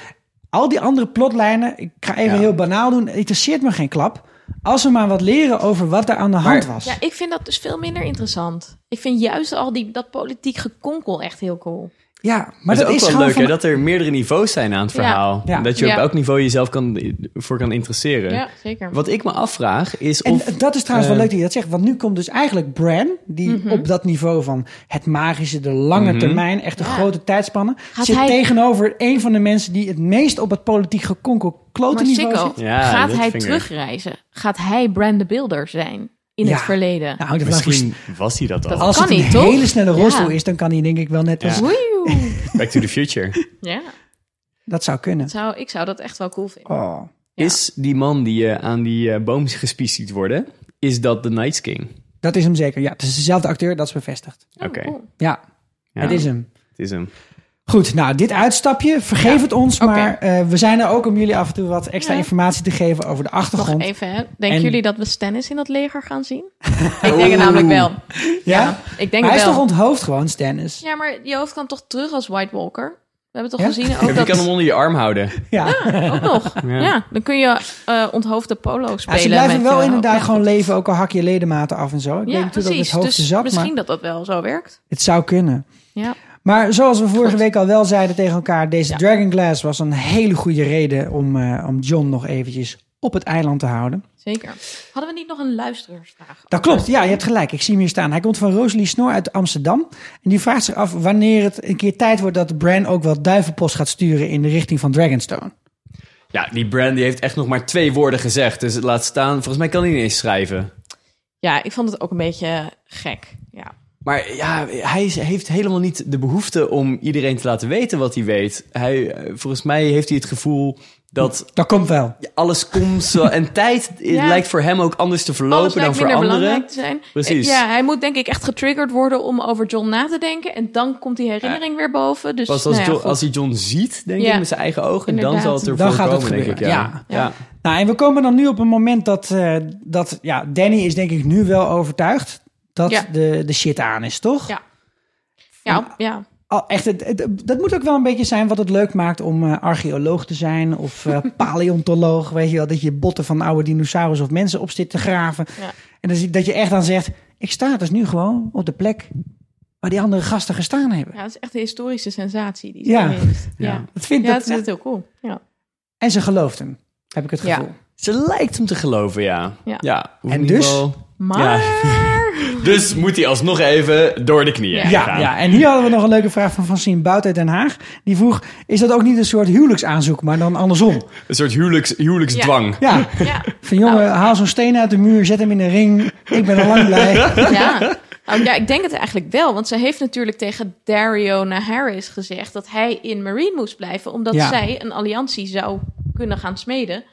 S1: al die andere plotlijnen, ik ga even heel banaal doen, interesseert me geen klap. Als we maar wat leren over wat er aan de hand was.
S5: Ja, ik vind dat dus veel minder interessant. Ik vind juist al die, dat politiek gekonkel echt heel cool.
S1: Ja, maar
S4: Maar
S1: dat
S4: het
S1: is
S4: is ook wel
S1: gewoon
S4: leuk
S1: van-
S4: hè, dat er meerdere niveaus zijn aan het
S5: Ja.
S4: verhaal.
S1: Ja.
S4: Dat je op
S5: Ja.
S4: elk niveau jezelf kan, eh, voor kan interesseren.
S5: Ja, zeker.
S4: Wat ik me afvraag is
S1: En
S4: of...
S1: dat is trouwens
S4: eh,
S1: wel leuk dat je dat zegt. Want nu komt dus eigenlijk Bran, die
S5: Mhm.
S1: op dat niveau van het magische, de lange
S4: Mhm.
S1: termijn, echt de
S5: Ja.
S1: grote tijdspannen,
S5: Gaat
S1: zit
S5: hij-
S1: tegenover een van de mensen die het meest op het politiek gekonkel klote
S5: Maar
S1: niveau
S5: Sikko,
S1: zit.
S4: Ja,
S5: gaat
S4: dat
S5: hij
S4: vind ik.
S5: terugreizen? Gaat hij Brand the Builder zijn in
S1: Ja.
S5: het verleden?
S1: Nou, hangt er vanaf wie-
S4: Misschien was hij dat al.
S1: Als
S5: Kan
S1: het een
S5: niet, toch?
S1: hele snelle rolstoel
S5: Ja.
S1: is, dan kan hij denk ik wel net als... *laughs*
S4: Ja.
S5: Woejoe.
S4: Back to the Future.
S5: Ja,
S1: Dat zou kunnen.
S5: zou, ik zou dat echt wel cool vinden.
S1: Oh.
S4: Is die man die eh, aan die eh, boom gespiesd ziet worden, is dat de Night King?
S1: Dat is hem zeker. Ja, het is dezelfde acteur, dat is bevestigd.
S4: Oké,
S5: Oh, cool.
S1: Ja,
S4: Ja.
S1: het is hem.
S4: het is hem.
S1: Goed, nou, dit uitstapje, vergeef het ons,
S5: oké.
S1: maar eh, we zijn er ook om jullie af en toe wat extra
S5: Ja.
S1: informatie te geven over de
S5: Nog
S1: achtergrond.
S5: even, hè? denken
S1: En-
S5: jullie dat we Stannis in dat leger gaan
S1: *laughs*
S5: zien? Ik denk het namelijk wel.
S1: Ja?
S5: ik denk
S1: Maar hij
S5: het
S1: is
S5: wel.
S1: toch onthoofd gewoon, Stannis?
S5: Ja, maar je hoofd kan toch terug als White Walker? hebben toch
S1: Ja?
S5: gezien
S4: En
S5: ook
S4: wie
S5: dat...
S4: kan hem onder je arm houden?
S1: Ja.
S5: Ook *laughs* nog. Ja. dan kun je eh onthoofde polo
S1: Ja,
S5: spelen.
S1: ze blijven
S5: met,
S1: wel
S5: eh,
S1: inderdaad
S5: ja.
S1: gewoon leven, ook al hak je ledematen af en zo. Ik
S5: Ja,
S1: weet natuurlijk dat
S5: precies.
S1: het hoofd te
S5: dus
S1: zat,
S5: misschien
S1: maar
S5: dat dat wel zo werkt.
S1: het zou kunnen.
S5: Ja.
S1: Maar zoals we vorige week al wel zeiden tegen elkaar, deze Dragon Glass was een hele goede reden om, eh, om John nog eventjes op het eiland te houden.
S5: Zeker. Hadden we niet nog een luisteraarsvraag?
S1: Dat klopt, ja, je hebt gelijk. Ik zie hem hier staan. Hij komt van Rosalie Snor uit Amsterdam. En die vraagt zich af wanneer het een keer tijd wordt dat Bran ook wel duivenpost gaat sturen in de richting van Dragonstone.
S4: Ja, die Brand die heeft echt nog maar twee woorden gezegd. Dus het laat staan. Volgens mij kan hij niet eens schrijven.
S5: Ja, ik vond het ook een beetje gek. Ja.
S4: Maar ja, hij is- heeft helemaal niet de behoefte om iedereen te laten weten wat hij weet. Hij, eh, volgens mij heeft hij het gevoel dat
S1: Dat komt wel.
S4: alles komt zo-
S5: *laughs*
S4: en tijd eh,
S5: Ja.
S4: lijkt voor hem ook anders te
S5: Alles
S4: verlopen dan
S5: lijkt
S4: voor
S5: minder
S4: anderen.
S5: belangrijk te zijn.
S4: Precies.
S5: Ja, hij moet denk ik echt getriggerd worden om over John na te denken. En dan komt die herinnering weer boven. Dus
S4: Pas als,
S5: nou ja,
S4: John-
S5: goed.
S4: als hij John ziet, denk
S5: Ja.
S4: ik, met zijn eigen ogen,
S5: Inderdaad.
S4: dan zal het
S1: Dan
S4: ervoor
S1: gaat het
S4: komen, denk ik.
S1: gebeuren.
S4: Ja.
S1: Ja.
S5: Ja.
S1: Nou, en we komen dan nu op een moment dat, eh, dat ja, Danny is denk ik nu wel overtuigd dat
S5: Ja.
S1: de, de shit aan is, toch?
S5: Ja. Ja, ja.
S1: Al, Oh, echt, het, het- dat moet ook wel een beetje zijn wat het leuk maakt om eh, archeoloog te zijn of
S5: *laughs*
S1: eh, paleontoloog. Weet je wel, dat je botten van oude dinosaurus of mensen op zit te graven.
S5: Ja.
S1: En dat, je- dat je echt dan zegt, ik sta dus nu gewoon op de plek waar die andere gasten gestaan hebben.
S5: Ja, het is echt een historische sensatie. Die
S1: Ja.
S5: ja. Is. Ja. Ja.
S1: Dat vindt
S5: het
S1: dat,
S5: is echt heel cool. Ja.
S1: En ze gelooft hem, heb ik het
S5: Ja.
S1: gevoel.
S4: Ze lijkt hem te geloven, ja.
S5: Ja.
S4: hoeft
S1: En
S4: in
S1: dus?
S4: ieder geval-
S5: Maar...
S4: Dus moet hij alsnog even door de knieën
S1: Ja,
S4: gaan.
S1: ja, en hier hadden we nog een leuke vraag van Francine Bout uit Den Haag. Die vroeg, is dat ook niet een soort huwelijksaanzoek, maar dan andersom?
S4: Een soort huwelijks, huwelijksdwang.
S1: Ja,
S5: Ja.
S1: van jongen,
S5: Nou.
S1: haal zo'n steen uit de muur, zet hem in een ring. Ik ben al lang
S5: *laughs*
S1: blij.
S4: *laughs*
S5: Ja. Nou, ja, ik denk het eigenlijk wel. Want zij heeft natuurlijk tegen Dario Naharis gezegd dat hij in Marine moest blijven. Omdat
S1: Ja.
S5: zij een alliantie zou kunnen gaan smeden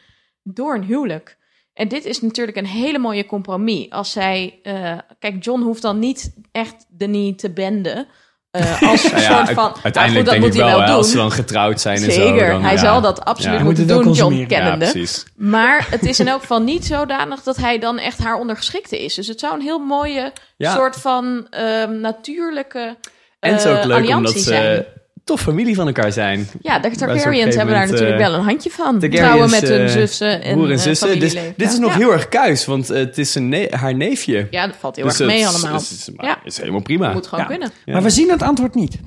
S5: door een huwelijk. En dit is natuurlijk een hele mooie compromis. Als zij. eh, kijk, John hoeft dan niet echt de knee te benden. eh,
S4: *laughs*
S5: als een
S4: Nou ja,
S5: soort
S4: u-
S5: van. maar goed,
S4: uiteindelijk
S5: dat
S4: denk
S5: moet
S4: ik
S5: hij
S4: wel,
S5: wel
S4: hè,
S5: doen.
S4: als ze dan getrouwd zijn en zo.
S5: Zeker,
S4: dan,
S5: hij
S4: ja.
S5: zal dat absoluut
S4: Ja.
S5: moeten
S1: Moet het wel
S5: doen, John
S1: consumeren. Ja,
S5: kennende.
S4: Ja, precies.
S5: Maar het is in elk geval niet zodanig dat hij dan echt haar ondergeschikte is. Dus het zou een heel mooie
S4: Ja.
S5: soort van ehm, natuurlijke
S4: En zo
S5: eh,
S4: ook leuk
S5: alliantie
S4: omdat ze
S5: zijn.
S4: toch familie van elkaar zijn.
S5: Ja, de
S4: op een
S5: Targaryens
S4: gegeven
S5: hebben daar
S4: moment,
S5: natuurlijk
S4: eh,
S5: wel een handje van.
S4: De
S5: Trouwen met hun
S4: eh,
S5: zussen en,
S4: broer en
S5: eh,
S4: zussen. Dus
S5: familieleven.
S4: dit is
S5: Ja.
S4: nog
S5: Ja.
S4: heel erg kuis, want eh, het is een ne- haar neefje.
S5: Ja, dat valt heel
S4: Dus
S5: erg mee
S4: het is-
S5: allemaal.
S4: is- is- maar
S5: ja,
S4: is helemaal prima.
S5: moet gewoon
S1: Ja.
S5: kunnen.
S1: Maar we zien het antwoord niet.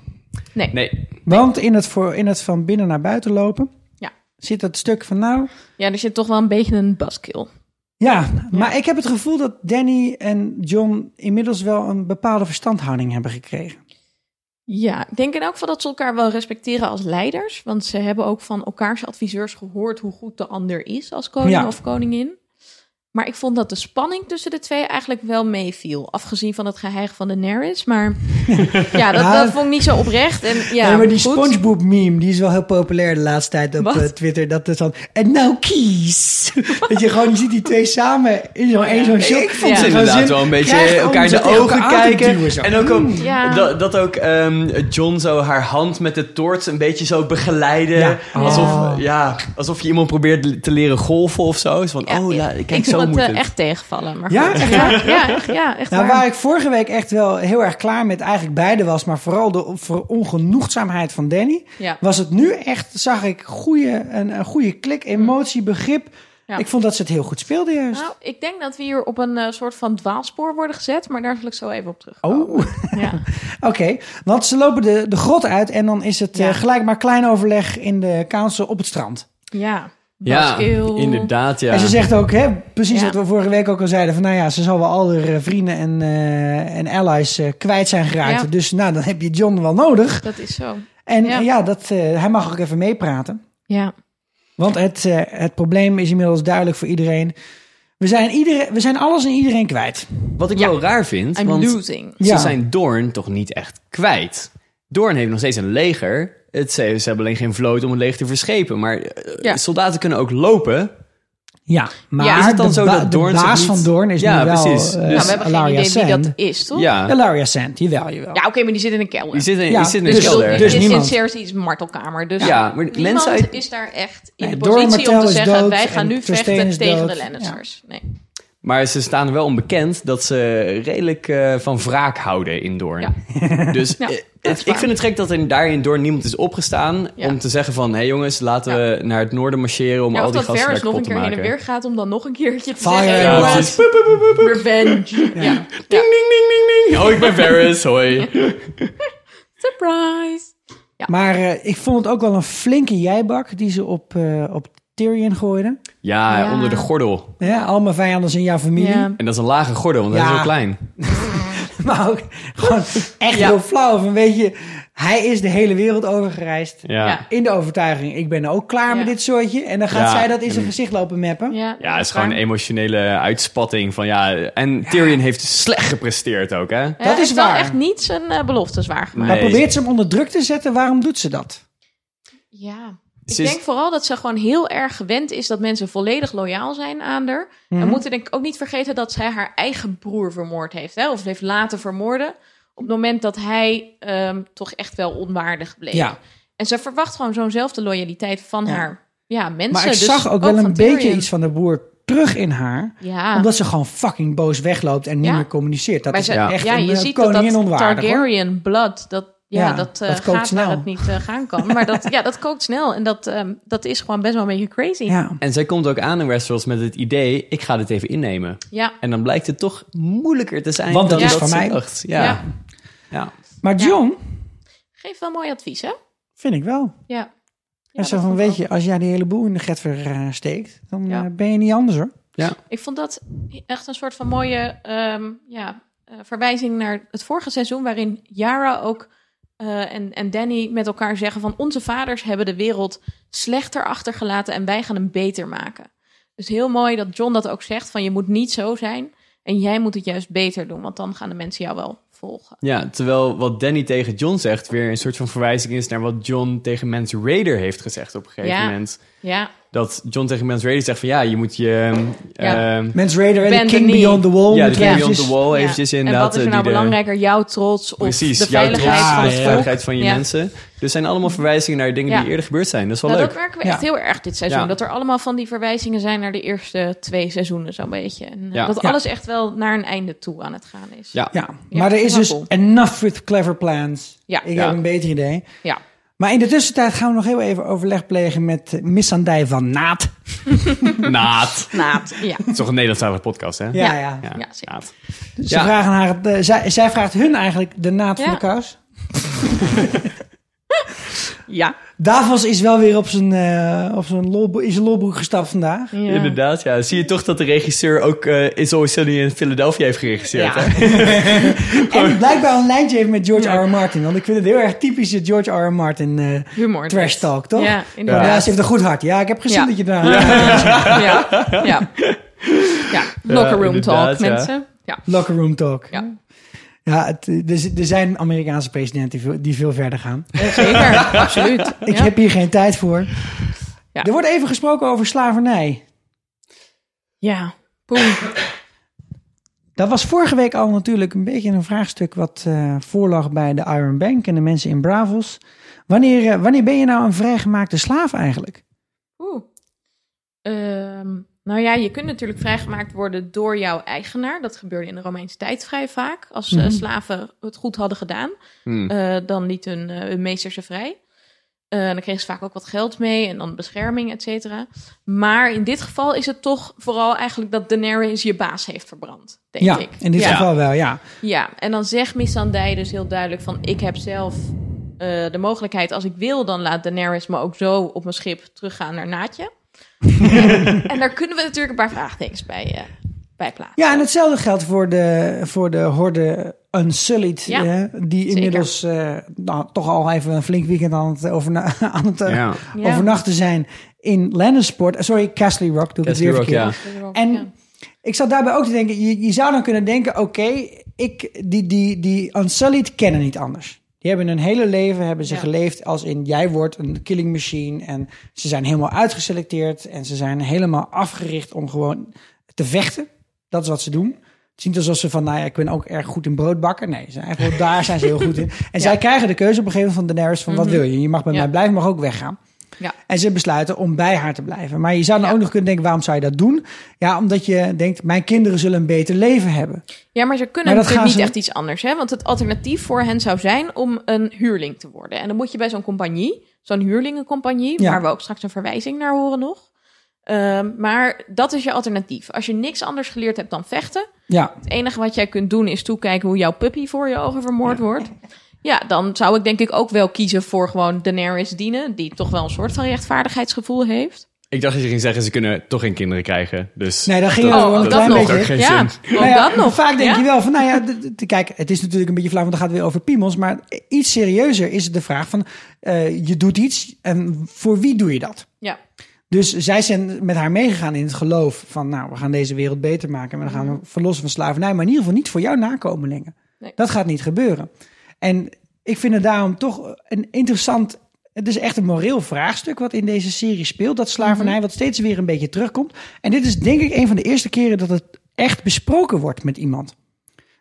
S5: Nee.
S4: Nee,
S1: Want in het, voor, in het van binnen naar buiten lopen
S5: Ja.
S1: zit dat stuk van nou...
S5: ja, er zit toch wel een beetje een buskill.
S1: Ja, maar ik heb het gevoel dat Danny en John inmiddels wel een bepaalde verstandhouding hebben gekregen.
S5: Ja, ik denk in elk geval dat ze elkaar wel respecteren als leiders. Want ze hebben ook van elkaars adviseurs gehoord hoe goed de ander is als koning
S1: Ja.
S5: of koningin. Maar ik vond dat de spanning tussen de twee eigenlijk wel meeviel. Afgezien van het geheim van de Nerys.
S1: *laughs*
S5: Maar ja, dat,
S1: Ja.
S5: dat vond ik niet zo oprecht. En, ja,
S1: nee, maar die
S5: goed.
S1: SpongeBob meme, die is wel heel populair de laatste tijd op
S5: Wat?
S1: eh, Twitter. Dat is dan, en nou
S4: *laughs*
S1: kies. dat je gewoon, je ziet die twee samen in zo'n één zo'n shot. Ik
S4: vond ze inderdaad wel een beetje elkaar in de ogen kijken. En ook om-
S5: Mm. Ja.
S4: dat, dat ook ehm, John zo haar hand met de toorts een beetje zo begeleiden.
S1: Ja.
S4: Alsof,
S1: Oh.
S4: ja, alsof je iemand probeert te leren golfen of zo. Is van,
S5: Ja,
S4: oh,
S5: ja,
S4: la- kijk,
S5: ik
S4: zo
S5: vond het
S4: moet
S5: eh,
S4: het.
S5: echt tegenvallen. Maar
S1: Ja?
S5: goed. ja, ja, echt, ja, echt
S1: Nou,
S5: waar.
S1: waar ik vorige week echt wel heel erg klaar met eigenlijk beide was, maar vooral de verongenoegzaamheid van Danny,
S5: Ja.
S1: was het nu echt, zag ik goede, een, een goede klik, emotie, begrip.
S5: Hm. Ja.
S1: Ik vond dat ze het heel goed speelde juist.
S5: Nou, ik denk dat we hier op een eh, soort van dwaalspoor worden gezet. Maar daar zal ik zo even op terugkomen.
S1: Oh.
S5: Ja.
S1: Oké, want ze lopen de, de grot uit en dan is het
S5: Ja.
S1: eh, gelijk maar klein overleg in de council op het strand.
S5: Ja,
S4: Ja,
S5: buskill.
S4: inderdaad, ja.
S1: En ze zegt ook, hè, precies
S5: Ja.
S1: wat we vorige week ook al zeiden, van nou ja, ze zal wel al haar eh, vrienden en, eh, en allies eh, kwijt zijn geraakt.
S5: Ja.
S1: Dus nou, dan heb je John wel nodig.
S5: Dat is zo.
S1: En eh,
S5: Ja.
S1: ja, dat, eh, hij mag ook even meepraten.
S5: Ja.
S1: Want het, eh, het probleem is inmiddels duidelijk voor iedereen. We zijn, iedereen, we zijn alles en iedereen kwijt.
S4: Wat ik
S5: Ja.
S4: wel raar vind,
S5: I'm
S4: want
S5: losing.
S4: ze
S1: Ja.
S4: zijn Doorn toch niet echt kwijt. Doorn heeft nog steeds een leger. Het, ze, ze hebben alleen geen vloot om het leger te verschepen. Maar eh,
S5: Ja.
S4: soldaten kunnen ook lopen.
S1: Ja, maar
S5: Ja. Is het
S4: dan
S1: de,
S4: zo
S1: ba-
S4: dat
S1: de
S4: Doorn zich
S1: baas
S4: niet-
S1: van Doorn is
S4: Ja,
S1: nu wel
S4: precies.
S1: eh,
S4: Nou,
S5: nou, we hebben geen
S1: Alaria
S5: idee wie
S1: Sand.
S5: dat is, toch?
S4: Ja,
S1: Alaria Sand, jawel, jawel.
S5: Ja, oké, maar die zit in een kelder.
S4: die zitten in,
S1: Ja,
S4: die zitten in
S1: dus-
S4: een kelder.
S5: dus,
S1: dus
S5: is
S1: niemand.
S5: in Cersei's martelkamer. Dus
S4: Ja, maar
S5: niemand
S4: mensen uit-
S5: is daar echt in
S1: Nee,
S5: de positie
S1: Dormertel
S5: om te
S1: is
S5: zeggen...
S1: dood
S5: wij gaan
S1: en
S5: nu
S1: Chastain
S5: vechten
S1: is
S5: tegen
S1: dood.
S5: de Lannisters. Nee.
S4: Maar ze staan er wel onbekend dat ze redelijk eh, van wraak houden in Doorn.
S5: Ja.
S4: *laughs* Dus
S5: Ja.
S4: eh,
S5: Dat
S4: Het-
S5: is
S4: ik
S5: waar.
S4: vind het gek dat er daarin door niemand is opgestaan
S5: Ja.
S4: om te zeggen van... hé jongens, laten we naar het noorden marcheren om
S5: Ja,
S4: al
S5: of
S4: die
S5: dat
S4: gasten
S5: Ferris
S4: daar
S5: nog een
S4: kapot te
S5: keer heen en
S4: maken.
S5: weer gaat om dan nog een keertje te
S1: Fire
S5: zeggen...
S1: and
S5: "Hey,
S4: Ja,
S5: what?
S4: precies. Boep, boep, boep, boep.
S5: *laughs* Revenge. Ja.
S4: Ding, ding, ding, ding, ding. Oh, ik ben Ferris, hoi.
S5: Surprise.
S1: Maar eh, ik vond het ook wel een flinke jijbak die ze op, eh, op Tyrion gooiden.
S4: Ja,
S5: Ja.
S4: onder de gordel.
S1: Ja, al mijn vijanden zijn jouw familie.
S5: Ja.
S4: En dat is een lage gordel, want hij
S1: Ja.
S4: is heel klein.
S1: *laughs* Maar ook gewoon echt
S5: Ja.
S1: heel flauw. Van weet je, hij is de hele wereld overgereisd.
S4: Ja,
S5: Ja.
S4: ja.
S1: In de overtuiging, ik ben ook klaar
S5: Ja.
S1: met dit soortje. En dan gaat
S4: Ja,
S1: zij dat in
S4: en-
S1: zijn gezicht lopen meppen.
S5: Ja, dat
S4: het is gewoon
S5: waar.
S4: een emotionele uitspatting van ja... En Tyrion heeft slecht gepresteerd ook, hè?
S5: Ja,
S1: Dat
S5: hij
S1: is
S5: heeft wel
S1: waar.
S5: echt niet zijn eh, beloftes waargemaakt.
S1: Maar
S4: Nee.
S1: probeert ze hem onder druk te zetten, waarom doet ze dat?
S5: Ja.
S4: Ze
S5: ik
S4: is-
S5: denk vooral dat ze gewoon heel erg gewend is dat mensen volledig loyaal zijn aan haar.
S1: Mhm.
S5: En moeten denk ik ook niet vergeten dat zij haar eigen broer vermoord heeft. Hè? Of heeft laten vermoorden. Op het moment dat hij ehm, toch echt wel onwaardig bleef.
S1: Ja.
S5: Eh, En ze verwacht gewoon zo'nzelfde loyaliteit van
S1: Ja.
S5: haar ja, mensen.
S1: Maar ik
S5: dus
S1: zag ook wel
S5: van
S1: een beetje
S5: Tyrion.
S1: iets van de boer terug in haar.
S5: Ja,
S1: Omdat ze gewoon fucking boos wegloopt en niet
S5: Ja.
S1: meer communiceert. Dat
S5: maar
S1: is
S5: ze-
S1: echt
S5: ja,
S1: een
S5: je
S1: eh,
S5: ziet dat,
S1: koningin
S5: dat
S1: onwaardig. hoor.
S5: Targaryen blood, dat, ja,
S1: Ja,
S5: dat,
S1: dat
S5: eh
S1: kookt
S5: gaat waar
S1: snel.
S5: het niet eh, gaan kan. Maar dat, ja, dat kookt snel en dat, ehm, dat is gewoon best wel een beetje crazy.
S1: Ja.
S4: En zij komt ook aan in Westeros met het idee... ik ga dit even innemen.
S5: Ja.
S4: En dan blijkt het toch moeilijker te zijn
S1: Want dat
S4: dan
S5: is
S1: van
S4: ze
S1: mij.
S4: dacht.
S5: Ja.
S4: Ja. ja.
S1: Maar John,
S5: Geef wel mooi advies, hè?
S1: vind ik wel.
S5: Ja. Ja,
S1: en zo van,
S5: dat vond
S1: weet
S5: ik
S1: je, als jij die hele boel in de getver eh, steekt, dan
S5: Ja.
S1: eh, ben je niet anders hoor.
S5: ook. Ik vond dat echt een soort van mooie ehm, ja, eh, verwijzing naar het vorige seizoen... waarin Yara ook eh, en, en Danny met elkaar zeggen van... onze vaders hebben de wereld slechter achtergelaten en wij gaan hem beter maken. Dus heel mooi dat John dat ook zegt van je moet niet zo zijn... en jij moet het juist beter doen, want dan gaan de mensen jou wel volgen.
S4: Ja, terwijl wat Danny tegen John zegt weer een soort van verwijzing is naar wat John tegen Mans Raider heeft gezegd op een gegeven
S5: Ja.
S4: moment.
S5: Ja,
S4: Dat John tegen Mans Raider zegt van ja, je moet je...
S5: Ja.
S4: ehm,
S1: Mens Raider en
S5: Bend
S1: de
S5: the
S1: King
S5: knee.
S1: Beyond the Wall.
S4: ja, de
S1: moeten we
S4: King
S1: eventjes-
S4: Beyond the Wall
S5: ja.
S4: eventjes
S5: En
S4: inderdaad.
S5: wat is er
S4: eh,
S5: nou
S4: die de-
S5: belangrijker? Jouw trots of
S4: Precies,
S5: de
S4: jouw
S5: veiligheid
S4: trots,
S5: van
S4: de
S5: het volk?
S4: veiligheid van je
S5: Ja.
S4: mensen. Dus zijn allemaal verwijzingen naar dingen
S5: Ja.
S4: die eerder gebeurd zijn. Dat is wel
S5: nou,
S4: leuk.
S5: dat merken we
S1: Ja.
S5: echt heel erg dit seizoen.
S4: Ja.
S5: Dat er allemaal van die verwijzingen zijn naar de eerste twee seizoenen, zo'n beetje. En eh,
S4: Ja.
S5: dat
S1: Ja.
S5: alles echt wel naar een einde toe aan het gaan is.
S4: Ja.
S1: Ja,
S5: Ja,
S1: maar er is
S5: maar
S1: dus
S5: cool.
S1: enough with clever plans.
S5: Ja.
S1: Ik
S4: Ja.
S1: heb een beter idee.
S5: Ja.
S1: Maar in de tussentijd gaan we nog heel even overleg plegen met eh, Missandij van Naat.
S4: Naad.
S5: Naad. Nou, Ja.
S4: Het is toch een Nederlandstalige podcast, hè?
S1: Ja, ja.
S5: Ja, zeker.
S4: Naad.
S1: Ze
S4: Ja.
S1: vragen haar, het, eh, zij, zij vraagt hun eigenlijk de naad van de
S5: Ja.
S1: kous.
S5: Ja.
S1: Davos is wel weer op zijn, eh, op zijn, lolbo- in zijn lolbroek gestapt vandaag.
S5: Ja.
S4: Inderdaad, ja. Zie je toch dat de regisseur ook eh Is Always Sunny in Philadelphia heeft geregisseerd,
S5: Ja.
S4: hè?
S1: En blijkbaar een lijntje heeft met George R. R. Martin. Want ik vind het heel erg typische George R. R. Martin eh,
S5: Humor.
S1: trash talk, toch?
S5: Ja,
S1: Ja,
S5: inderdaad.
S1: ze heeft een goed hart. Ja, ik heb gezien
S5: Ja.
S1: dat je daar... eh,
S5: Ja. Ja. Ja. Locker room talk,
S4: inderdaad, ja.
S5: mensen. Ja.
S1: Locker room talk.
S5: Ja.
S1: Ja, het, eh, er, zi- er zijn Amerikaanse presidenten die veel, die veel verder gaan.
S5: Ja, Zeker. Absoluut.
S1: Ik
S5: Ja.
S1: heb hier geen tijd voor.
S5: Ja.
S1: Er wordt even gesproken over slavernij.
S5: Ja. Poeh.
S1: Dat was vorige week al natuurlijk een beetje een vraagstuk wat eh voorlag bij de Iron Bank en de mensen in Bravos. Wanneer, eh, wanneer ben je nou een vrijgemaakte slaaf eigenlijk?
S5: Oeh. Ehm, nou ja, je kunt natuurlijk vrijgemaakt worden door jouw eigenaar. Dat gebeurde in de Romeinse tijd vrij vaak. Als eh,
S1: Mhm.
S5: slaven het goed hadden gedaan,
S4: Hmm.
S5: eh, dan liet hun, eh, hun meester ze vrij. Eh, dan kregen ze vaak ook wat geld mee en dan bescherming, et cetera. Maar in dit geval is het toch vooral eigenlijk dat Daenerys je baas heeft verbrand, denk
S1: ja,
S5: ik.
S1: in dit
S5: ja.
S1: geval wel, ja.
S5: Ja, en dan zegt Missandei dus heel duidelijk van... ik heb zelf eh, de mogelijkheid, als ik wil... dan laat Daenerys me ook zo op mijn schip teruggaan
S1: *laughs*
S5: naar Naatje. en, en daar kunnen we natuurlijk een paar vraagtekens bij, eh, bij plaatsen.
S1: Ja, en hetzelfde geldt voor de, voor de horde Unsullied,
S5: Ja,
S1: hè, die inmiddels eh, nou, toch al even een flink weekend aan het, overna- *laughs* aan het eh,
S4: Ja.
S5: Ja.
S1: overnachten zijn in Lannisport. Sorry, Castle Rock, doe ik het
S4: Castle
S1: weer
S4: Rock,
S1: verkeerd.
S4: ja.
S1: En ik zat daarbij ook te denken, je, je zou dan kunnen denken, oké, ik die, die, die Unsullied kennen niet anders. Die hebben hun hele leven hebben ze
S5: Ja.
S1: geleefd als in jij wordt een killing machine. En ze zijn helemaal uitgeselecteerd en ze zijn helemaal afgericht om gewoon te vechten. Dat is wat ze doen. Het is niet alsof ze van, nou ja, ik ben ook erg goed in brood bakken. Nee, ze zijn
S5: *laughs*
S1: eigenlijk wel- daar zijn ze heel goed in. En zij krijgen de keuze op een gegeven moment van Daenerys van, wat wil je? Je mag bij
S5: Mhm. Ja.
S1: mij blijven, mag ook weggaan.
S5: Ja.
S1: En ze besluiten om bij haar te blijven. Maar je zou dan ook nog kunnen denken, waarom zou je dat doen? Ja, omdat je denkt, mijn kinderen zullen een beter leven hebben.
S5: Ja, maar ze
S1: Maar
S5: kunnen
S1: dat
S5: natuurlijk
S1: gaan
S5: niet
S1: ze-
S5: echt iets anders. Hè? Want het alternatief voor hen zou zijn om een huurling te worden. En dan moet je bij zo'n compagnie, zo'n huurlingencompagnie,
S1: Ja.
S5: waar we ook straks een verwijzing naar horen nog. Ehm, maar dat is je alternatief. Als je niks anders geleerd hebt dan vechten,
S1: Ja,
S5: het enige wat jij kunt doen is toekijken hoe jouw puppy voor je ogen vermoord wordt. Ja, dan zou ik denk ik ook wel kiezen voor gewoon Daenerys dienen, die toch wel een soort van rechtvaardigheidsgevoel heeft.
S4: Ik dacht dat je ging zeggen, ze kunnen toch geen kinderen krijgen. Dus
S1: Nee, daar ging
S5: Oh,
S4: dat-
S1: het wel een
S4: dat
S1: klein
S4: had
S1: beetje.
S4: ook geen
S5: ja,
S4: zin.
S5: ook
S1: Nou ja,
S5: dat nog.
S1: Vaak denk
S5: Ja?
S1: je wel van, nou ja, d- d- kijk, het is natuurlijk een beetje flauw, want dan gaat het weer over piemels. Maar iets serieuzer is het de vraag van, eh, je doet iets en voor wie doe je dat?
S5: Ja.
S1: Dus zij zijn met haar meegegaan in het geloof van, nou, we gaan deze wereld beter maken. En we gaan we verlossen van slavernij, maar in ieder geval niet voor jouw nakomelingen.
S5: Mm. Nee.
S1: Dat gaat niet gebeuren. En ik vind het daarom toch een interessant... Het is echt een moreel vraagstuk wat in deze serie speelt. Dat slavernij
S5: Mm-hmm.
S1: wat steeds weer een beetje terugkomt. En dit is denk ik een van de eerste keren dat het echt besproken wordt met iemand.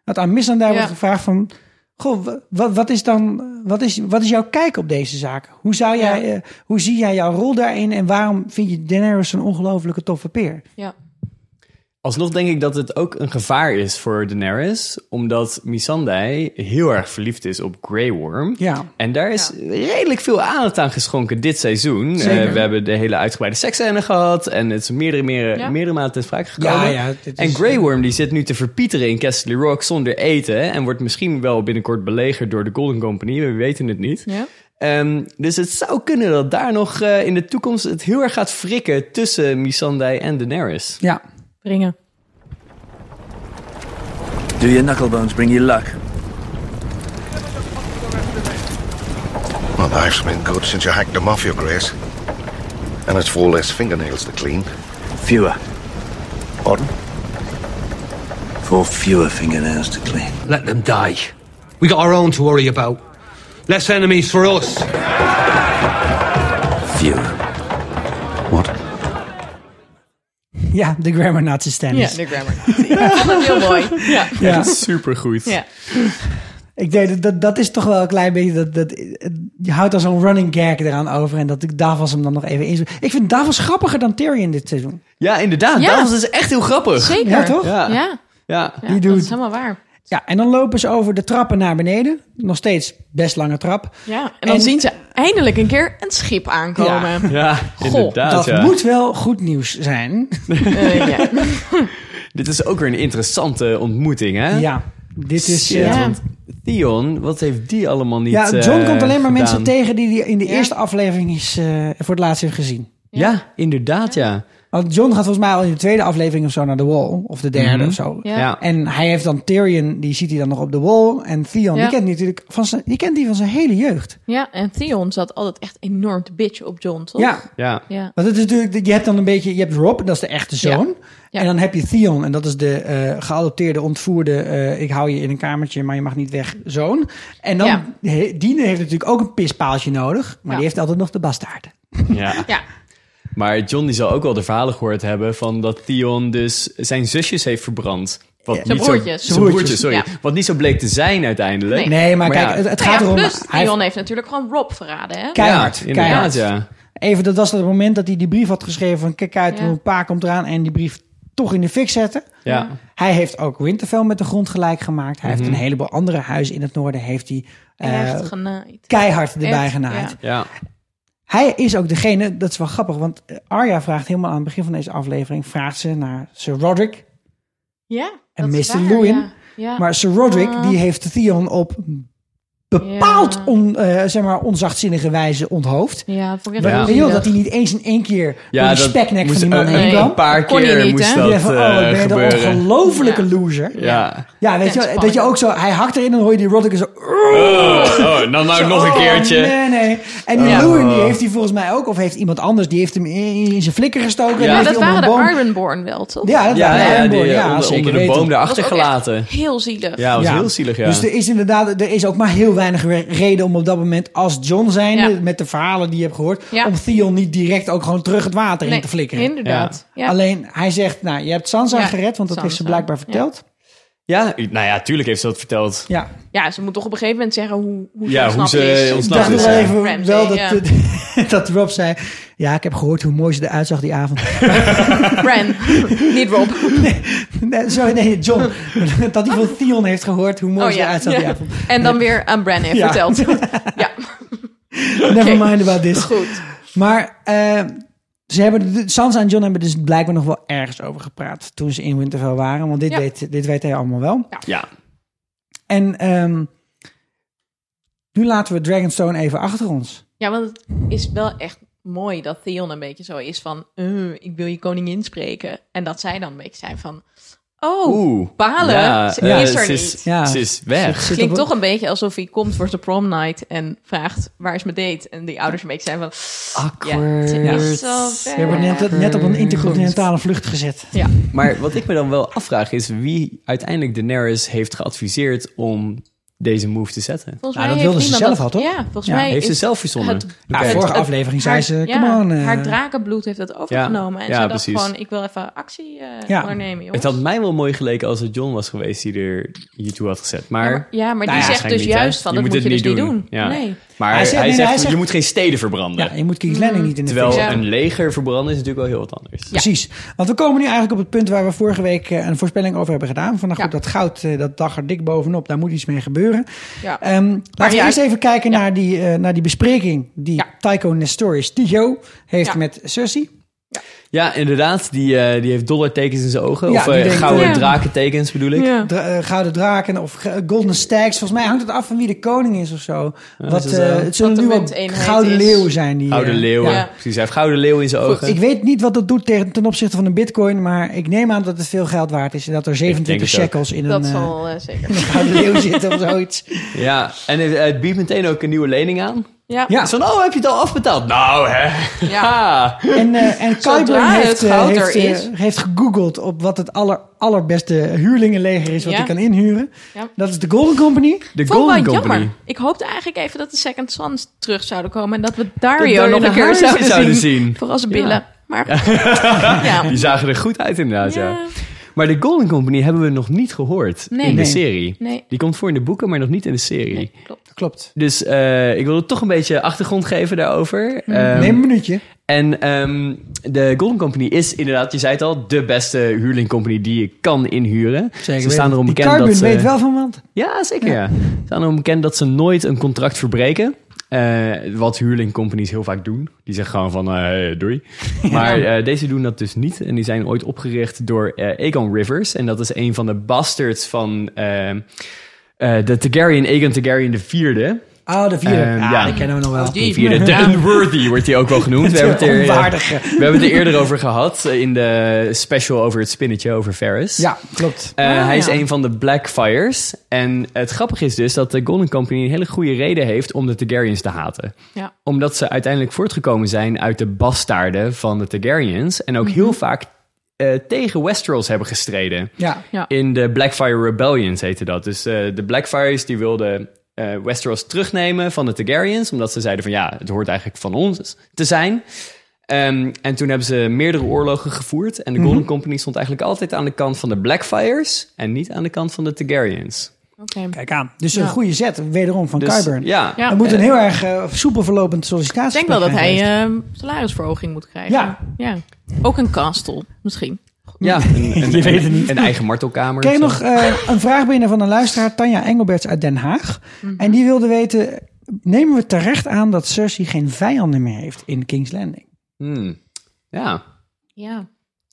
S1: Dat aan Missandei
S5: Ja.
S1: wordt gevraagd van... Goh, wa- wat, wat is dan... Wat is, wat is jouw kijk op deze zaak? Hoe, zou jij,
S5: Ja.
S1: eh, hoe zie jij jouw rol daarin? En waarom vind je Daenerys een ongelofelijke toffe peer?
S5: ja.
S4: Alsnog denk ik dat het ook een gevaar is voor Daenerys, omdat Missandei heel erg verliefd is op Grey Worm.
S1: Ja.
S4: En daar is redelijk veel aandacht aan geschonken dit seizoen.
S1: Zeker.
S4: Eh, we hebben de hele uitgebreide seksscène gehad en het is meerdere, meerdere,
S5: Ja.
S4: meerdere malen ten sprake gekomen.
S1: ja, dit
S4: en
S1: is- eh,
S4: Grey Worm die zit nu te verpieteren in Castle Rock zonder eten en wordt misschien wel binnenkort belegerd door de Golden Company, we weten het niet.
S5: Ja.
S4: Ehm, dus het zou kunnen dat daar nog eh, in de toekomst het heel erg gaat frikken tussen Missandei en Daenerys.
S1: Ja.
S5: Brengen.
S8: Do your knucklebones bring you luck?
S9: Well, life's been good since you hacked them off, Your Grace. And it's four less fingernails to clean.
S8: Fewer.
S9: Pardon?
S8: Four fewer fingernails to clean.
S10: Let them die. We got our own to worry about. Less enemies for us.
S8: Fewer. What?
S1: Ja, de grammar Nazi
S5: Ja,
S1: Stannis.
S5: de grammar. Ik vond het heel mooi. Ja.
S1: Ja.
S4: *laughs* Supergoed.
S5: Ja.
S1: Ik denk dat, dat dat is toch wel een klein beetje dat, dat je houdt als een running gag eraan over en dat ik Davos hem dan nog even in. Ik vind Davos grappiger dan Tyrion dit seizoen.
S4: Ja, inderdaad.
S5: Ja.
S4: Davos is echt heel grappig.
S5: Zeker.
S1: Ja, toch?
S4: Ja.
S5: Ja,
S4: Ja.
S5: ja,
S1: Die
S5: dat
S1: doet-
S5: is helemaal waar.
S1: Ja, en dan lopen ze over de trappen naar beneden. Nog steeds best lange trap.
S5: Ja, en dan
S1: En-
S5: zien ze eindelijk een keer een schip aankomen. Ja.
S4: Ja, inderdaad.
S1: dat
S4: ja.
S1: moet wel goed nieuws zijn.
S5: Eh,
S1: *laughs*
S5: ja.
S4: Dit is ook weer een interessante ontmoeting, hè?
S1: Ja, dit is.
S4: Shit,
S1: eh,
S5: Ja.
S4: want Theon, wat heeft die allemaal niet
S1: ja, John
S4: eh,
S1: komt alleen maar mensen
S4: gedaan?
S1: tegen die hij in de
S5: Ja.
S1: eerste aflevering is, eh, voor het laatst heeft gezien.
S4: Ja, inderdaad, ja.
S1: Want John gaat volgens mij al in de tweede aflevering of zo naar de wall. Of de derde
S4: Mhm.
S1: of zo.
S5: Ja.
S4: Ja.
S1: En hij heeft dan Tyrion, die ziet hij dan nog op de wall. En Theon,
S5: Ja.
S1: die kent hij natuurlijk van zijn, die kent hij van zijn hele jeugd.
S5: Ja, en Theon zat altijd echt enorm te bitchen op John, toch?
S1: Ja,
S4: ja.
S5: Ja.
S1: want het is natuurlijk, je hebt dan een beetje, je hebt Rob, dat is de echte zoon.
S5: Ja.
S1: En dan heb je Theon, en dat is de eh, geadopteerde, ontvoerde, eh, ik hou je in een kamertje, maar je mag niet weg, zoon. En dan,
S5: Ja.
S1: he, Dine heeft natuurlijk ook een pispaaltje nodig, maar
S5: Ja.
S1: die heeft altijd nog de bastaarden.
S4: ja.
S5: Ja.
S4: Maar John die zal ook wel de verhalen gehoord hebben van dat Theon dus zijn zusjes heeft verbrand. Wat
S5: Zijn
S4: niet
S5: broertjes.
S4: Zo, zijn broertjes,
S1: Broertjes,
S4: sorry.
S5: ja.
S4: Wat niet zo bleek te zijn uiteindelijk.
S5: Nee.
S1: Nee, maar,
S4: Maar
S1: kijk,
S4: ja.
S1: het, het
S5: Nou
S1: gaat
S5: ja,
S1: erom...
S5: plus
S1: hij heeft-
S5: Theon heeft natuurlijk gewoon Rob verraden, hè?
S1: keihard,
S4: ja,
S1: keihard.
S4: inderdaad, ja.
S1: Even, dat was het moment dat hij die brief had geschreven van kijk uit,
S5: Ja.
S1: mijn pa komt eraan en die brief toch in de fik zetten.
S4: Ja.
S1: Hij heeft ook Winterfell met de grond gelijk gemaakt. Hij heeft een heleboel andere huizen in het noorden heeft hij eh,
S5: Mhm. Echt genaaid.
S1: keihard erbij
S5: Echt,
S1: genaaid.
S5: ja.
S4: Ja.
S1: Hij is ook degene, dat is wel grappig, want eh, Arya vraagt helemaal aan het begin van deze aflevering, vraagt ze naar Sir Roderick.
S5: Ja,
S1: En
S5: dat is
S1: Mr.
S5: waar,
S1: Lewin,
S5: ja. Ja.
S1: Maar Sir Roderick,
S5: Ah.
S1: die heeft Theon op bepaald
S5: Ja.
S1: on, eh, zeg maar, onzachtzinnige wijze onthoofd.
S5: ja, dat vond ik echt
S4: Ja.
S5: heel
S1: Heel
S5: zielig.
S1: dat hij niet eens in één keer
S4: Ja,
S1: door die speknek van
S4: moest eh,
S1: die man
S4: een-
S1: heen
S5: Nee.
S1: kwam.
S4: Een paar
S5: Kon je
S4: keer
S5: niet,
S4: moest
S5: hè?
S4: dat
S1: Die van, oh,
S4: eh,
S1: ik ben een
S4: gebeuren.
S1: ongelofelijke
S5: Ja.
S1: loser.
S4: Ja.
S1: Ja, weet je wel,
S5: Spannend.
S1: dat je ook zo... Hij hakt erin en dan hoor je die Roddick en zo...
S4: Oh, nou, nou nog een
S1: oh,
S4: keertje.
S1: nee, nee. En die
S5: Ja.
S1: Lewin, die heeft hij volgens mij ook... Of heeft iemand anders, die heeft hem in, in zijn flikker gestoken. en
S5: Maar
S1: heeft
S5: dat
S1: hij onder
S5: waren de
S1: een boom-
S5: Ironborn wel, toch?
S1: Ja, dat
S4: Ja,
S1: waren de
S4: ja, die,
S1: Ironborn,
S4: eh,
S1: ja,
S4: onder,
S1: zeker
S4: onder de boom
S1: weten. Oh,
S4: erachter
S5: Dat was ook echt
S4: gelaten.
S5: Heel zielig.
S4: Ja, dat was heel zielig, ja.
S1: Dus er is inderdaad, er is ook maar heel weinig re- reden om op dat moment als John zijnde,
S5: Ja.
S1: met de verhalen die je hebt gehoord,
S5: Ja.
S1: om Theon niet direct ook gewoon terug het water in
S5: Nee,
S1: te flikkeren.
S5: Inderdaad. Ja.
S1: Alleen hij zegt, nou, je hebt Sansa
S5: Ja,
S1: gered, want dat heeft ze
S5: Sansa,
S1: blijkbaar
S5: ja.
S1: verteld.
S4: Ja, nou ja, tuurlijk heeft ze dat verteld.
S1: Ja.
S5: Ja, ze moet toch op een gegeven moment zeggen hoe, hoe
S4: Ja,
S5: ze
S4: hoe
S5: ontsnapt
S4: ze
S5: is.
S1: Ik
S4: ontsnapt
S1: dacht
S4: is,
S1: nog
S4: ja.
S1: even
S5: Ramsey,
S1: wel dat,
S5: ja.
S1: *laughs* dat Rob zei... Ja, ik heb gehoord hoe mooi ze eruit zag die avond. *laughs*
S5: Ren, niet Rob.
S1: Nee, sorry, nee, John. *laughs* dat hij van Theon heeft gehoord hoe mooi
S5: Oh
S1: ze
S5: ja.
S1: eruit zag die
S5: Ja. *laughs*
S1: avond.
S5: En dan weer aan Bran heeft
S1: Ja. *laughs*
S5: verteld. Ja,
S1: Never
S5: Oké.
S1: mind about this.
S5: goed.
S1: Maar eh, ze hebben, Sansa en John hebben dus blijkbaar nog wel ergens over gepraat toen ze in Winterfell waren. Want dit,
S5: Ja.
S1: weet, dit weet hij allemaal wel.
S4: Ja.
S1: En ehm, nu laten we Dragonstone even achter ons.
S5: Ja, want het is wel echt mooi dat Theon een beetje zo is van... eh, ik wil je koningin spreken. En dat zij dan een beetje zijn van... Oh,
S4: Oeh.
S5: balen.
S4: Ja,
S5: ze
S4: eh,
S5: is er
S4: ze
S5: niet.
S4: is-
S1: Ja.
S4: Ze is weg.
S1: Zit
S5: Klinkt
S1: op-
S5: toch een beetje alsof hij komt voor zijn prom night en vraagt waar is mijn date? En die ouders een beetje zijn van... Ja, ze is zo
S1: We hebben
S5: ver.
S1: net, net op een intercontinentale vlucht gezet.
S5: Ja.
S4: Maar wat ik me dan wel afvraag is wie uiteindelijk Daenerys heeft geadviseerd om deze move te zetten.
S5: Volgens
S1: Nou,
S5: mij
S1: dat
S5: heeft
S1: wilde ze
S5: niemand
S1: zelf al,
S5: dat-
S1: toch?
S5: Ja, volgens
S1: Ja.
S5: mij
S4: Heeft ze
S5: is
S4: zelf verzonnen?
S5: het-
S1: Ja,
S4: Oké.
S1: vorige
S5: het-
S1: aflevering
S5: haar-
S1: zei ze,
S5: ja,
S1: come on. eh,
S5: haar drakenbloed heeft dat overgenomen. en
S4: ja,
S5: ze dacht
S4: precies.
S5: gewoon, ik wil even actie eh,
S1: Ja.
S5: ondernemen,
S4: Het
S5: jongens.
S4: had mij wel mooi geleken als het John was geweest die er hiertoe had gezet. Maar,
S5: ja, maar, ja, maar
S4: Nou
S5: die
S4: ja,
S5: zegt dus
S4: waarschijnlijk niet, hè?
S5: juist van, dat moet,
S4: dit
S5: je dus niet doen.
S4: Ja.
S5: Nee.
S4: Maar
S1: Hij
S4: hij
S1: zegt-
S4: zegt,
S1: nee, nee, hij zegt-
S4: je moet geen steden verbranden.
S1: ja, je moet King's Landing niet in de
S4: *laughs* Terwijl
S1: fik
S5: Ja.
S4: een leger verbranden is natuurlijk wel heel wat anders.
S5: Mm. Ja.
S1: Precies. Want we komen nu eigenlijk op het punt waar we vorige week eh, een voorspelling over hebben gedaan. Van nou goed,
S5: Ja.
S1: dat goud, eh, dat dag er dik bovenop, daar moet iets mee gebeuren.
S5: Ja.
S4: Eh,
S1: Ehm, laten we
S5: ja,
S1: eerst
S5: ik-
S1: even kijken
S5: ja.
S1: naar, die, eh, naar die bespreking die
S5: Ja.
S1: Tycho Nestorius Tio heeft
S5: Ja.
S1: met Cersei.
S4: Ja, inderdaad. Die, eh, die heeft dollartekens in zijn ogen.
S1: Ja,
S4: of
S1: die
S4: eh,
S1: denkt,
S4: gouden
S5: ja.
S4: drakentekens bedoel ik.
S5: Ja.
S1: Dra- eh, Gouden Draken of ge- Golden Stags. Volgens mij hangt het af van wie de koning is of zo. Wat,
S4: dat is,
S1: eh,
S4: eh,
S1: het zullen
S5: wat de
S1: nu wel
S5: munteenheid
S1: Gouden
S5: is.
S1: Leeuw zijn. Die,
S4: Gouden
S1: eh,
S4: leeuwen.
S5: Ja.
S4: Precies, hij heeft gouden leeuwen in zijn
S1: Goed,
S4: ogen.
S1: Ik weet niet wat dat doet tegen- ten opzichte van een bitcoin, maar ik neem aan dat het veel geld waard is. En dat er 27
S4: het ook.
S1: shekels in
S5: Dat
S1: een eh,
S5: zal eh,
S4: *laughs*
S5: zeker.
S1: gouden
S5: *laughs*
S1: leeuw zit of zoiets.
S4: Ja, en het, het biedt meteen ook een nieuwe lening aan.
S5: Ja.
S1: Ja.
S4: Ja. Van, oh, heb je het al afbetaald? Nou, hè. Ja.
S1: En, eh en
S5: Zodra
S1: Kuiper
S5: het
S1: heeft, eh,
S5: goud
S1: heeft,
S5: er
S1: eh,
S5: is.
S1: heeft gegoogeld op wat het aller, allerbeste huurlingenleger is wat
S5: Ja.
S1: hij kan inhuren.
S5: Ja.
S1: Dat is de Golden Company.
S4: De
S5: Vond ik wel
S4: Golden Company.
S5: jammer. Ik hoopte eigenlijk even dat de Second Sons terug zouden komen. En dat we Dario
S4: Dario
S5: nog een keer
S4: Harris
S5: zouden,
S4: zouden
S5: zien.
S4: zien.
S5: Vooral zijn billen. Maar
S4: *laughs*
S5: ja.
S4: Die zagen er goed uit inderdaad, ja.
S5: Ja.
S4: Maar de Golden Company hebben we nog niet gehoord
S5: Nee.
S4: in de
S5: Nee.
S4: serie.
S5: Nee.
S4: Die komt voor in de boeken, maar nog niet in de serie.
S5: Nee, klopt.
S1: Klopt.
S4: Dus eh, ik wilde toch een beetje achtergrond geven daarover. Ehm,
S1: Neem een minuutje.
S4: En ehm, de Golden Company is inderdaad, je zei het al, de beste huurlingcompany die je kan inhuren. ze staan erom
S1: Die
S4: bekend dat eh,
S1: Kuiper
S4: ze...
S1: weet wel van wat.
S4: Ja, zeker. Ja. Ze staan erom bekend dat ze nooit een contract verbreken. Eh, wat huurlingcompanies heel vaak doen. Die zeggen gewoon van, eh,
S1: *laughs*
S4: hey, doei. Maar eh, deze doen dat dus niet. En die zijn ooit opgericht door eh Aegon Rivers. En dat is een van de bastards van eh, eh, de Targaryen, Aegon Targaryen de vierde.
S1: Oh, de vierde.
S4: Ehm,
S1: ah,
S4: ja.
S1: die kennen we nog
S5: Oh,
S1: wel.
S4: De vierde, de Unworthy wordt die ook wel
S1: *laughs*
S4: genoemd. We hebben, het er, eh,
S1: onwaardige.
S4: we hebben het er eerder over gehad eh, in de special over het spinnetje, over Ferris.
S1: Ja, klopt.
S4: Eh,
S5: Ah,
S4: hij is
S5: ja.
S4: een van de Blackfires. En het grappige is dus dat de Golden Company een hele goede reden heeft om de Targaryens te haten.
S5: Ja.
S4: Omdat ze uiteindelijk voortgekomen zijn uit de bastaarden van de Targaryens. En ook
S5: Mhm.
S4: heel vaak eh, tegen Westeros hebben gestreden.
S1: Ja.
S5: Ja.
S4: In de Blackfire Rebellions heette dat. Dus eh, de Blackfires die wilden eh, Westeros terugnemen van de Targaryens. Omdat ze zeiden van ja, het hoort eigenlijk van ons te zijn. Ehm, en toen hebben ze meerdere oorlogen gevoerd. En de
S1: Mhm.
S4: Golden Company stond eigenlijk altijd aan de kant van de Blackfires. En niet aan de kant van de Targaryens.
S5: Oké.
S1: Kijk aan. Dus een
S5: Ja.
S1: goede zet, wederom, van
S4: Dus,
S1: Kuiper.
S4: Ja.
S5: Ja.
S1: Er moet een heel erg eh, soepel verlopend sollicitatie
S5: Ik denk wel dat hij ehm salarisverhoging moet krijgen.
S1: Ja.
S5: ja. Ook een castle, misschien.
S4: Ja, een, een- een eigen martelkamer.
S1: Ik kreeg
S4: of zo.
S1: nog eh, een vraag binnen van een luisteraar, Tanja Engelberts uit Den Haag.
S5: Mhm.
S1: En die wilde weten, nemen we terecht aan dat Cersei geen vijanden meer heeft in King's Landing?
S4: Hmm. Ja,
S5: Ja.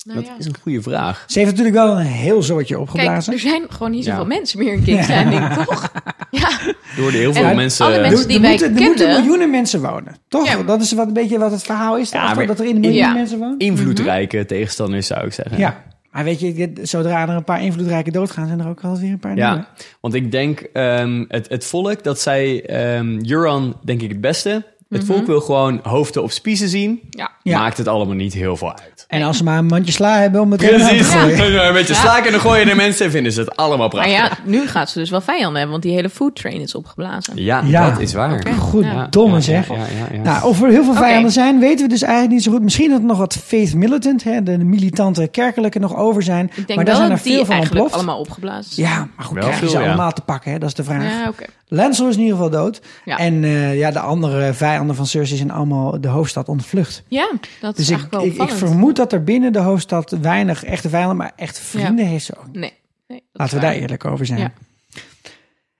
S5: Nou
S4: dat
S5: ja.
S4: is een goede vraag.
S1: Ze heeft natuurlijk wel een heel zoortje
S5: Kijk,
S1: opgeblazen.
S5: er zijn gewoon niet zoveel
S4: Ja.
S5: mensen meer in
S4: *laughs*
S5: King's Landing, toch? Ja.
S4: Door de heel veel
S5: En
S4: mensen...
S5: alle mensen-
S1: Er-
S5: die
S1: er
S5: wij
S1: moeten, er
S5: kenden-
S1: moeten miljoenen mensen wonen, toch?
S5: Ja.
S1: Dat is wat, een beetje wat het verhaal is,
S4: Ja,
S1: toch?
S4: maar
S1: dat er in de miljoenen
S5: in-
S1: mensen wonen.
S4: invloedrijke tegenstanders, zou ik zeggen.
S1: Ja, maar weet je, dit- zodra er een paar invloedrijke doodgaan, zijn er ook wel weer een paar nieuwe.
S4: Ja, want ik denk ehm, het, het volk dat zij ehm Euron, denk ik, het beste Het volk wil gewoon hoofden op spiezen zien.
S5: Mhm. Ja.
S1: Ja.
S4: Maakt het allemaal niet heel veel uit.
S1: En als ze maar een mandje sla hebben om het erin te
S4: Precies.
S1: gooien.
S4: Een beetje slaken en dan gooien de mensen en vinden ze het allemaal
S5: Maar
S4: prachtig.
S5: ja, nu gaat ze dus wel vijanden hebben, want die hele food train is opgeblazen.
S4: Ja,
S1: Ja.
S4: dat is waar.
S1: Goddomme zeg.
S4: Ja, ja, ja, ja.
S1: Nou, of er heel veel vijanden zijn, weten we dus eigenlijk niet zo goed. Misschien dat er nog wat faith militant, hè, de militante kerkelijke, nog over zijn.
S5: Ik denk
S1: maar daar
S5: wel
S1: zijn er
S5: dat die
S1: veel van
S5: eigenlijk
S1: ontploft.
S5: allemaal opgeblazen zijn.
S1: Ja, maar goed,
S4: Wel
S1: krijgen
S4: veel,
S1: ze
S4: ja.
S1: allemaal te pakken, hè? dat is de vraag.
S5: Ja, oké.
S1: Lancel is in ieder geval dood.
S5: Ja.
S1: En eh, ja, de andere vijanden van Cersei zijn allemaal de hoofdstad ontvlucht.
S5: Ja, dat
S1: Dus
S5: is
S1: ik,
S5: eigenlijk wel
S1: ik, ik
S5: opvallend.
S1: vermoed dat er binnen de hoofdstad weinig echte vijanden, maar echt vrienden heeft ze ook. niet.
S5: Nee. nee dat
S1: Laten
S5: is
S1: we daar
S5: waar.
S1: eerlijk over zijn.
S5: Ja.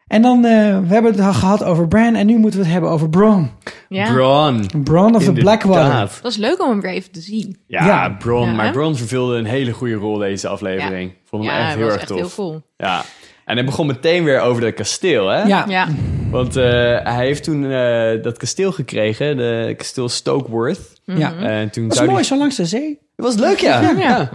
S1: En dan, eh, we hebben het al gehad over Bran en nu moeten we het hebben over Bron.
S5: Ja.
S4: Bron.
S1: Bron of the Blackwater.
S4: Inderdaad.
S5: Dat is leuk om hem weer even te zien.
S4: Ja,
S1: Ja.
S4: Bron.
S5: Ja.
S4: Maar Bron vervulde een hele goede rol deze aflevering.
S5: Ja.
S4: Vond hem
S5: Ja,
S4: echt
S5: hij
S4: heel
S5: was
S4: erg
S5: echt
S4: tof.
S5: heel cool.
S4: Ja. En hij begon meteen weer over dat kasteel, hè?
S1: Ja.
S5: Ja.
S4: Want eh, hij heeft toen eh, dat kasteel gekregen, de kasteel Stokeworth.
S1: Ja.
S5: Mhm.
S4: En toen
S1: Dat is
S4: zou
S1: mooi,
S4: die-
S1: zo langs de zee.
S4: Het was leuk, ja. ja.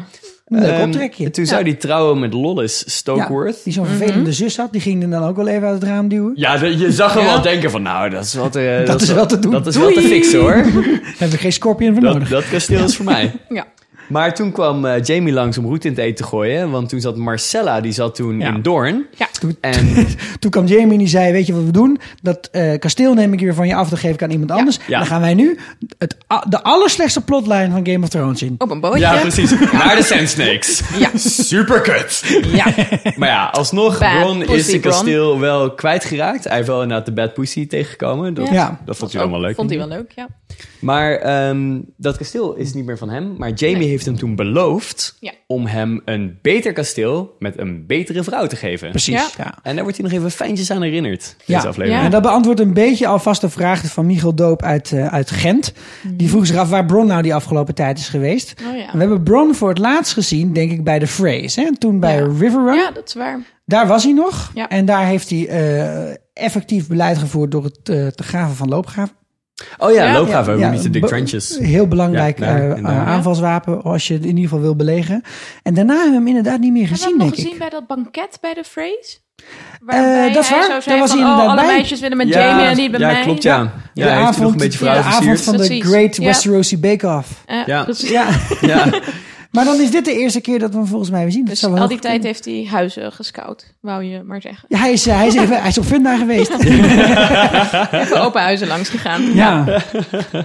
S1: Een leuk
S4: Ehm,
S1: optrekje.
S4: en toen zou hij trouwen met Lollis
S1: Ja,
S4: Stokeworth.
S1: die zo'n
S5: Mhm.
S1: vervelende zus had, die ging hem dan ook wel even uit het raam duwen.
S4: Ja, de- je zag hem wel denken van, nou, dat is wat, eh,
S1: Dat is wel te doen.
S4: Dat is wel te fixen, hoor.
S1: Daar hebben *laughs* we geen scorpion voor
S4: Dat,
S1: nodig.
S4: dat kasteel is voor mij.
S5: Ja.
S4: Maar toen kwam eh, Jamie langs om roet in het eten te gooien. Want toen zat Marcella, die zat toen in Doorn.
S5: Ja.
S1: Toen,
S4: *laughs* En
S1: toen kwam Jamie en die zei, weet je wat we doen? Dat eh, kasteel neem ik weer van je af, dan geef ik aan iemand anders.
S4: Ja.
S1: Dan gaan wij nu het, a- de allerslechtste plotlijn van Game of Thrones in.
S5: Op een bootje.
S4: Ja, precies. Maar de Sand Snakes.
S1: *laughs*
S5: Ja.
S4: Super kut.
S5: Ja.
S4: Maar ja, alsnog,
S5: Bad
S4: Bron is
S5: pussy,
S4: de
S5: Bron.
S4: kasteel wel kwijtgeraakt. Hij heeft wel inderdaad de Bad Pussy tegengekomen. Dat,
S1: Ja.
S4: dat vond
S5: Dat
S4: hij wel wel leuk.
S5: Vond hij wel leuk, ja.
S4: Maar ehm, dat kasteel is niet meer van hem. Maar Jamie heeft hem toen beloofd
S5: Ja.
S4: om hem een beter kasteel met een betere vrouw te geven.
S1: Precies. Ja.
S5: Ja.
S1: Ja.
S4: En daar wordt hij nog even fijntjes aan herinnerd. Deze aflevering.
S1: en dat beantwoordt een beetje alvast de vraag van Michel Doop uit, eh, uit Gent. Die vroeg zich af waar Bron nou die afgelopen tijd is geweest.
S5: Hmm. Oh ja.
S1: We hebben Bron voor het laatst gezien, denk ik, bij de Freys. Hè? Toen bij
S5: Ja.
S1: Riverrun.
S5: Ja, dat is waar.
S1: Daar was hij nog.
S5: Ja.
S1: En daar heeft hij eh, effectief beleid gevoerd door het eh, te graven van loopgraven.
S4: Oh ja,
S5: Ja.
S4: loopgraven.
S1: Ja,
S4: We moeten de
S1: be-
S4: trenches.
S1: Heel belangrijk
S4: Ja, daar,
S1: eh,
S4: inderdaad.
S1: eh, aanvalswapen als je het in ieder geval wil belegen. En daarna hebben we hem inderdaad niet meer
S5: Hebben we hem
S1: gezien, denk
S5: nog gezien
S1: ik. Eh,
S5: bij dat banket bij de Phrase? Waarbij
S1: dat is
S5: hij
S1: waar.
S5: zo
S1: Daar
S5: zei
S1: was
S5: van,
S1: hij
S5: oh,
S1: inderdaad
S5: alle
S1: bij.
S5: meisjes willen met Jamie en niet met
S4: ja,
S5: mij.
S4: klopt ja. Ja,
S1: de
S4: heeft hij nog een
S1: avond,
S4: beetje
S1: ja, de
S4: vrouwen
S1: avond van de
S5: Precies.
S1: Great
S5: Ja.
S1: Westerosi Bake Off.
S5: Eh,
S4: Ja.
S1: *laughs*
S5: precies.
S1: Ja,
S4: Ja.
S1: maar dan is dit de eerste keer dat we hem volgens mij weer zien. Dat
S5: Dus
S1: zou wel
S5: al die
S1: goed
S5: tijd
S1: kunnen.
S5: heeft hij huizen gescout, wou je maar zeggen.
S1: Ja, hij, is, eh, hij, is even, hij is op Funda geweest.
S5: Even open huizen langs gegaan.
S1: *laughs* Ja. *laughs*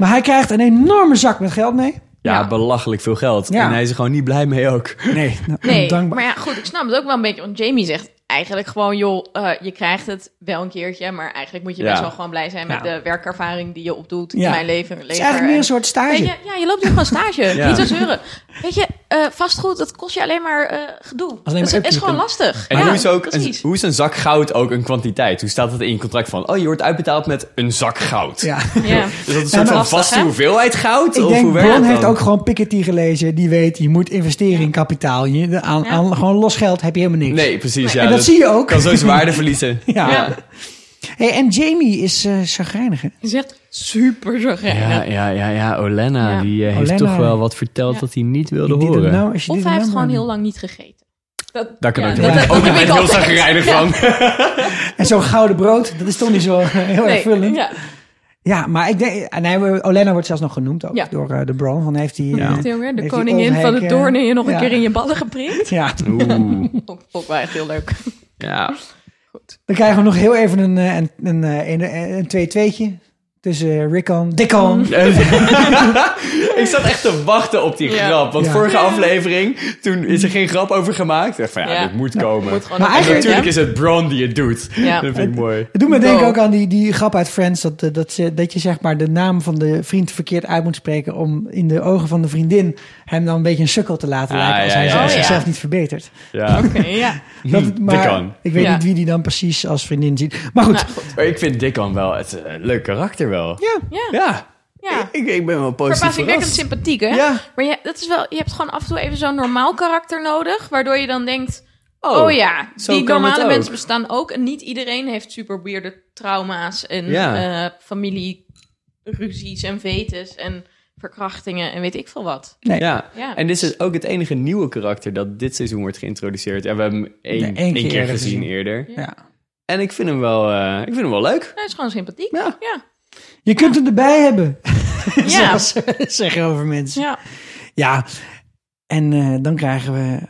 S1: Maar hij krijgt een enorme zak met geld mee.
S4: Ja,
S5: Ja.
S4: belachelijk veel geld.
S1: Ja.
S4: En hij is er gewoon niet blij mee ook.
S1: Nee, nou,
S5: Nee,
S1: dankbaar.
S5: maar ja, goed, ik snap het ook wel een beetje. Want Jamie zegt eigenlijk gewoon, joh, eh, je krijgt het wel een keertje, maar eigenlijk moet je
S4: Ja.
S5: best wel gewoon blij zijn met
S1: Ja.
S5: de werkervaring die je opdoet
S1: Ja.
S5: in mijn leven.
S1: Het is eigenlijk meer een soort stage.
S5: Weet je, ja, je loopt hier gewoon stage.
S4: Ja.
S5: Niet zo zeuren. Weet je, eh, vastgoed, dat kost je alleen maar eh, gedoe.
S1: maar
S5: Het is, het is
S1: upkeep.
S5: gewoon lastig.
S4: En
S5: ja,
S4: hoe, is ook een,
S5: precies.
S4: hoe is een zak goud ook een kwantiteit? Hoe staat dat in je contract van? Oh, je wordt uitbetaald met een zak goud.
S1: Ja.
S5: Ja.
S4: Is dat een soort
S1: maar
S4: van
S5: lastig,
S4: vaste
S5: hè?
S4: hoeveelheid goud?
S1: Ik
S4: of
S1: denk,
S4: hoe werkt
S1: Bron
S4: dat
S1: heeft
S4: dan?
S1: ook gewoon Piketty gelezen. Die weet, je moet investeren in kapitaal. Je, aan,
S5: Ja.
S1: aan, gewoon los geld heb je helemaal niks.
S4: Nee, precies. Ja,
S1: en
S4: dus
S1: dat, zie je ook.
S4: Kan zo
S1: *laughs*
S5: *laughs*
S4: zijn waarde verliezen.
S1: Ja.
S5: Ja.
S1: Hey, en Jamie is eh chagrijnig, hè?
S5: Je zegt super chagrijnig.
S4: Ja, ja, ja, ja. Olena,
S5: Ja.
S4: die eh, heeft
S1: Olenna.
S4: toch wel wat verteld
S5: Ja.
S4: dat hij niet
S1: Die
S4: wilde
S1: dit
S4: horen.
S1: nou, als je
S5: Of
S1: dit
S5: hij heeft
S1: nou
S5: gewoon
S1: maar-
S5: heel lang niet gegeten. Dat,
S4: Daar kan
S5: ja,
S4: ook
S5: dat-
S4: nog.
S5: dat- dat
S4: Ook nog
S5: heb ik
S4: heel
S5: altijd.
S4: zagrijnig van.
S1: En zo'n gouden brood, dat is toch niet zo *laughs* eh, heel erg
S5: Nee,
S1: vullend. Ja.
S5: ja,
S1: maar ik denk... En hij, Olena wordt zelfs nog genoemd ook
S5: Ja.
S1: door eh, de Bron. Van heeft hij... eh,
S5: echt heel weird. De
S1: heeft die
S5: koningin van
S1: oldhek,
S5: de
S1: eh,
S5: doornen je nog een
S1: ja.
S5: keer in je ballen geprikt.
S1: Ja,
S4: Oeh.
S5: *laughs* Vond vond ik wel echt heel leuk.
S4: Ja.
S1: dan krijgen we nog heel even een, eh, een, een, eh, een, eh, een twee-tweetje. Tussen eh, Rickon, Dickon.
S4: *laughs* Ik zat echt te wachten op die
S5: Ja.
S4: grap. Want
S1: Ja.
S4: vorige aflevering, toen is er geen grap over gemaakt. Ik dacht van, ja,
S5: Ja.
S4: dit moet komen.
S5: Moet gewoon
S1: Maar
S5: een
S4: En
S5: keer,
S1: eigenlijk-
S4: natuurlijk
S5: hè?
S4: is het Bron die het doet.
S5: Ja.
S4: Dat vind ik mooi.
S1: Het doet me denken
S5: Wow.
S1: ook aan die, die grap uit Friends. Dat, eh, dat, ze, dat je zeg maar de naam van de vriend verkeerd uit moet spreken. om in de ogen van de vriendin hem dan een beetje een sukkel te laten
S4: Ah,
S1: lijken. als
S4: ja,
S1: hij
S4: ja, Hm,
S1: zich-
S5: ja.
S1: zichzelf niet verbetert.
S4: Ja.
S5: Oké, ja.
S1: Dat, maar
S4: kan.
S1: ik weet
S5: Ja.
S1: niet wie die dan precies als vriendin ziet. Maar goed,
S5: Nou, goed.
S4: Maar ik vind Dickon wel het eh, leuk karakter wel.
S1: ja.
S5: Ja.
S4: Ja.
S5: Ja.
S4: Ik, ik ben wel positief
S5: Verbazingwekkend
S4: verrast.
S5: sympathiek, hè?
S4: Ja.
S5: Maar je, dat is wel, je hebt gewoon af en toe even zo'n normaal karakter nodig, waardoor je dan denkt, oh,
S4: Oh,
S5: ja,
S4: zo
S5: die
S4: kan het
S5: normale
S4: ook.
S5: mensen bestaan ook. En niet iedereen heeft super weirde trauma's en
S4: Ja.
S5: eh familieruzies en vetes en verkrachtingen en weet ik veel wat.
S1: Nee.
S4: Ja.
S5: Ja.
S4: en dit is ook het enige nieuwe karakter dat dit seizoen wordt geïntroduceerd. En we hebben hem één,
S1: Nee, één
S4: één,
S1: keer
S4: keer,
S1: eerder
S4: gezien
S1: gezien.
S4: eerder.
S1: Ja.
S4: En ik vind hem wel, eh, ik vind hem wel leuk.
S5: Hij is gewoon sympathiek.
S4: Ja.
S5: Ja.
S1: Je kunt hem erbij hebben.
S5: Ja.
S1: Zoals ze *laughs* zeggen over mensen.
S5: Ja.
S1: Ja, en eh, dan krijgen we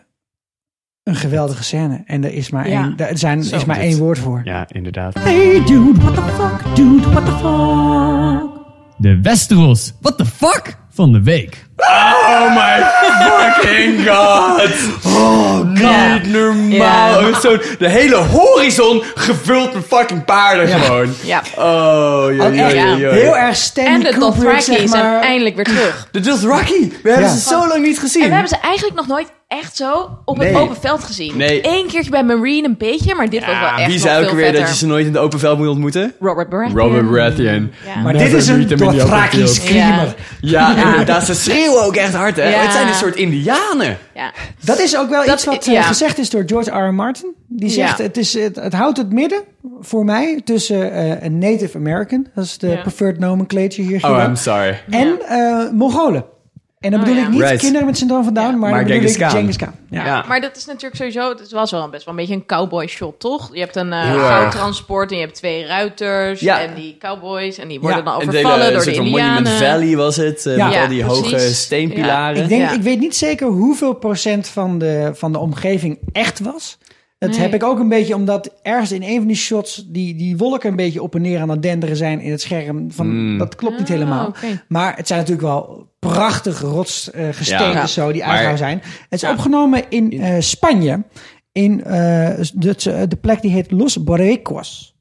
S1: een geweldige scène. En er is maar,
S5: Ja.
S1: één, daar zijn,
S5: Zo.
S1: is maar
S5: Dit-
S1: één woord voor.
S4: Ja, inderdaad.
S1: Hey dude, what the fuck, dude, what the fuck.
S2: De Westeros. What the fuck? Van de week.
S4: Oh my fucking god. Oh, Niet normaal.
S5: Ja.
S4: Zo'n- de hele horizon gevuld met fucking paarden gewoon.
S5: Ja.
S4: Oh, joh,
S1: Ook
S4: joh,
S1: echt
S4: joh, joh.
S1: Heel erg Stanley
S5: En de
S1: Kubrick,
S5: Dothraki
S1: zeg
S5: zijn
S1: maar.
S5: eindelijk weer terug.
S4: Dit is Rocky. We hebben
S1: Ja.
S4: ze zo lang niet gezien.
S5: En we hebben ze eigenlijk nog nooit echt zo op
S4: Nee.
S5: het open veld gezien.
S4: Nee.
S5: Eén keertje bij Marine een beetje, maar dit was wel
S4: ja,
S5: echt
S4: wie
S5: nog
S4: zei ook
S5: veel
S4: alweer dat
S5: vetter.
S4: je ze nooit in het open veld moet ontmoeten?
S5: Robert Baratheon.
S4: Robert Baratheon.
S5: Ja.
S1: Maar
S4: Never
S1: dit is een
S4: meet them in the open
S1: Dothraki
S4: field.
S1: screamer.
S5: Ja.
S4: Ja, inderdaad. Ze schreeuwen ook echt hard, hè?
S5: Ja.
S4: Het zijn een soort indianen.
S5: Ja.
S1: Dat is ook wel
S5: Dat-
S1: iets wat eh,
S5: ja.
S1: gezegd is door George R. R. Martin. Die zegt,
S5: Ja.
S1: het, is, het, het houdt het midden voor mij tussen eh, een Native American, dat is de
S5: Ja.
S1: preferred nomenclature hier,
S4: Oh,
S1: Guido,
S4: I'm sorry.
S1: en eh, Mongolen. En dan
S5: Oh,
S1: bedoel
S5: ja.
S1: ik niet
S4: Right.
S1: kinderen met syndroom van Down, maar,
S4: Maar
S1: dan bedoel
S4: Genghis
S1: ik
S4: Khan.
S1: Genghis Khan. Ja.
S4: Ja.
S5: Maar dat is natuurlijk sowieso, het was wel een best wel een beetje een cowboy shop, toch? Je hebt een eh
S4: Heel erg.
S5: goudtransport en je hebt twee ruiters
S4: Ja.
S5: en die cowboys en die worden
S1: Ja,
S5: dan
S4: En
S5: overvallen
S4: hele-
S5: door
S4: soort
S5: de
S4: van Monument
S5: indianen.
S4: Valley was het. eh,
S1: Ja.
S4: Met
S5: Ja,
S4: al die
S5: precies.
S4: hoge steenpilaren.
S1: Ik, denk,
S5: Ja.
S1: ik weet niet zeker hoeveel procent van de, van de omgeving echt was. Dat
S5: Nee.
S1: heb ik ook een beetje omdat ergens in een van die shots die, die wolken een beetje op en neer aan het denderen zijn in het scherm. Van,
S4: Mm.
S1: Dat klopt niet
S5: Ah,
S1: helemaal.
S5: oké.
S1: Maar het zijn natuurlijk wel prachtige rotsgesteenten
S4: Ja.
S1: zo die
S4: Maar-
S1: aangehouw zijn. Het is opgenomen in eh, Spanje. In eh, de, de plek die heet Los Borricos.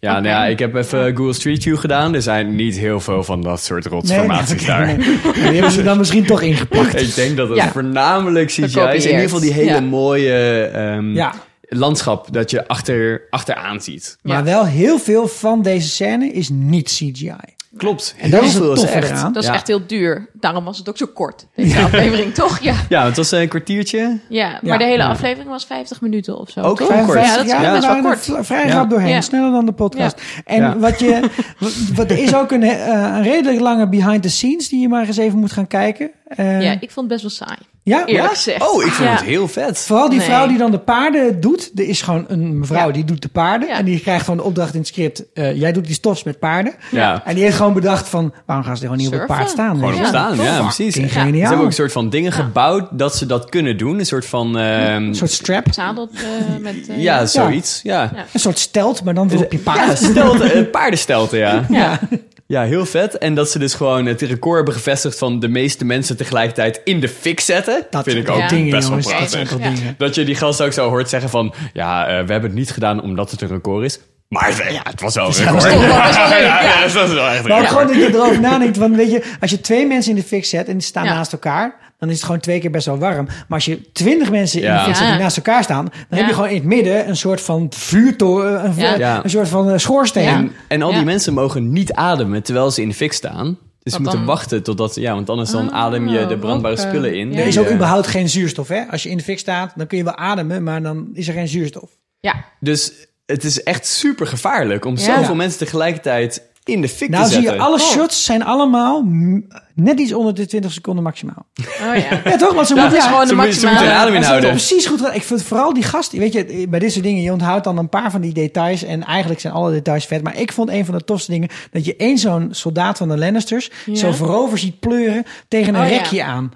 S4: Ja, nou ja, ik heb even Google Street View gedaan. Er zijn niet heel veel van dat soort rotsformaties
S1: oké,
S4: daar.
S1: nee. Die hebben ze dan misschien toch
S4: *laughs*
S1: ingepakt.
S4: Ik denk dat het
S5: Ja.
S4: voornamelijk CGI is. In
S5: Gekopieerd.
S4: ieder geval die hele
S5: Ja.
S4: mooie ehm,
S1: Ja.
S4: landschap dat je achter, achteraan ziet.
S1: Maar wel heel veel van deze scène is niet CGI.
S4: Klopt.
S1: En dat is het toffe
S4: echt.
S1: eraan.
S5: Dat is
S4: Ja.
S5: echt heel duur. Daarom was het ook zo
S1: *laughs*
S5: kort, deze aflevering, toch? Ja.
S4: Ja, het was een kwartiertje.
S5: ja, maar
S1: Ja.
S5: de hele aflevering was 50 minuten of zo.
S4: Ook
S5: toch?
S4: heel kort.
S5: Ja, dat is
S1: Ja,
S5: echt
S1: we
S5: best wel
S1: waren er
S5: kort.
S1: vl- vrij
S4: Ja.
S1: rap doorheen.
S5: Ja.
S1: Sneller dan de podcast. En
S4: Ja.
S1: wat je. *laughs* wat- Wat, er is ook een, eh, een redelijk lange behind the scenes die je maar eens even moet gaan kijken. Eh,
S5: Ja, ik vond het best wel saai.
S1: ja,
S5: Eerlijk
S1: ja?
S5: gezegd.
S4: Oh, ik vond
S5: Ja.
S4: het heel vet.
S1: Vooral die
S5: Nee.
S1: vrouw die dan de paarden doet. Er is gewoon een mevrouw die doet de paarden.
S5: Ja.
S1: En die krijgt gewoon de opdracht in het script. eh, jij doet die stofs met paarden.
S4: Ja.
S1: En die heeft gewoon bedacht van... waarom gaan ze gewoon niet op het
S5: Surfen.
S1: paard staan?
S4: Gewoon
S1: weet
S4: op
S1: je?
S4: staan, ja, precies.
S1: Fucking
S5: Ja.
S1: geniaal.
S4: Ze hebben ook een soort van dingen gebouwd dat ze dat kunnen doen. Een soort van... ehm,
S1: Een soort strap.
S5: Zadeld eh, met... eh,
S4: ja, zoiets. Ja.
S5: Ja.
S1: Een soort stelt, maar dan voor op je paard.
S4: Ja, stelte, eh, paardenstelten, ja.
S5: Ja.
S4: Ja, heel vet. En dat ze dus gewoon het record hebben gevestigd van de meeste mensen tegelijkertijd in de fik zetten. Dat vind ik ook
S5: Ja.
S1: dingen,
S4: best wel
S1: jongens, dat
S4: prachtig.
S1: zijn toch
S5: Ja.
S1: dingen.
S4: Dat je die gast ook zo hoort zeggen van... Ja, eh, we hebben het niet gedaan omdat het een record is. Maar eh, ja, het was wel een record.
S5: toch wel best Oh, wel leuk,
S4: Ja,
S5: ja.
S4: dat is wel echt een
S1: Maar ook
S4: record.
S1: gewoon dat je
S5: *laughs*
S1: erover nadenkt. Want weet je, als je twee mensen in de fik zet en die staan
S5: Ja.
S1: naast elkaar, dan is het gewoon twee keer best wel warm. Maar als je twintig mensen in de
S4: Ja.
S1: fik zet die
S5: Ja.
S1: naast elkaar staan, dan heb je
S5: Ja.
S1: gewoon in het midden een soort van vuurtoren, een,
S5: Ja.
S4: Ja.
S1: een soort van eh, schoorsteen.
S5: Ja.
S4: En, en al die
S5: Ja.
S4: mensen mogen niet ademen terwijl ze in de fik staan. Dus ze
S5: Want
S4: moeten
S5: dan-
S4: wachten totdat... Ja, want anders dan adem je de brandbare
S5: roken.
S4: spullen in.
S5: Ja.
S1: Er is
S4: Die,
S1: ook
S4: eh,
S1: überhaupt geen zuurstof. Hè? Als je in de fik staat, dan kun je wel ademen, maar dan is er geen zuurstof.
S5: Ja.
S4: Dus het is echt super gevaarlijk om
S5: Ja.
S4: zoveel
S1: Ja.
S4: mensen tegelijkertijd in de fik
S1: Nou
S4: te
S1: zie
S4: zetten.
S1: je,
S5: Oh.
S1: alle shots zijn allemaal mm, net iets onder de 20 seconden maximaal.
S5: Oh ja.
S1: Ja, toch? Want ze
S5: Dat
S1: moeten
S5: is gewoon de
S4: ze moeten- ze moeten
S5: maximale...
S4: adem
S1: En ze hebben
S4: inhouden.
S1: het precies goed gedaan. Ik vind vooral die gast, weet je, bij dit soort dingen, je onthoudt dan een paar van die details. En eigenlijk zijn alle details vet. Maar ik vond een van de tofste dingen dat je één zo'n soldaat van de Lannisters
S5: Ja.
S1: zo voorover ziet pleuren tegen een
S5: Oh, ja. Oh.
S1: rekje aan.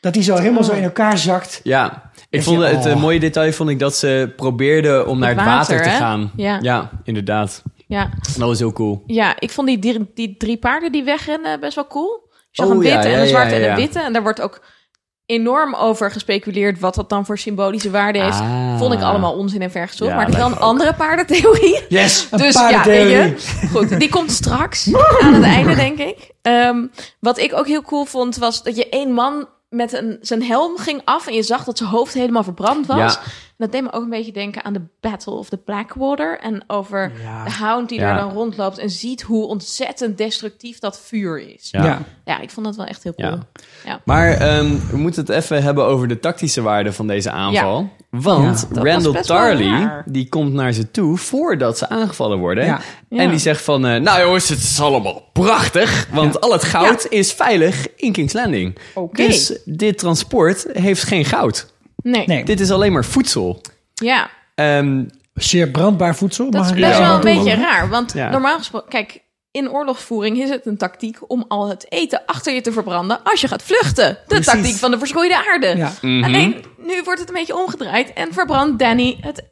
S1: Dat hij zo helemaal zo in elkaar zakt.
S4: Ja, ik
S1: Is
S4: vond
S1: die-
S4: het eh,
S1: oh.
S4: mooie detail vond ik dat ze probeerden om naar het water,
S5: water,
S4: te
S5: hè?
S4: gaan.
S5: Ja.
S4: inderdaad.
S5: Ja.
S4: Dat was heel cool.
S5: Ja, ik vond die, die, die drie paarden die wegrennen best wel cool. Je zag
S4: Oh,
S5: een
S4: ja,
S5: witte
S4: ja,
S5: en
S4: ja,
S5: een zwarte
S4: ja.
S5: en een witte. En daar wordt ook enorm over gespeculeerd wat dat dan voor symbolische waarde heeft.
S4: Ah.
S5: Vond ik allemaal onzin en vergezocht.
S4: Ja,
S5: maar het is wel een
S4: lijkt me
S5: andere paardentheorie.
S4: Yes!
S1: Een
S5: Dus ja, weet
S1: paardentheorie.
S5: je. Goed, die komt straks aan het einde, denk ik. Ehm, wat ik ook heel cool vond, was dat je één man met een, zijn helm ging af... en je zag dat zijn hoofd helemaal verbrand was.
S4: Ja.
S5: En dat deed me ook een beetje denken aan de Battle of the Blackwater... en over de hound die
S4: Ja.
S5: er dan rondloopt... en ziet hoe ontzettend destructief dat vuur is. Ja,
S4: Ja.
S1: Ja.
S5: ik vond dat wel echt heel
S4: Ja.
S5: cool. Ja, ja.
S4: Maar ehm, we moeten het even hebben over de tactische waarde van deze aanval. Want
S5: dat was
S4: Randall
S5: best wel
S4: Tarley,
S5: raar.
S4: die komt naar ze toe voordat ze aangevallen worden.
S1: Ja.
S4: En
S5: Ja.
S4: die zegt van, eh, nou jongens, het is allemaal prachtig. Want al het goud is veilig in King's Landing.
S5: Oké.
S4: Dus dit transport heeft geen goud.
S5: Nee.
S1: Nee.
S4: Dit is alleen maar voedsel.
S5: ja.
S4: Ehm,
S1: Zeer brandbaar voedsel.
S5: Dat
S1: mag
S5: is
S1: ik
S5: best
S1: daar
S5: wel
S1: aan
S5: een
S1: toe?
S5: beetje raar. Want
S4: Ja.
S5: normaal gesproken, kijk, in oorlogvoering is het een tactiek om al het eten achter je te verbranden als je gaat vluchten. De
S1: Precies.
S5: tactiek van de verschroeide aarde.
S1: Ja.
S4: Mhm.
S5: Alleen nu wordt het een beetje omgedraaid en verbrandt Danny het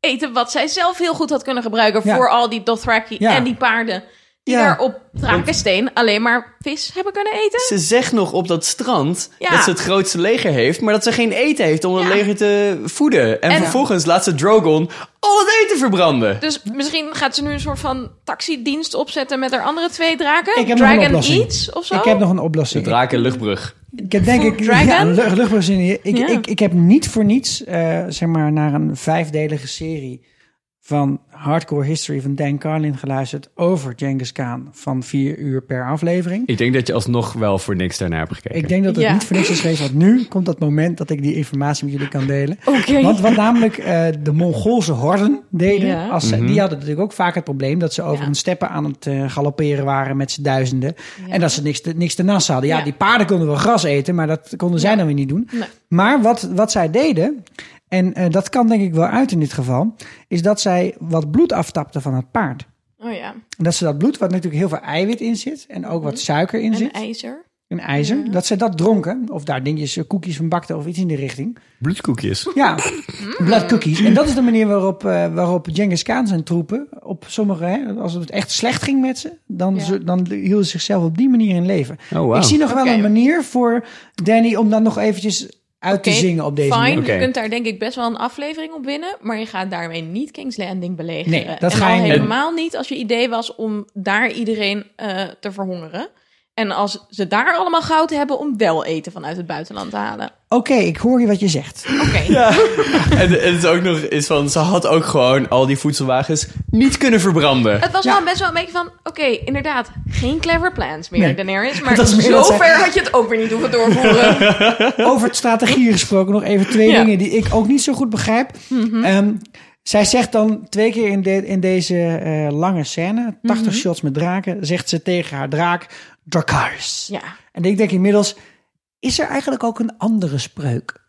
S5: eten wat zij zelf heel goed had kunnen gebruiken
S1: Ja.
S5: voor al die Dothraki
S1: Ja.
S5: en die paarden. Die
S1: Ja.
S5: daar op Drakensteen alleen maar vis hebben kunnen eten.
S4: Ze zegt nog op dat strand
S5: Ja.
S4: dat ze het grootste leger heeft, maar dat ze geen eten heeft om het
S5: Ja.
S4: leger te voeden. En,
S5: En-
S4: vervolgens laat ze Drogon al het eten verbranden.
S5: Dus misschien gaat ze nu een soort van taxidienst opzetten met haar andere twee draken.
S1: Ik heb nog een
S5: Dragon
S1: oplossing.
S5: Eats of zo.
S1: Ik heb nog een
S4: De
S1: oplossing.
S4: draak en luchtbrug.
S1: Ik heb denk ik
S5: Food Dragon?
S1: ja, lucht- luchtbezin hier. Ik,
S5: Ja.
S1: ik, ik heb niet voor niets, eh, zeg maar, naar een vijfdelige serie van Hardcore History van Dan Carlin geluisterd over Genghis Khan van vier uur per aflevering.
S4: Ik denk dat je alsnog wel voor niks daarna hebt gekeken.
S1: Ik denk dat het
S5: Ja.
S1: niet voor niks is geweest, want nu komt dat moment dat ik die informatie met jullie kan delen.
S5: Oké.
S1: Want wat namelijk eh, de Mongoolse horden deden,
S5: Ja.
S1: als ze, die hadden natuurlijk ook vaak het probleem dat ze over
S5: Ja.
S1: hun steppen aan het eh, galopperen waren met z'n duizenden.
S5: Ja.
S1: En dat ze niks te, niks te naast hadden. Ja,
S5: Ja.
S1: die paarden konden wel gras eten, maar dat konden zij
S5: Ja.
S1: dan weer niet doen.
S5: Nee.
S1: Maar wat, wat zij deden, en eh, dat kan denk ik wel uit in dit geval, is dat zij wat bloed aftapten van het paard.
S5: Oh ja.
S1: En dat ze dat bloed, wat natuurlijk heel veel eiwit in zit en ook
S5: Mhm.
S1: wat suiker in
S5: Een
S1: zit,
S5: ijzer.
S1: en ijzer, dat zij dat dronken, of daar dingetjes, eh, koekjes van bakten of iets in die richting.
S4: Bloedkoekjes.
S1: Ja,
S5: Mm.
S1: blood cookies. En dat is de manier waarop, eh, waarop Genghis Khan zijn troepen, op sommige, hè, als het echt slecht ging met ze, dan,
S5: Ja.
S1: ze- dan hielden ze zichzelf op die manier in leven.
S4: Oh, wauw.
S1: Ik zie nog
S5: Oké.
S1: wel een manier voor Danny om dan nog eventjes uit
S5: Oké,
S1: te zingen op deze
S5: fine.
S1: manier.
S4: Oké.
S5: Je kunt daar denk ik best wel een aflevering op winnen. Maar je gaat daarmee niet King's Landing belegeren.
S1: Nee, dat
S5: en
S1: ga je
S5: al
S1: niet doen.
S5: helemaal niet als je idee was om daar iedereen eh, te verhongeren. En als ze daar allemaal goud hebben om wel eten vanuit het buitenland te halen.
S1: Oké, ik hoor je wat je
S5: *laughs*
S1: zegt.
S5: Oké.
S4: *laughs* En het is ook nog is van, ze had ook gewoon al die voedselwagens niet kunnen verbranden.
S5: Het was
S1: Ja.
S5: wel best wel een beetje van, oké, inderdaad, geen clever plans meer,
S1: Nee. *laughs*
S5: Daenerys. Maar
S1: Dat is meer
S5: zo
S1: dat zij-
S5: ver had je het ook weer niet
S1: *laughs*
S5: hoeven doorvoeren.
S1: Over het strategie gesproken nog even twee
S5: Ja. Mhm.
S1: dingen die ik ook niet zo goed begrijp. Ehm, zij zegt dan twee keer in, de- in deze eh, lange scène, 80
S5: Mhm.
S1: shots met draken, zegt ze tegen haar draak, Dracarys.
S5: ja.
S1: En ik denk inmiddels, is er eigenlijk ook een andere spreuk?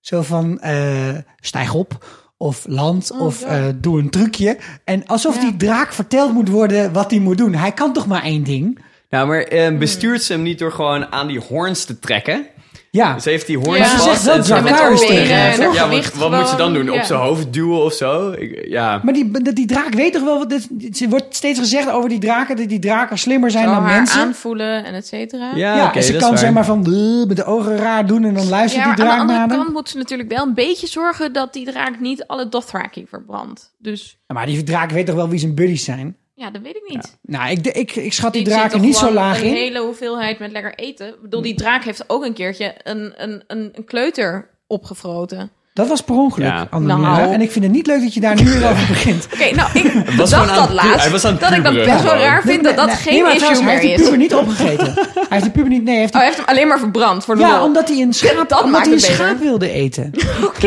S1: Zo van, eh, stijg op, of land, of
S5: Oh, ja.
S1: eh, doe een trucje. En alsof
S5: Ja.
S1: die draak verteld moet worden wat hij moet doen. Hij kan toch maar één ding?
S4: Nou, maar eh, bestuurt ze hem niet door gewoon aan die hoorns te trekken?
S1: Ja,
S4: Ze heeft die hoorns
S5: Ja.
S4: vast.
S1: zegt
S5: Ze
S1: wel
S4: en ze-
S1: Dracarys
S4: met haar
S1: tegen haar,
S4: oren.
S1: toch?
S4: Ja, want
S5: Gewicht
S4: wat moet ze dan
S5: gewoon,
S4: doen?
S5: ja.
S4: Op zijn hoofd duwen of zo? Ik- ja.
S1: maar die, die draak weet toch wel, wat dit, ze wordt steeds gezegd over die draken, dat die draken slimmer zijn
S5: Zo
S1: dan
S5: haar
S1: mensen.
S5: aanvoelen en et cetera.
S4: ja,
S1: ja,
S4: oké,
S1: en ze
S4: dat
S1: kan
S4: is
S1: zeg
S4: waar.
S1: maar van "Bleh", met de ogen raar doen en dan luistert
S5: Ja, maar
S1: die draak
S5: aan de
S1: naar
S5: andere
S1: hem.
S5: kant moet ze natuurlijk wel een beetje zorgen dat die draak niet alle Dothraki verbrandt. Dus
S1: Ja, maar die draak weet toch wel wie zijn buddies zijn?
S5: ja, dat weet ik niet.
S1: Nou, ik, ik, ik schat die,
S5: Die zit
S1: draken
S5: toch
S1: niet zo
S5: gewoon
S1: laag
S5: een
S1: in.
S5: hele hoeveelheid met lekker eten. Ik bedoel, die draak heeft ook een keertje een, een, een, een kleuter opgefroten.
S1: Dat was per ongeluk,
S4: Ja.
S1: Annemira.
S5: Nou.
S1: En ik vind het niet leuk dat je daar nu weer over begint.
S5: Oké, nou, *laughs*
S1: *laughs*
S5: ik
S4: was
S5: dacht
S4: gewoon aan
S5: dat
S4: het pu- hij was
S5: laatst.
S4: aan het
S5: Dat ik dat
S4: puberen
S5: best wel
S4: gewoon.
S5: raar vind dat dat geen
S1: maar trouwens,
S5: issue meer
S1: Hij heeft de
S5: is.
S1: puber niet opgegeten. hij heeft de puber niet... Nee, hij heeft
S5: Oh,
S1: die-
S5: hij heeft hem alleen maar verbrand voor de
S1: ja,
S5: lol.
S1: omdat hij
S5: *laughs*
S1: een schaap,
S5: dat
S1: omdat
S5: maakt
S1: hij een
S5: het beter.
S1: schaap wilde eten.
S5: *laughs*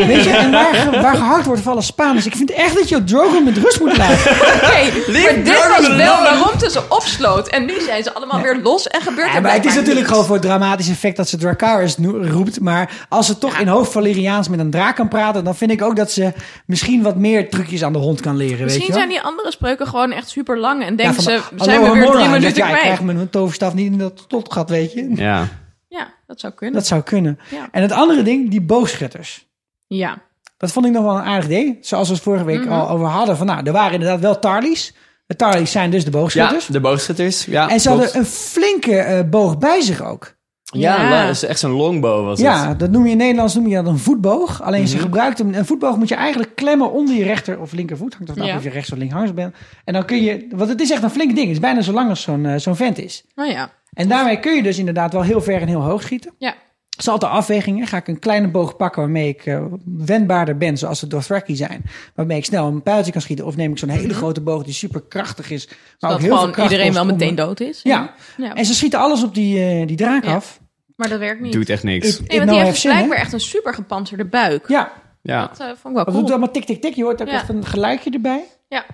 S1: Weet je, en waar, ge- waar gehard wordt vallen Spaans. Ik vind echt dat je Drogon met rust moet
S5: *laughs*
S1: laten.
S5: Oké, maar dit
S4: Jordan
S5: was
S4: alone.
S5: wel waarom ze ze opsloot. En nu zijn ze allemaal weer los en gebeurt
S1: Ja,
S5: er
S1: maar het is
S5: blijkbaar
S1: natuurlijk
S5: niks.
S1: gewoon voor het dramatisch effect dat ze Dracarys no- roept. Maar als ze toch in hoofd Valeriaans met een draak kan praten... dan vind ik ook dat ze misschien wat meer trucjes aan de hond kan leren. weet
S5: Misschien
S1: je wel?
S5: zijn die andere spreuken gewoon echt super lang. En
S1: Ja,
S5: denken
S1: van-
S5: ze,
S1: Hallo,
S5: zijn we weer
S1: Amora.
S5: drie
S1: Ja,
S5: minuten
S1: ja, Ik
S5: kwijt.
S1: krijg mijn toverstaf niet in dat totgat, weet je.
S4: Ja.
S5: Ja, dat zou kunnen.
S1: Dat zou kunnen.
S5: Ja.
S1: En het andere ding, die boogschutters.
S5: Ja.
S1: Dat vond ik nog wel een aardig idee. Zoals we het vorige
S5: Mhm.
S1: week al over hadden. Van, nou, er waren inderdaad wel tarlies. De tarlies zijn dus de
S4: ja,
S1: boogschutters.
S4: de boogschutters. Ja,
S1: en ze
S4: klopt.
S1: hadden een flinke eh, boog bij zich ook.
S4: Ja,
S5: Ja.
S4: la- is echt zo'n longbow was
S1: Ja,
S4: het.
S1: dat noem je in Nederlands noem je dat een voetboog. Alleen
S4: Mhm.
S1: ze gebruikt hem. Een voetboog moet je eigenlijk klemmen onder je rechter of linkervoet. Hangt ervan af
S5: Ja.
S1: of je rechts of linkerhangs bent. En dan kun je, want het is echt een flink ding. Het is bijna zo lang als zo'n eh, zo'n vent is.
S5: Nou ja.
S1: En daarmee kun je dus inderdaad wel heel ver en heel hoog schieten.
S5: Ja.
S1: Het is altijd afwegingen. Ga ik een kleine boog pakken waarmee ik eh, wendbaarder ben, zoals de Dothraki zijn. Waarmee ik snel een pijltje kan schieten. Of neem ik zo'n hele grote boog die super krachtig is. Maar ook
S5: Mhm. Dat
S1: heel veel
S5: gewoon
S1: kracht
S5: iedereen
S1: kost
S5: wel
S1: om-
S5: meteen dood is.
S1: Ja. En ze schieten alles op die, eh, die draak
S5: Ja.
S1: af.
S5: Maar dat werkt niet.
S4: Doet echt niks.
S1: It- it
S5: nee, want
S1: no
S5: die heeft
S1: have
S5: dus
S1: zin, hè?
S5: blijkbaar echt een super gepanzerde buik.
S1: Ja,
S4: Ja.
S5: Dat eh, vond ik wel
S1: dat
S5: cool.
S1: doet allemaal tik, tik, tik. Je hoort ook
S5: Ja.
S1: echt een geluidje erbij.
S5: Ja.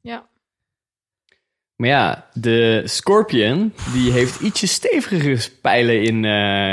S5: Ja.
S4: Maar ja, de Scorpion, die heeft ietsje stevigere pijlen in... eh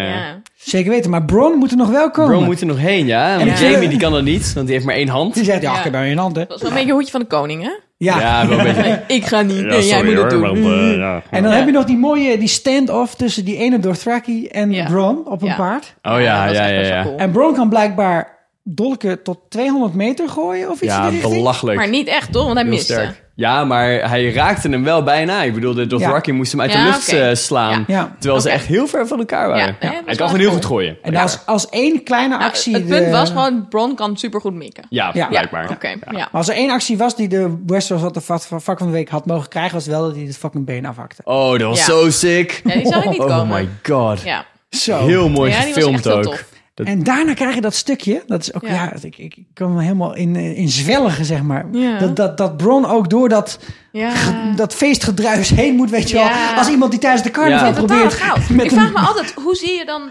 S5: ja.
S1: Zeker weten, maar Bron moet er nog wel komen.
S4: Bro moet er nog heen, ja.
S1: Oh, En
S4: En
S1: ik-
S4: Jamie die kan dat niet, want die heeft maar één hand.
S1: Die zegt, ja,
S5: Ja.
S1: ik heb wel een hand, hè.
S5: Dat is wel een beetje een hoedje van de koning, hè?
S1: Ja.
S4: Ja, wel een beetje.
S5: Ik ga niet.
S3: Ja,
S5: nee, jij
S3: sorry
S5: moet het
S3: hoor,
S5: doen.
S3: want, eh, ja.
S1: En dan
S5: Ja.
S1: heb je nog die mooie die stand-off tussen die ene Dothraki en
S5: Ja.
S1: Bron op een
S5: Ja.
S1: paard.
S4: Oh ja,
S5: dat is
S4: ja,
S5: echt
S4: ja.
S5: best wel
S4: ja.
S5: cool.
S1: En Bron kan blijkbaar dolken tot 200 meter gooien of iets in
S4: Ja,
S1: die richting.
S4: belachelijk.
S5: Maar niet echt, toch? Want hij
S4: Heel
S5: miste.
S4: sterk. Ja, maar hij raakte hem wel bijna. Ik bedoel, de Dothraki moest hem uit
S5: Ja,
S4: de lucht
S5: oké.
S4: eh, slaan.
S1: Ja. Ja.
S4: Terwijl ze echt heel ver van elkaar waren.
S5: Ja, nee, dat
S4: Hij
S5: is
S4: kan
S5: wel
S4: gewoon heel
S5: cool.
S4: goed gooien.
S1: En als, als één kleine
S5: Nou,
S1: actie...
S5: het punt
S1: de-
S5: was gewoon, Bron kan supergoed mikken.
S4: Ja,
S1: Ja.
S4: blijkbaar.
S5: Oké, ja.
S1: Maar als er één actie was die de Westeros wat de va- va- vak van de week had mogen krijgen... was wel dat hij het fucking been afhakte.
S4: Oh, dat was
S5: Ja.
S4: zo sick.
S5: Ja, die zag ik niet
S4: Oh
S5: komen.
S4: my god.
S5: Ja.
S1: Zo.
S4: Heel mooi
S5: Ja, die was echt
S4: gefilmd
S5: heel
S4: ook.
S5: tof.
S1: En daarna krijg je dat stukje. Dat is ook, ja,
S5: Ja.
S1: ik, ik, ik kan me helemaal in, eh, in zwelgen, zeg maar.
S5: Ja.
S1: Dat, dat, dat Bron ook door dat,
S5: Ja.
S1: ge- *laughs* dat feestgedruis heen moet, weet je
S5: Ja.
S1: wel. Als iemand die tijdens de carnaval
S4: Ja.
S5: Totaal
S1: probeert...
S5: goud.
S1: met
S5: Ik
S1: een-
S5: vraag me altijd, hoe zie je dan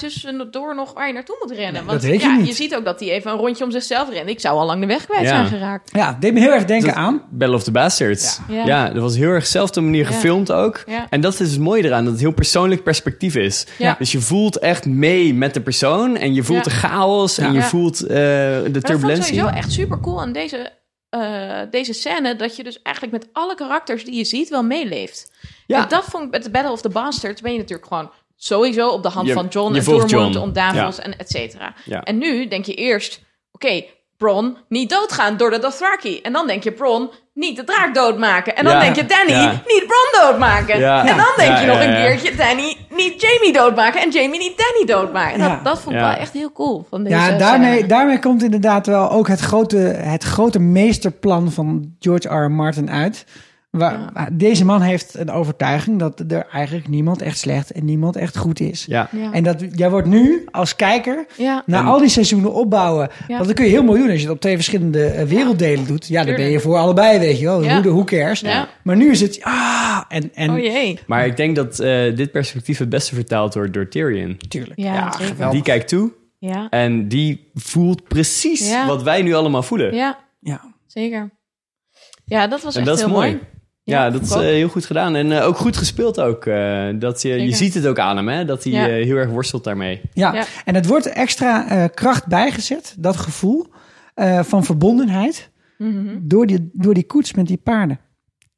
S5: daartussendoor nog waar je naartoe moet rennen? Want
S1: dat weet je
S5: ja,
S1: niet.
S5: je ziet ook dat hij even een rondje om zichzelf rent. Ik zou al lang de weg kwijt
S4: Ja.
S5: zijn geraakt.
S1: Ja, deed me heel erg denken
S4: Dat-
S1: aan...
S4: Battle of the Bastards.
S5: Ja.
S4: Ja,
S5: Ja.
S4: dat was heel erg dezelfde manier gefilmd ook.
S5: Ja.
S4: En dat is het mooie eraan, dat het heel persoonlijk perspectief is.
S5: Ja.
S4: Dus je voelt echt mee met de persoon. En je voelt
S5: Ja.
S4: de chaos en
S5: Ja.
S4: je
S5: Ja.
S4: voelt eh, de
S5: Maar dat vond ik
S4: turbulentie.
S5: sowieso echt super cool aan deze, eh, deze scène. Dat je dus eigenlijk met alle karakters die je ziet wel meeleeft.
S4: Ja.
S5: En dat vond ik met The Battle of the Bastards ben je natuurlijk gewoon sowieso op de hand
S4: Je-
S5: van John
S4: je
S5: en
S4: volgt
S5: Tormund
S4: Jon.
S5: en Davos en et cetera.
S4: Ja.
S5: En nu denk je eerst, oké, Bron niet doodgaan door de Dothraki. En dan denk je Bron niet de draak doodmaken. En dan
S4: Ja.
S5: denk je Danny
S4: Ja.
S5: niet Bron doodmaken.
S4: Ja.
S5: En dan denk
S4: Ja,
S5: je
S4: ja,
S5: nog een
S4: ja.
S5: keertje Danny niet Jamie doodmaken en Jamie niet Danny doodmaken. En
S1: Ja.
S5: Dat, dat vond ik
S4: Ja.
S5: wel echt heel cool van deze
S1: Ja, daarmee,
S5: scène.
S1: daarmee komt inderdaad wel ook het grote, het grote meesterplan van George R. R. Martin uit. Waar, waar- Deze man heeft een overtuiging dat er eigenlijk niemand echt slecht en niemand echt goed is.
S4: Ja.
S5: Ja.
S1: En dat, jij wordt nu als kijker,
S5: Ja.
S1: na al die seizoenen opbouwen...
S5: Ja.
S1: want dat kun je heel mooi doen als je het op twee verschillende eh, werelddelen doet. Ja, dan ben je
S5: Tuurlijk.
S1: voor allebei, weet je wel.
S5: Ja.
S1: Hoe, de, hoe cares?
S5: Ja.
S1: Maar nu is het... Ah, en, en
S5: Oh jee.
S4: Maar ik denk dat eh, dit perspectief het beste vertaald wordt door Tyrion.
S1: natuurlijk.
S5: Ja, zeker.
S1: geweldig. Eh,
S4: Die kijkt toe
S5: Ja.
S4: en die voelt precies
S5: Ja.
S4: wat wij nu allemaal voelen.
S5: ja,
S1: Ja.
S5: zeker. Ja, dat was
S4: En
S5: echt
S4: dat is
S5: heel
S4: mooi.
S5: mooi.
S4: Ja,
S5: Ja,
S4: dat is
S5: klopt.
S4: eh, heel goed gedaan. En eh, ook goed gespeeld ook. eh, dat je, je
S5: Zeker.
S4: ziet het ook aan hem, hè? dat hij
S5: Ja.
S4: eh, heel erg worstelt daarmee.
S1: Ja.
S5: Ja.
S1: en het wordt extra eh, kracht bijgezet, dat gevoel eh, van verbondenheid,
S5: Mhm.
S1: door, die, door die koets met die paarden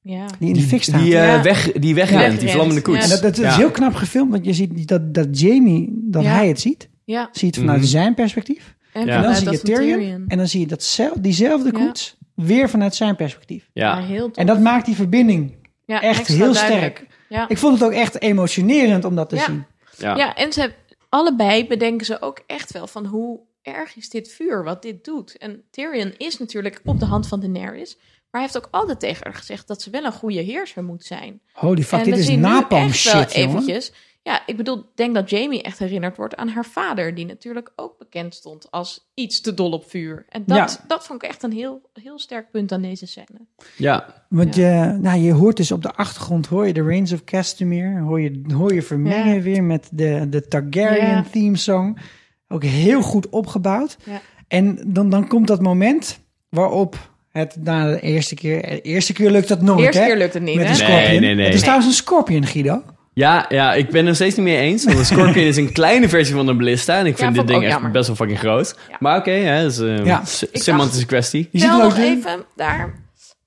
S5: Ja.
S1: die in de fik staan.
S4: Die, eh,
S5: Ja.
S4: weg, die wegrent, die
S5: Ja.
S4: vlammende koets.
S1: en dat, dat is
S4: Ja.
S1: heel knap gefilmd, want je ziet dat, dat Jamie, dat
S5: Ja.
S1: hij het ziet,
S5: ja.
S1: ziet vanuit zijn perspectief. En
S4: Ja.
S5: En
S1: dan
S5: vanuit
S1: zie je
S5: dat van
S1: Tyrion,
S5: Tyrion.
S1: en dan zie je datzelfde, diezelfde
S5: Ja.
S1: koets weer vanuit zijn perspectief.
S5: Ja,
S4: Ja.
S5: heel tof.
S1: En dat maakt die verbinding.
S5: Ja,
S1: echt
S5: extra
S1: heel
S5: duidelijk.
S1: sterk.
S5: Ja.
S1: Ik vond het ook echt emotionerend om dat te
S5: Ja.
S1: zien.
S4: Ja.
S5: ja. en ze allebei bedenken ze ook echt wel van hoe erg is dit vuur wat dit doet. En Tyrion is natuurlijk op de hand van Daenerys. Maar hij heeft ook altijd tegen haar gezegd dat ze wel een goede heerser moet zijn.
S1: Holy fuck,
S5: en
S1: dit
S5: we
S1: is
S5: zien nu
S1: napalm
S5: echt wel
S1: shit, jongen.
S5: eventjes. Ja, ik bedoel, ik denk dat Jamie echt herinnerd wordt aan haar vader, die natuurlijk ook bekend stond als iets te dol op vuur. En dat,
S1: Ja.
S5: dat vond ik echt een heel, heel sterk punt aan deze scène.
S4: Ja.
S1: Want je, nou, je hoort dus op de achtergrond, hoor je de Reigns of Castamere, hoor je, hoor je vermengen
S5: Ja.
S1: weer met de, de Targaryen
S5: Ja.
S1: theme song. Ook heel goed opgebouwd.
S5: Ja.
S1: En dan, dan komt dat moment waarop het na de eerste keer, de eerste keer lukt dat nooit,
S5: De eerste
S1: hè?
S5: keer lukt het niet,
S1: Met
S5: hè?
S1: die
S4: Nee,
S1: scorpion.
S4: nee, nee.
S1: Het is trouwens een scorpion, Guido.
S4: Ja, ja, ik ben het nog steeds niet mee eens. Want een Scorpion is een *laughs* kleine versie van een Ballista. En ik vind
S5: vond
S4: dit
S5: ik
S4: ding
S5: ook
S4: echt
S5: jammer.
S4: best wel fucking groot.
S5: Ja.
S4: Maar oké, hè, dat is een
S1: Ja.
S4: semantische kwestie.
S1: Je ziet
S5: Wel
S1: er ook
S5: nog
S1: in.
S5: even daar.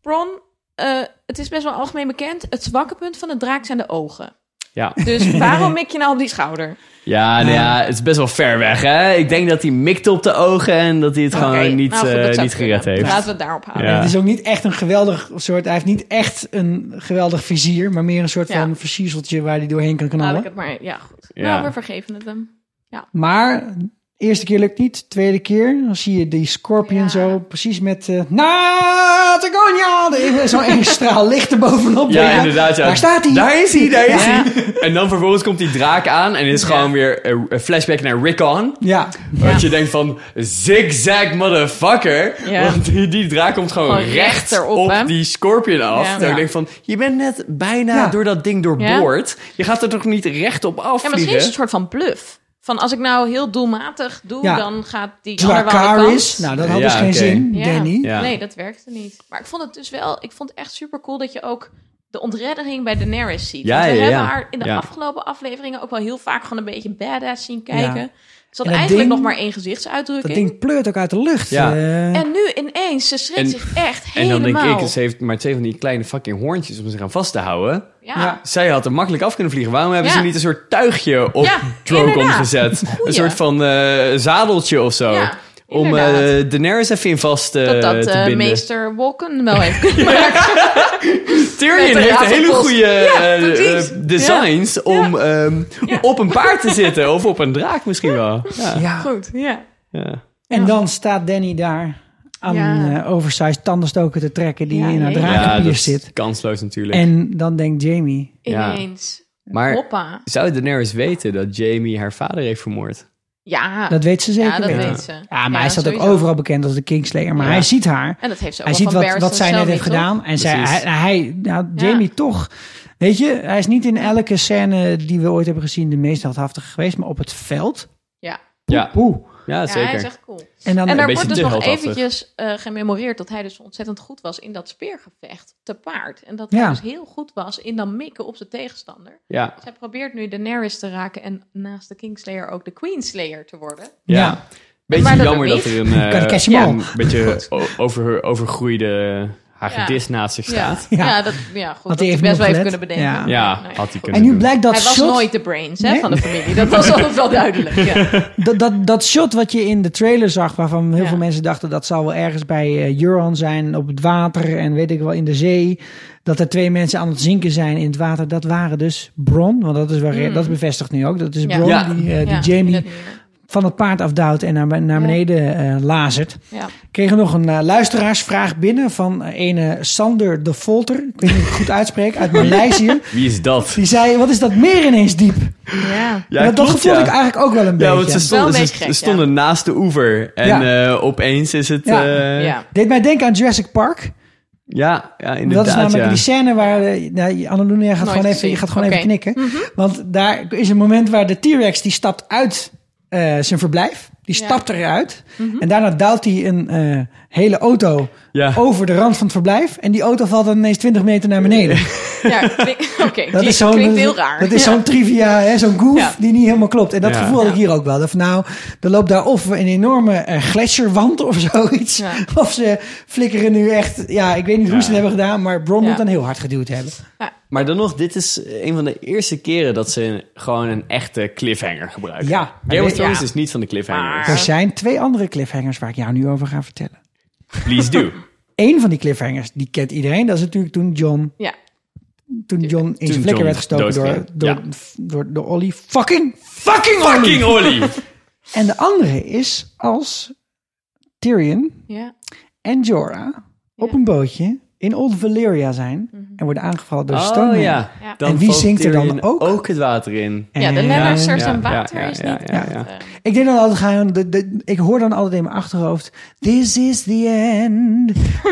S5: Bron, eh, het is best wel algemeen bekend. Het zwakke punt van de draak zijn de ogen.
S4: Ja,
S1: *laughs*
S5: Dus waarom mik je nou op die schouder?
S4: ja, nou ja het is best wel ver weg. Hè? Ik denk dat hij mikte op de ogen en dat hij het
S5: Oké,
S4: gewoon niet,
S5: nou goed, dat
S4: eh,
S5: zou
S4: niet gered
S5: kunnen.
S4: heeft.
S5: Laten we het daarop houden.
S4: Ja.
S1: Het is ook niet echt een geweldig soort, hij heeft niet echt een geweldig vizier, maar meer een soort
S5: Ja.
S1: van versierseltje waar hij doorheen kan knallen.
S5: Laat ik het maar. Ja, goed.
S4: Ja.
S5: Nou, we vergeven het hem.
S1: Maar eerste keer lukt niet, tweede keer dan zie je die scorpion
S5: Ja.
S1: zo precies met eh Natagonia, Er is zo'n
S5: *laughs*
S1: één straal licht er bovenop.
S4: Ja,
S1: Weet je?
S4: inderdaad. Ja.
S1: Daar staat hij.
S4: Daar is hij, daar is
S5: Ja.
S4: hij. En dan vervolgens komt die draak aan en is gewoon weer een een flashback naar Rickon.
S1: Ja,
S4: Dat je denkt van, zigzag motherfucker.
S5: Ja.
S4: Want die, die draak komt gewoon
S5: Gewoon
S4: recht
S5: recht erop,
S4: op
S5: hè?
S4: die scorpion af.
S5: Ja.
S4: Dat ik denk van, je bent net bijna
S1: Ja.
S4: door dat ding doorboord. Je gaat er toch niet recht op
S5: Ja, misschien
S4: afvliegen?
S5: is het een soort van bluff. Van als ik nou heel doelmatig doe,
S1: Ja.
S5: dan gaat die ander wel aan de
S1: Dracaris.
S5: kant.
S1: Nou, dat had
S4: Ja,
S1: dus geen
S4: oké.
S1: zin,
S5: Ja.
S1: Danny.
S4: Ja.
S5: Nee, dat werkte niet. Maar ik vond het dus wel... Ik vond het echt super cool dat je ook de ontreddering bij Daenerys ziet.
S4: Ja,
S5: Want we
S4: ja, ja.
S5: hebben haar in de
S4: Ja.
S5: afgelopen afleveringen ook wel heel vaak gewoon een beetje badass zien kijken.
S1: Ja.
S5: Ze
S1: En dat
S5: had eigenlijk
S1: ding-
S5: nog maar
S1: Dat
S5: één gezichtsuitdrukking.
S1: ding pleurt ook uit de lucht.
S4: Ja.
S1: Eh,
S5: En nu ineens eens. Ze schrikt zich echt
S4: En
S5: helemaal.
S4: dan denk ik, ze heeft maar twee van die kleine fucking hoorntjes om zich aan vast te houden.
S5: Ja. Ja.
S4: Zij had er makkelijk af kunnen vliegen. Waarom hebben
S5: Ja.
S4: ze niet een soort tuigje op
S5: Ja,
S4: Drogon
S5: inderdaad.
S4: gezet?
S5: Goeie.
S4: Een soort van eh, zadeltje of zo.
S5: Ja,
S4: om eh
S5: inderdaad.
S4: Daenerys even in vast eh,
S5: dat dat
S4: te
S5: eh,
S4: binden.
S5: meester Walken wel heeft kunnen
S1: *laughs*
S4: Tyrion
S5: Met een
S4: heeft hele
S5: razenpost.
S4: goede
S5: Ja,
S4: eh,
S5: precies.
S4: eh, designs om ehm, op een paard te zitten. Of op een draak misschien wel. Ja.
S5: Goed, ja.
S4: Ja.
S1: En dan staat Danny daar aan
S5: Ja.
S1: een eh, oversized tandenstoker te trekken die
S5: Ja,
S1: in haar
S5: jee.
S1: drakenpier
S4: dat is
S1: zit.
S4: kansloos natuurlijk.
S1: En dan denkt Jamie,
S4: Ja.
S5: Ineens.
S4: maar
S5: Hoppa.
S4: zou Daenerys weten dat Jamie haar vader heeft vermoord?
S5: Ja.
S1: dat weet ze zeker
S5: Ja, dat
S1: weten.
S5: weet ze.
S1: Ja, maar hij staat ook
S5: sowieso.
S1: overal bekend als de Kingslayer. Maar
S4: Ja.
S1: hij ziet haar.
S5: En dat heeft ze
S1: Hij
S5: ook wel
S1: ziet
S5: van
S1: wat,
S5: Barristan
S1: wat zij net
S5: Selmy,
S1: heeft
S5: toch?
S1: gedaan. En zij,
S4: Precies.
S1: hij, hij- nou, Jamie toch. Weet je, hij is niet in elke scène die we ooit hebben gezien de meest heldhaftig geweest. Maar op het veld,
S5: Ja.
S4: Ja,
S1: poeh.
S4: ja
S5: Ja, hij is
S4: zeker.
S5: echt cool.
S1: En dan,
S5: En daar
S4: beetje
S5: wordt dus
S4: te
S5: nog
S4: heldhaftig.
S5: eventjes eh, gememoreerd dat hij dus ontzettend goed was in dat speergevecht te paard. En dat
S1: Ja.
S5: hij dus heel goed was in dan mikken op zijn tegenstander.
S4: Ja.
S5: Zij probeert nu Daenerys te raken en naast de Kingslayer ook de Queenslayer te worden.
S4: Ja.
S1: Ja.
S4: Beetje
S5: Maar dat
S4: jammer dat
S5: doet
S4: er een, eh,
S1: Kan ik catch 'em
S4: ja,
S1: all?
S4: een *laughs* beetje o- over, overgroeide hagedis naast zich
S5: Ja,
S4: staat.
S5: ja.
S1: *laughs* Ja.
S5: dat, ja goed.
S1: Had
S5: dat
S1: hij
S5: is
S1: even
S5: best wel even
S1: opgelet?
S5: kunnen bedenken.
S1: Ja.
S4: Ja,
S5: nou
S4: had hij kunnen
S1: en nu
S4: doen.
S1: blijkt dat
S5: Hij was
S1: shot,
S5: nooit de brains hè,
S1: Nee.
S5: van de familie. Dat
S1: *laughs*
S5: was altijd wel duidelijk. Ja.
S1: dat, dat, dat shot wat je in de trailer zag, waarvan heel
S5: Ja.
S1: veel mensen dachten dat zou wel ergens bij eh, Euron zijn, op het water en weet ik wel in de zee. Dat er twee mensen aan het zinken zijn in het water. Dat waren dus Bron, want dat is, wel, re- dat is bevestigd nu ook. Dat is
S5: Hmm. Ja.
S1: Bron
S4: Ja.
S1: die, eh, die
S5: Ja,
S1: Jamie
S5: dat niet meer.
S1: van het paard afdouwt en naar, naar beneden eh, lazert.
S5: Ja.
S1: We kregen nog een eh, luisteraarsvraag binnen van eh, ene Sander de Volter. Ik weet niet of ik het goed uitspreek, uit
S4: *laughs*
S1: Maleisië.
S4: Wie is dat?
S1: Die zei, wat is dat meer ineens diep?
S5: Ja.
S4: Ja,
S1: En dat
S4: klopt,
S1: gevoel
S4: ja.
S1: ik eigenlijk ook wel een
S4: Ja, want
S1: beetje.
S4: ze stonden,
S5: Wel een
S4: ze
S5: beetje gek,
S4: stonden naast de oever. En
S1: Ja.
S4: eh, opeens is het...
S1: Ja.
S4: eh, ja.
S5: Ja.
S1: Deed mij denken aan Jurassic Park.
S4: Ja, inderdaad.
S1: Dat is namelijk
S4: ja.
S1: die scène waar... eh, Nou, Annalena gaat
S5: Nooit
S1: gewoon even,
S5: gezien.
S1: je gaat gewoon
S5: Oké. Mhm.
S1: even knikken. Want daar is een moment waar de T-Rex die stapt uit eh, zijn verblijf. Die
S5: Ja. Mhm.
S1: stapt eruit. En daarna duwt hij een eh, hele auto
S4: Ja.
S1: over de rand van het verblijf. En die auto valt dan ineens 20 meter naar beneden.
S4: *laughs*
S5: Ja, klink- oké.
S1: Dat
S5: klinkt, *laughs*
S1: is zo'n,
S5: klinkt heel raar.
S1: Dat is
S5: Ja.
S1: zo'n trivia, hè, zo'n goof
S5: Ja.
S1: die niet helemaal klopt. En dat
S4: Ja.
S1: gevoel had ik
S5: Ja.
S1: hier ook wel. Of nou, er loopt daar of een enorme eh, gletsjerwand of zoiets.
S5: Ja.
S1: *laughs* Of ze flikkeren nu echt... Ja, ik weet niet hoe ze het hebben gedaan, maar Bron
S5: Ja.
S1: moet dan heel hard geduwd hebben.
S4: Maar dan nog, dit is een van de eerste keren dat ze gewoon een echte cliffhanger gebruiken.
S1: Ja.
S4: Game of Thrones
S5: Ja.
S4: is niet van de cliffhangers.
S5: Maar-
S1: Er zijn twee andere cliffhangers waar ik jou nu over ga vertellen.
S4: Please do.
S1: Eén van die cliffhangers, die kent iedereen. Dat is natuurlijk toen John,
S5: Ja.
S1: toen John in
S4: John
S1: zijn flikker werd gestoken door,
S4: doodging.
S1: door,
S4: Ja.
S1: door, door Ollie. Fucking,
S4: Fucking Ollie! Fucking Ollie!
S1: *laughs* En de andere is als Tyrion
S5: Ja.
S1: en Jorah op een bootje in Old Valeria zijn
S5: Mhm.
S1: en worden aangevallen door de
S4: Oh
S1: Stoneman.
S4: ja.
S5: Ja.
S4: Dan
S1: En wie
S4: valt
S1: zinkt er dan
S4: Tyrion
S1: ook?
S4: ook het water in.
S5: Ja, de
S1: En- eh,
S5: Lannisters
S4: Ja,
S5: en
S4: ja,
S5: water
S4: ja,
S5: is
S4: ja,
S5: niet
S4: ja,
S5: echt,
S4: ja.
S5: eh,
S1: Ik denk dan altijd gaan, de, de- ik hoor dan altijd in mijn achterhoofd, this is the end.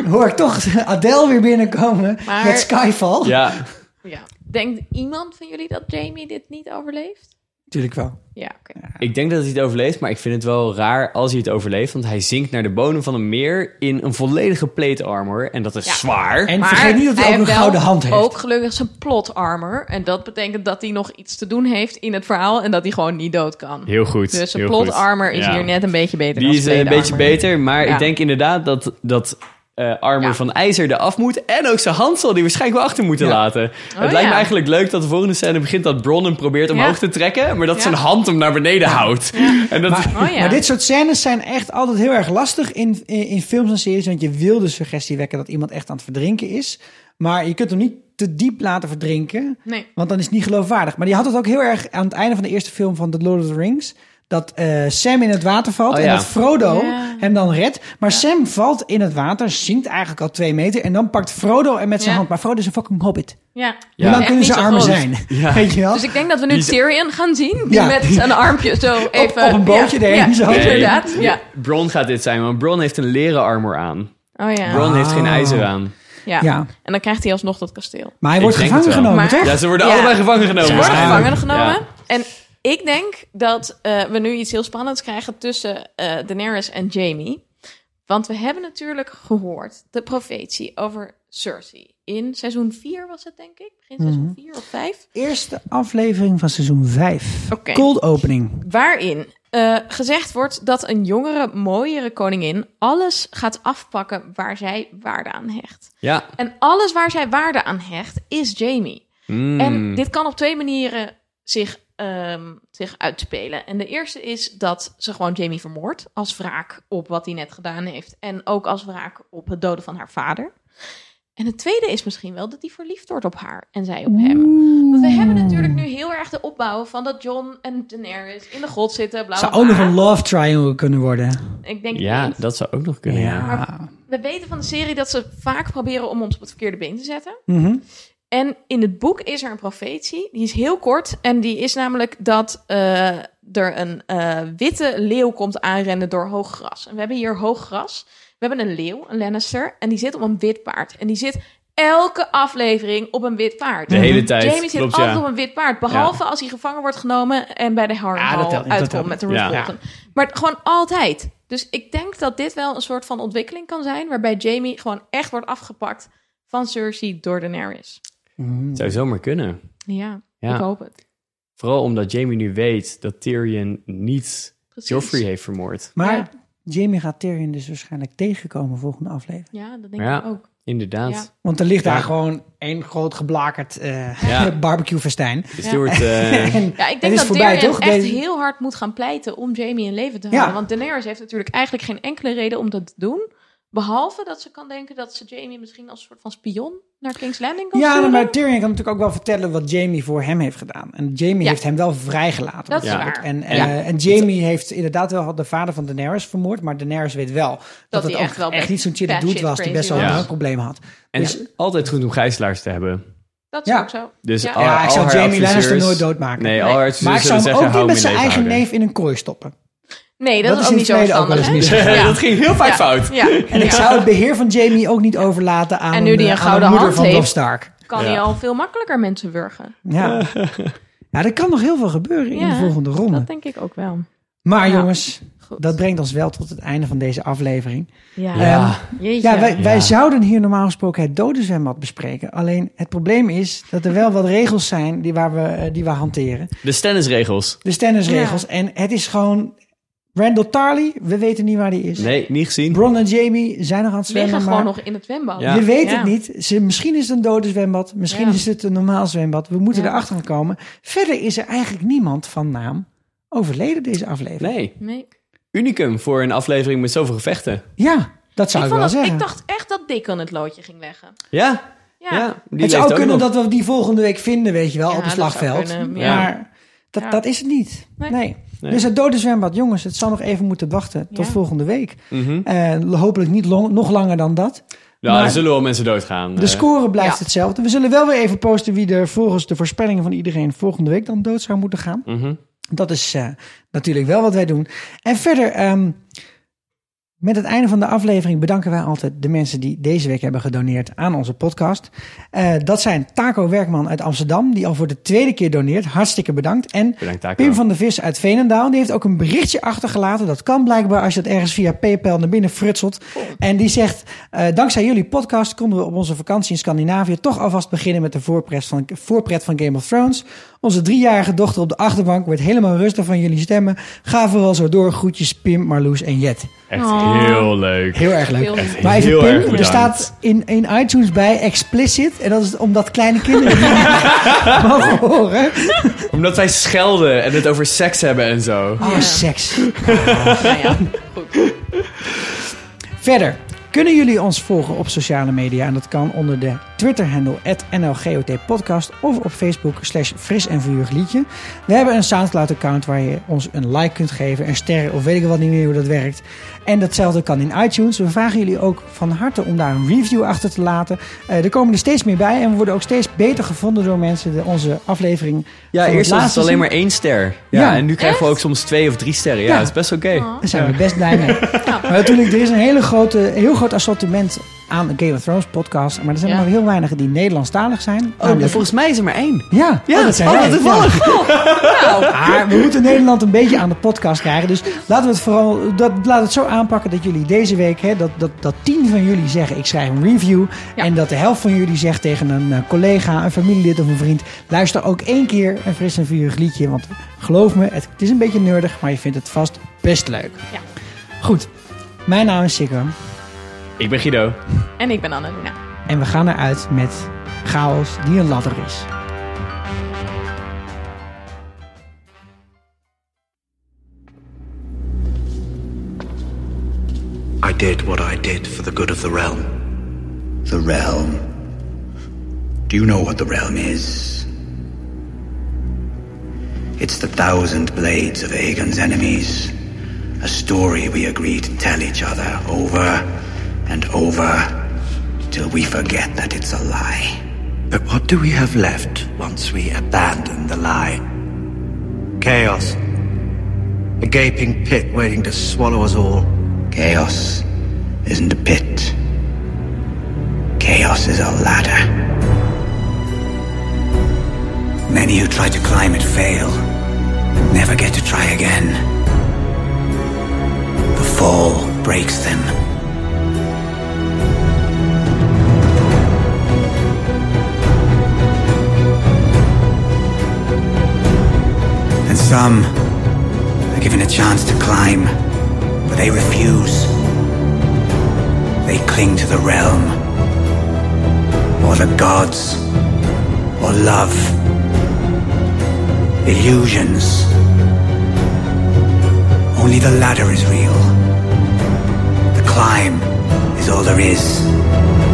S1: hoor ik toch *laughs* Adele weer binnenkomen
S5: Maar-
S1: met Skyfall.
S4: Ja. *laughs*
S5: eh, ja. Denkt iemand van jullie dat Jamie dit niet overleeft?
S1: Tuurlijk wel.
S5: Ja, oké.
S4: Ik denk dat hij het overleeft, maar ik vind het wel raar als hij het overleeft. Want hij zinkt naar de bodem van een meer in een volledige plate armor. En dat is
S5: Ja.
S4: zwaar.
S1: En vergeet niet dat hij ook een
S5: heeft wel
S1: gouden hand heeft.
S5: ook gelukkig zijn plot armor. En dat betekent dat hij nog iets te doen heeft in het verhaal en dat hij gewoon niet dood kan.
S4: Heel goed.
S5: Dus zijn
S4: heel
S5: plot
S4: goed.
S5: armor is
S4: Ja.
S5: hier net een beetje beter
S4: Die
S5: dan
S4: is eh,
S5: zijn
S4: een
S5: plate
S4: beetje
S5: armor.
S4: beter, maar
S5: Ja.
S4: ik denk inderdaad dat, dat eh, armor
S5: Ja.
S4: van ijzer eraf moet. En ook zijn hand zal die waarschijnlijk wel achter moeten laten. het lijkt
S5: Oh ja.
S4: me eigenlijk leuk dat de volgende scène begint dat Bron hem probeert omhoog te trekken, maar dat
S5: Ja.
S4: zijn hand hem naar beneden houdt. *laughs* En dat,
S5: Oh ja.
S1: Maar dit soort scènes zijn echt altijd heel erg lastig in, in, in films en series. Want je wil de suggestie wekken dat iemand echt aan het verdrinken is. Maar je kunt hem niet te diep laten verdrinken.
S5: Nee.
S1: Want dan is het niet geloofwaardig. Maar die had het ook heel erg aan het einde van de eerste film van The Lord of the Rings. Dat eh, Sam in het water valt
S4: Oh,
S1: en
S4: ja.
S1: dat Frodo
S5: Ja.
S1: hem dan redt. Maar Sam valt in het water, zinkt eigenlijk al twee meter. En dan pakt Frodo hem met zijn
S5: Ja.
S1: hand. Maar Frodo is een fucking hobbit.
S5: Ja.
S1: Hoe lang
S5: Echt
S1: kunnen
S5: niet
S1: zijn
S5: zo
S1: armen
S5: groot.
S1: zijn? *laughs* Weet je wel?
S5: Dus ik denk dat we nu
S4: Die is-
S5: Tyrion gaan zien. Die
S1: Ja.
S5: met zijn armpje zo even...
S1: op een bootje
S5: ja.
S1: erheen,
S5: Ja,
S1: zo.
S5: *laughs* inderdaad. Ja.
S4: Bron gaat dit zijn, want Bron heeft een leren armor aan.
S5: Oh ja.
S4: Bron heeft geen ijzer aan.
S5: ja.
S1: Ja.
S5: En dan krijgt hij alsnog dat kasteel.
S1: maar hij
S4: Ik
S1: wordt
S4: denk
S1: gevangen
S4: het wel.
S1: genomen,
S5: Maar-
S1: toch?
S4: Ja, ze worden
S5: Ja.
S4: allebei gevangen genomen.
S5: Ze worden
S4: waarschijnlijk.
S5: gevangen genomen.
S4: Ja.
S5: En ik denk dat eh, we nu iets heel spannends krijgen tussen eh, Daenerys en Jamie. Want we hebben natuurlijk gehoord de profetie over Cersei. In seizoen 4 was het, denk ik. Begin seizoen 4 of 5.
S1: Eerste aflevering van seizoen 5.
S5: Oké.
S1: Cold opening.
S5: Waarin eh, eh, gezegd wordt dat een jongere, mooiere koningin alles gaat afpakken waar zij waarde aan hecht.
S4: Ja.
S5: En alles waar zij waarde aan hecht is Jamie.
S4: Mm.
S5: En dit kan op twee manieren zich, ehm, zich uitspelen. En de eerste is dat ze gewoon Jamie vermoordt als wraak op wat hij net gedaan heeft. En ook als wraak op het doden van haar vader. En het tweede is misschien wel dat hij verliefd wordt op haar en zij op hem. Want we hebben natuurlijk nu heel erg de opbouw van dat John en Daenerys in de grot zitten. Bla, bla,
S1: Zou ook nog
S5: bla.
S1: een love triangle kunnen worden.
S5: Ik denk
S4: Ja,
S5: niet.
S4: dat zou ook nog kunnen. Ja.
S5: Maar we weten van de serie dat ze vaak proberen om ons op het verkeerde been te zetten.
S1: Mhm.
S5: En in het boek is er een profetie. Die is heel kort. En die is namelijk dat eh, er een eh, witte leeuw komt aanrennen door hoog gras. En we hebben hier hoog gras. We hebben een leeuw, een Lannister. En die zit op een wit paard. En die zit elke aflevering op een wit paard.
S4: De
S1: Mhm.
S4: hele tijd.
S5: Jamie zit
S4: Klopt,
S5: altijd
S4: ja.
S5: op een wit paard. Behalve als hij gevangen wordt genomen en bij de Harrenhal
S1: Ja, dat telt niet, dat telt
S5: uitkomt
S1: niet.
S5: met de Roose
S4: Ja.
S5: Bolton. Maar gewoon altijd. Dus ik denk dat dit wel een soort van ontwikkeling kan zijn... waarbij Jamie gewoon echt wordt afgepakt van Cersei door Daenerys.
S4: Het zou zomaar kunnen.
S5: Ja,
S4: Ja.
S5: ik hoop het.
S4: Vooral omdat Jamie nu weet dat Tyrion niet
S5: Precies.
S4: Joffrey heeft vermoord.
S1: Maar
S5: Ja.
S1: Jamie gaat Tyrion dus waarschijnlijk tegenkomen volgende aflevering.
S5: Ja, dat denk
S4: Ja,
S5: ik ook.
S4: inderdaad.
S5: Ja.
S1: Want er ligt
S4: Ja.
S1: daar gewoon één groot geblakerd
S5: *laughs*
S1: eh
S4: Ja.
S1: barbecue-festijn.
S4: Dus
S5: Ja.
S4: dit wordt...
S5: *laughs*
S4: eh,
S1: En
S5: Ja, ik
S1: het
S5: denk
S1: is
S5: dat
S1: voorbij,
S5: Tyrion
S1: toch?
S5: echt
S1: Deze-
S5: heel hard moet gaan pleiten om Jamie in leven te
S1: Ja.
S5: houden. Want Daenerys heeft natuurlijk eigenlijk geen enkele reden om dat te doen. Behalve dat ze kan denken dat ze Jamie misschien als een soort van spion naar King's Landing kan
S1: Ja,
S5: sturen.
S1: maar Tyrion kan natuurlijk ook wel vertellen wat Jamie voor hem heeft gedaan. En Jamie
S5: Ja.
S1: heeft hem wel vrijgelaten.
S5: Dat is
S1: bijvoorbeeld.
S5: waar.
S1: En, eh,
S4: Ja.
S1: en Jamie heeft inderdaad wel de vader van Daenerys vermoord. Maar Daenerys weet wel dat,
S5: hij
S1: het
S5: echt
S1: echt,
S5: wel
S1: echt
S5: best-
S1: niet zo'n chille
S5: bad
S1: dude
S5: shit
S1: was die
S5: crazy
S1: best wel
S4: was.
S1: een
S4: Ja.
S1: probleem had.
S4: en
S1: Dus-
S4: het is altijd goed om gijzelaars te hebben.
S5: dat is
S1: Ja.
S5: ook zo.
S4: Dus
S5: Ja.
S4: al-
S1: Ja, ik
S4: al
S1: zou
S4: haar
S1: Jamie Lannister
S4: adviseurs-
S1: nooit doodmaken.
S4: Nee, al haar
S5: Nee.
S1: maar ik
S4: adviseurs
S1: zou
S4: zullen
S1: hem ook
S4: zeggen,
S1: niet
S4: hou
S1: met
S4: hem
S1: zijn
S4: in
S1: eigen
S4: leven houden.
S1: neef in een kooi stoppen.
S5: *laughs* Nee, dat,
S1: Dat
S5: is
S1: is
S5: ook
S1: in
S5: niet zo
S1: het verleden ook wel
S5: verstandig.
S1: eens
S5: hè?
S1: misgegaan. *laughs*
S5: Ja.
S4: Dat ging heel vaak
S5: Ja.
S4: fout.
S5: Ja.
S1: En ik
S5: Ja.
S1: zou het beheer van Jamie ook niet overlaten aan,
S5: En nu
S1: eh,
S5: die een
S1: aan
S5: gouden
S1: de moeder
S5: hand
S1: van Robb
S5: heeft.
S1: Stark.
S5: Kan
S4: Ja.
S5: hij al veel makkelijker mensen wurgen.
S1: Ja.
S4: Eh.
S1: *laughs* ja, er kan nog heel veel gebeuren in de
S5: Ja,
S1: volgende ronde.
S5: Dat denk ik ook wel.
S1: Maar
S5: Ja.
S1: jongens,
S5: Goed.
S1: dat brengt ons wel tot het einde van deze aflevering.
S5: ja.
S1: Ehm,
S5: Jeetje.
S1: ja, wij, wij
S4: Ja.
S1: zouden hier normaal gesproken het dodenzwembad bespreken. Alleen het probleem is dat er wel wat regels zijn die, waar we, eh, die we hanteren.
S4: De Stennisregels.
S1: De stennisregels. En het is gewoon... Randall Tarley, we weten niet waar die is.
S4: Nee, niet gezien.
S1: Bron en Jamie zijn nog aan het zwemmen.
S5: liggen
S1: maar
S5: gewoon nog in het zwembad.
S4: Ja.
S1: Je weet
S5: Ja.
S1: het niet. Ze, misschien is het een dode zwembad. Misschien
S5: Ja.
S1: is het een normaal zwembad. We moeten
S5: Ja.
S1: erachter gaan komen. Verder is er eigenlijk niemand van naam overleden deze aflevering.
S4: Nee,
S5: Nee.
S4: unicum voor een aflevering met zoveel gevechten.
S1: Ja, dat zou
S5: Ik,
S1: ik, wel
S5: vond dat,
S1: zeggen.
S5: ik dacht echt dat Dick aan het loodje ging leggen.
S4: Ja,
S5: Ja.
S4: ja. die
S1: het
S4: leeft
S1: zou
S4: ook
S1: kunnen
S4: nog.
S1: dat we die volgende week vinden, weet je wel,
S5: Ja,
S1: op het
S5: dat zou
S1: slagveld.
S5: kunnen, ja.
S1: Maar dat,
S5: Ja.
S1: dat is het niet.
S5: Nee.
S1: Nee.
S4: Nee.
S1: Dus het dode zwembad, jongens, het zal nog even moeten wachten tot
S5: Ja.
S1: volgende week.
S4: Mhm.
S1: Eh, hopelijk niet long- nog langer dan dat.
S4: Ja,
S1: Maar-
S4: er zullen wel mensen doodgaan.
S1: De
S4: eh.
S1: score blijft
S5: ja.
S1: hetzelfde. We zullen wel weer even posten wie er volgens de voorspellingen van iedereen volgende week dan dood zou moeten gaan.
S4: Mhm.
S1: Dat is eh, natuurlijk wel wat wij doen. En verder, ehm, met het einde van de aflevering bedanken wij altijd de mensen die deze week hebben gedoneerd aan onze podcast. Eh, dat zijn Taco Werkman uit Amsterdam, die al voor de tweede keer doneert. Hartstikke bedankt. En
S4: Bedankt, Taco.
S1: Pim van de Vis uit Veenendaal, die heeft ook een berichtje achtergelaten. Dat kan blijkbaar als je het ergens via PayPal naar binnen frutselt. En die zegt, eh, dankzij jullie podcast konden we op onze vakantie in Scandinavië toch alvast beginnen met de voorpret van, voorpret van Game of Thrones. Onze driejarige dochter op de achterbank werd helemaal rustig van jullie stemmen. Ga vooral zo door. Groetjes Pim, Marloes en Jet.
S4: Echt
S5: Oh.
S4: heel leuk.
S1: Heel erg leuk.
S5: Heel lief.
S1: Maar even
S4: Heel erg
S1: Pim,
S4: bedankt.
S1: er staat in, in iTunes bij explicit. En dat is omdat kleine kinderen niet *laughs* mogen horen.
S4: Omdat wij schelden en het over seks hebben en zo.
S1: Oh,
S5: Ja.
S1: seks.
S5: Nou ja, goed.
S1: Verder kunnen jullie ons volgen op sociale media. En dat kan onder de Twitter-handle NLGOTpodcast of op Facebook slash fris en vurig liedje. We hebben een Soundcloud-account waar je ons een like kunt geven, een sterren of weet ik wat niet meer hoe dat werkt. En datzelfde kan in iTunes. We vragen jullie ook van harte om daar een review achter te laten. Eh, er komen er steeds meer bij en we worden ook steeds beter gevonden door mensen. De, onze aflevering
S4: Ja,
S1: van
S4: eerst was het
S1: laatste
S4: alleen
S1: seizoen.
S4: maar één ster. Ja,
S1: Ja.
S4: en nu krijgen we
S5: Echt?
S4: ook soms twee of drie sterren. Ja,
S1: Ja. Oh,
S4: dat is best oké.
S11: Nou.
S1: Daar zijn we best blij mee. Maar natuurlijk, er is een hele grote, heel groot assortiment aan de Game of Thrones podcast. Maar er zijn
S11: Ja.
S1: er maar heel weinig die Nederlandstalig zijn.
S11: Oh,
S1: Namelijk-
S11: volgens mij is er maar één.
S1: Ja,
S11: Ja,
S1: oh, dat zijn
S11: oh,
S1: wij.
S11: wat toevallig.
S1: Ja. Maar we moeten Nederland een beetje aan de podcast krijgen. Dus laten we het vooral dat, laten we het zo aanpakken dat jullie deze week, hè, dat, dat, dat tien van jullie zeggen: ik schrijf een review. En dat de helft van jullie zegt tegen een eh, collega, een familielid of een vriend: luister ook één keer een fris en vurig liedje. Want geloof me, het, het is een beetje nerdig, maar je vindt het vast best leuk.
S5: Ja.
S1: Goed, mijn naam is Sikko.
S4: Ik ben Guido.
S5: En ik ben Annalena.
S1: En we gaan eruit met chaos die een ladder is.
S8: I did what I did for the good of the realm. The realm? Do you know what the realm is? It's the thousand blades of Aegon's enemies. A story we agree to tell each other over and over till we forget that it's a lie. But what do we have left once we abandon the lie? Chaos. A gaping pit waiting to swallow us all. Chaos isn't a pit. Chaos is a ladder. Many who try to climb it fail, and never get to try again. The fall breaks them. And some are given a chance to climb, but they refuse. They cling to the realm, or the gods, or love, illusions. Only the ladder is real. The climb is all there is.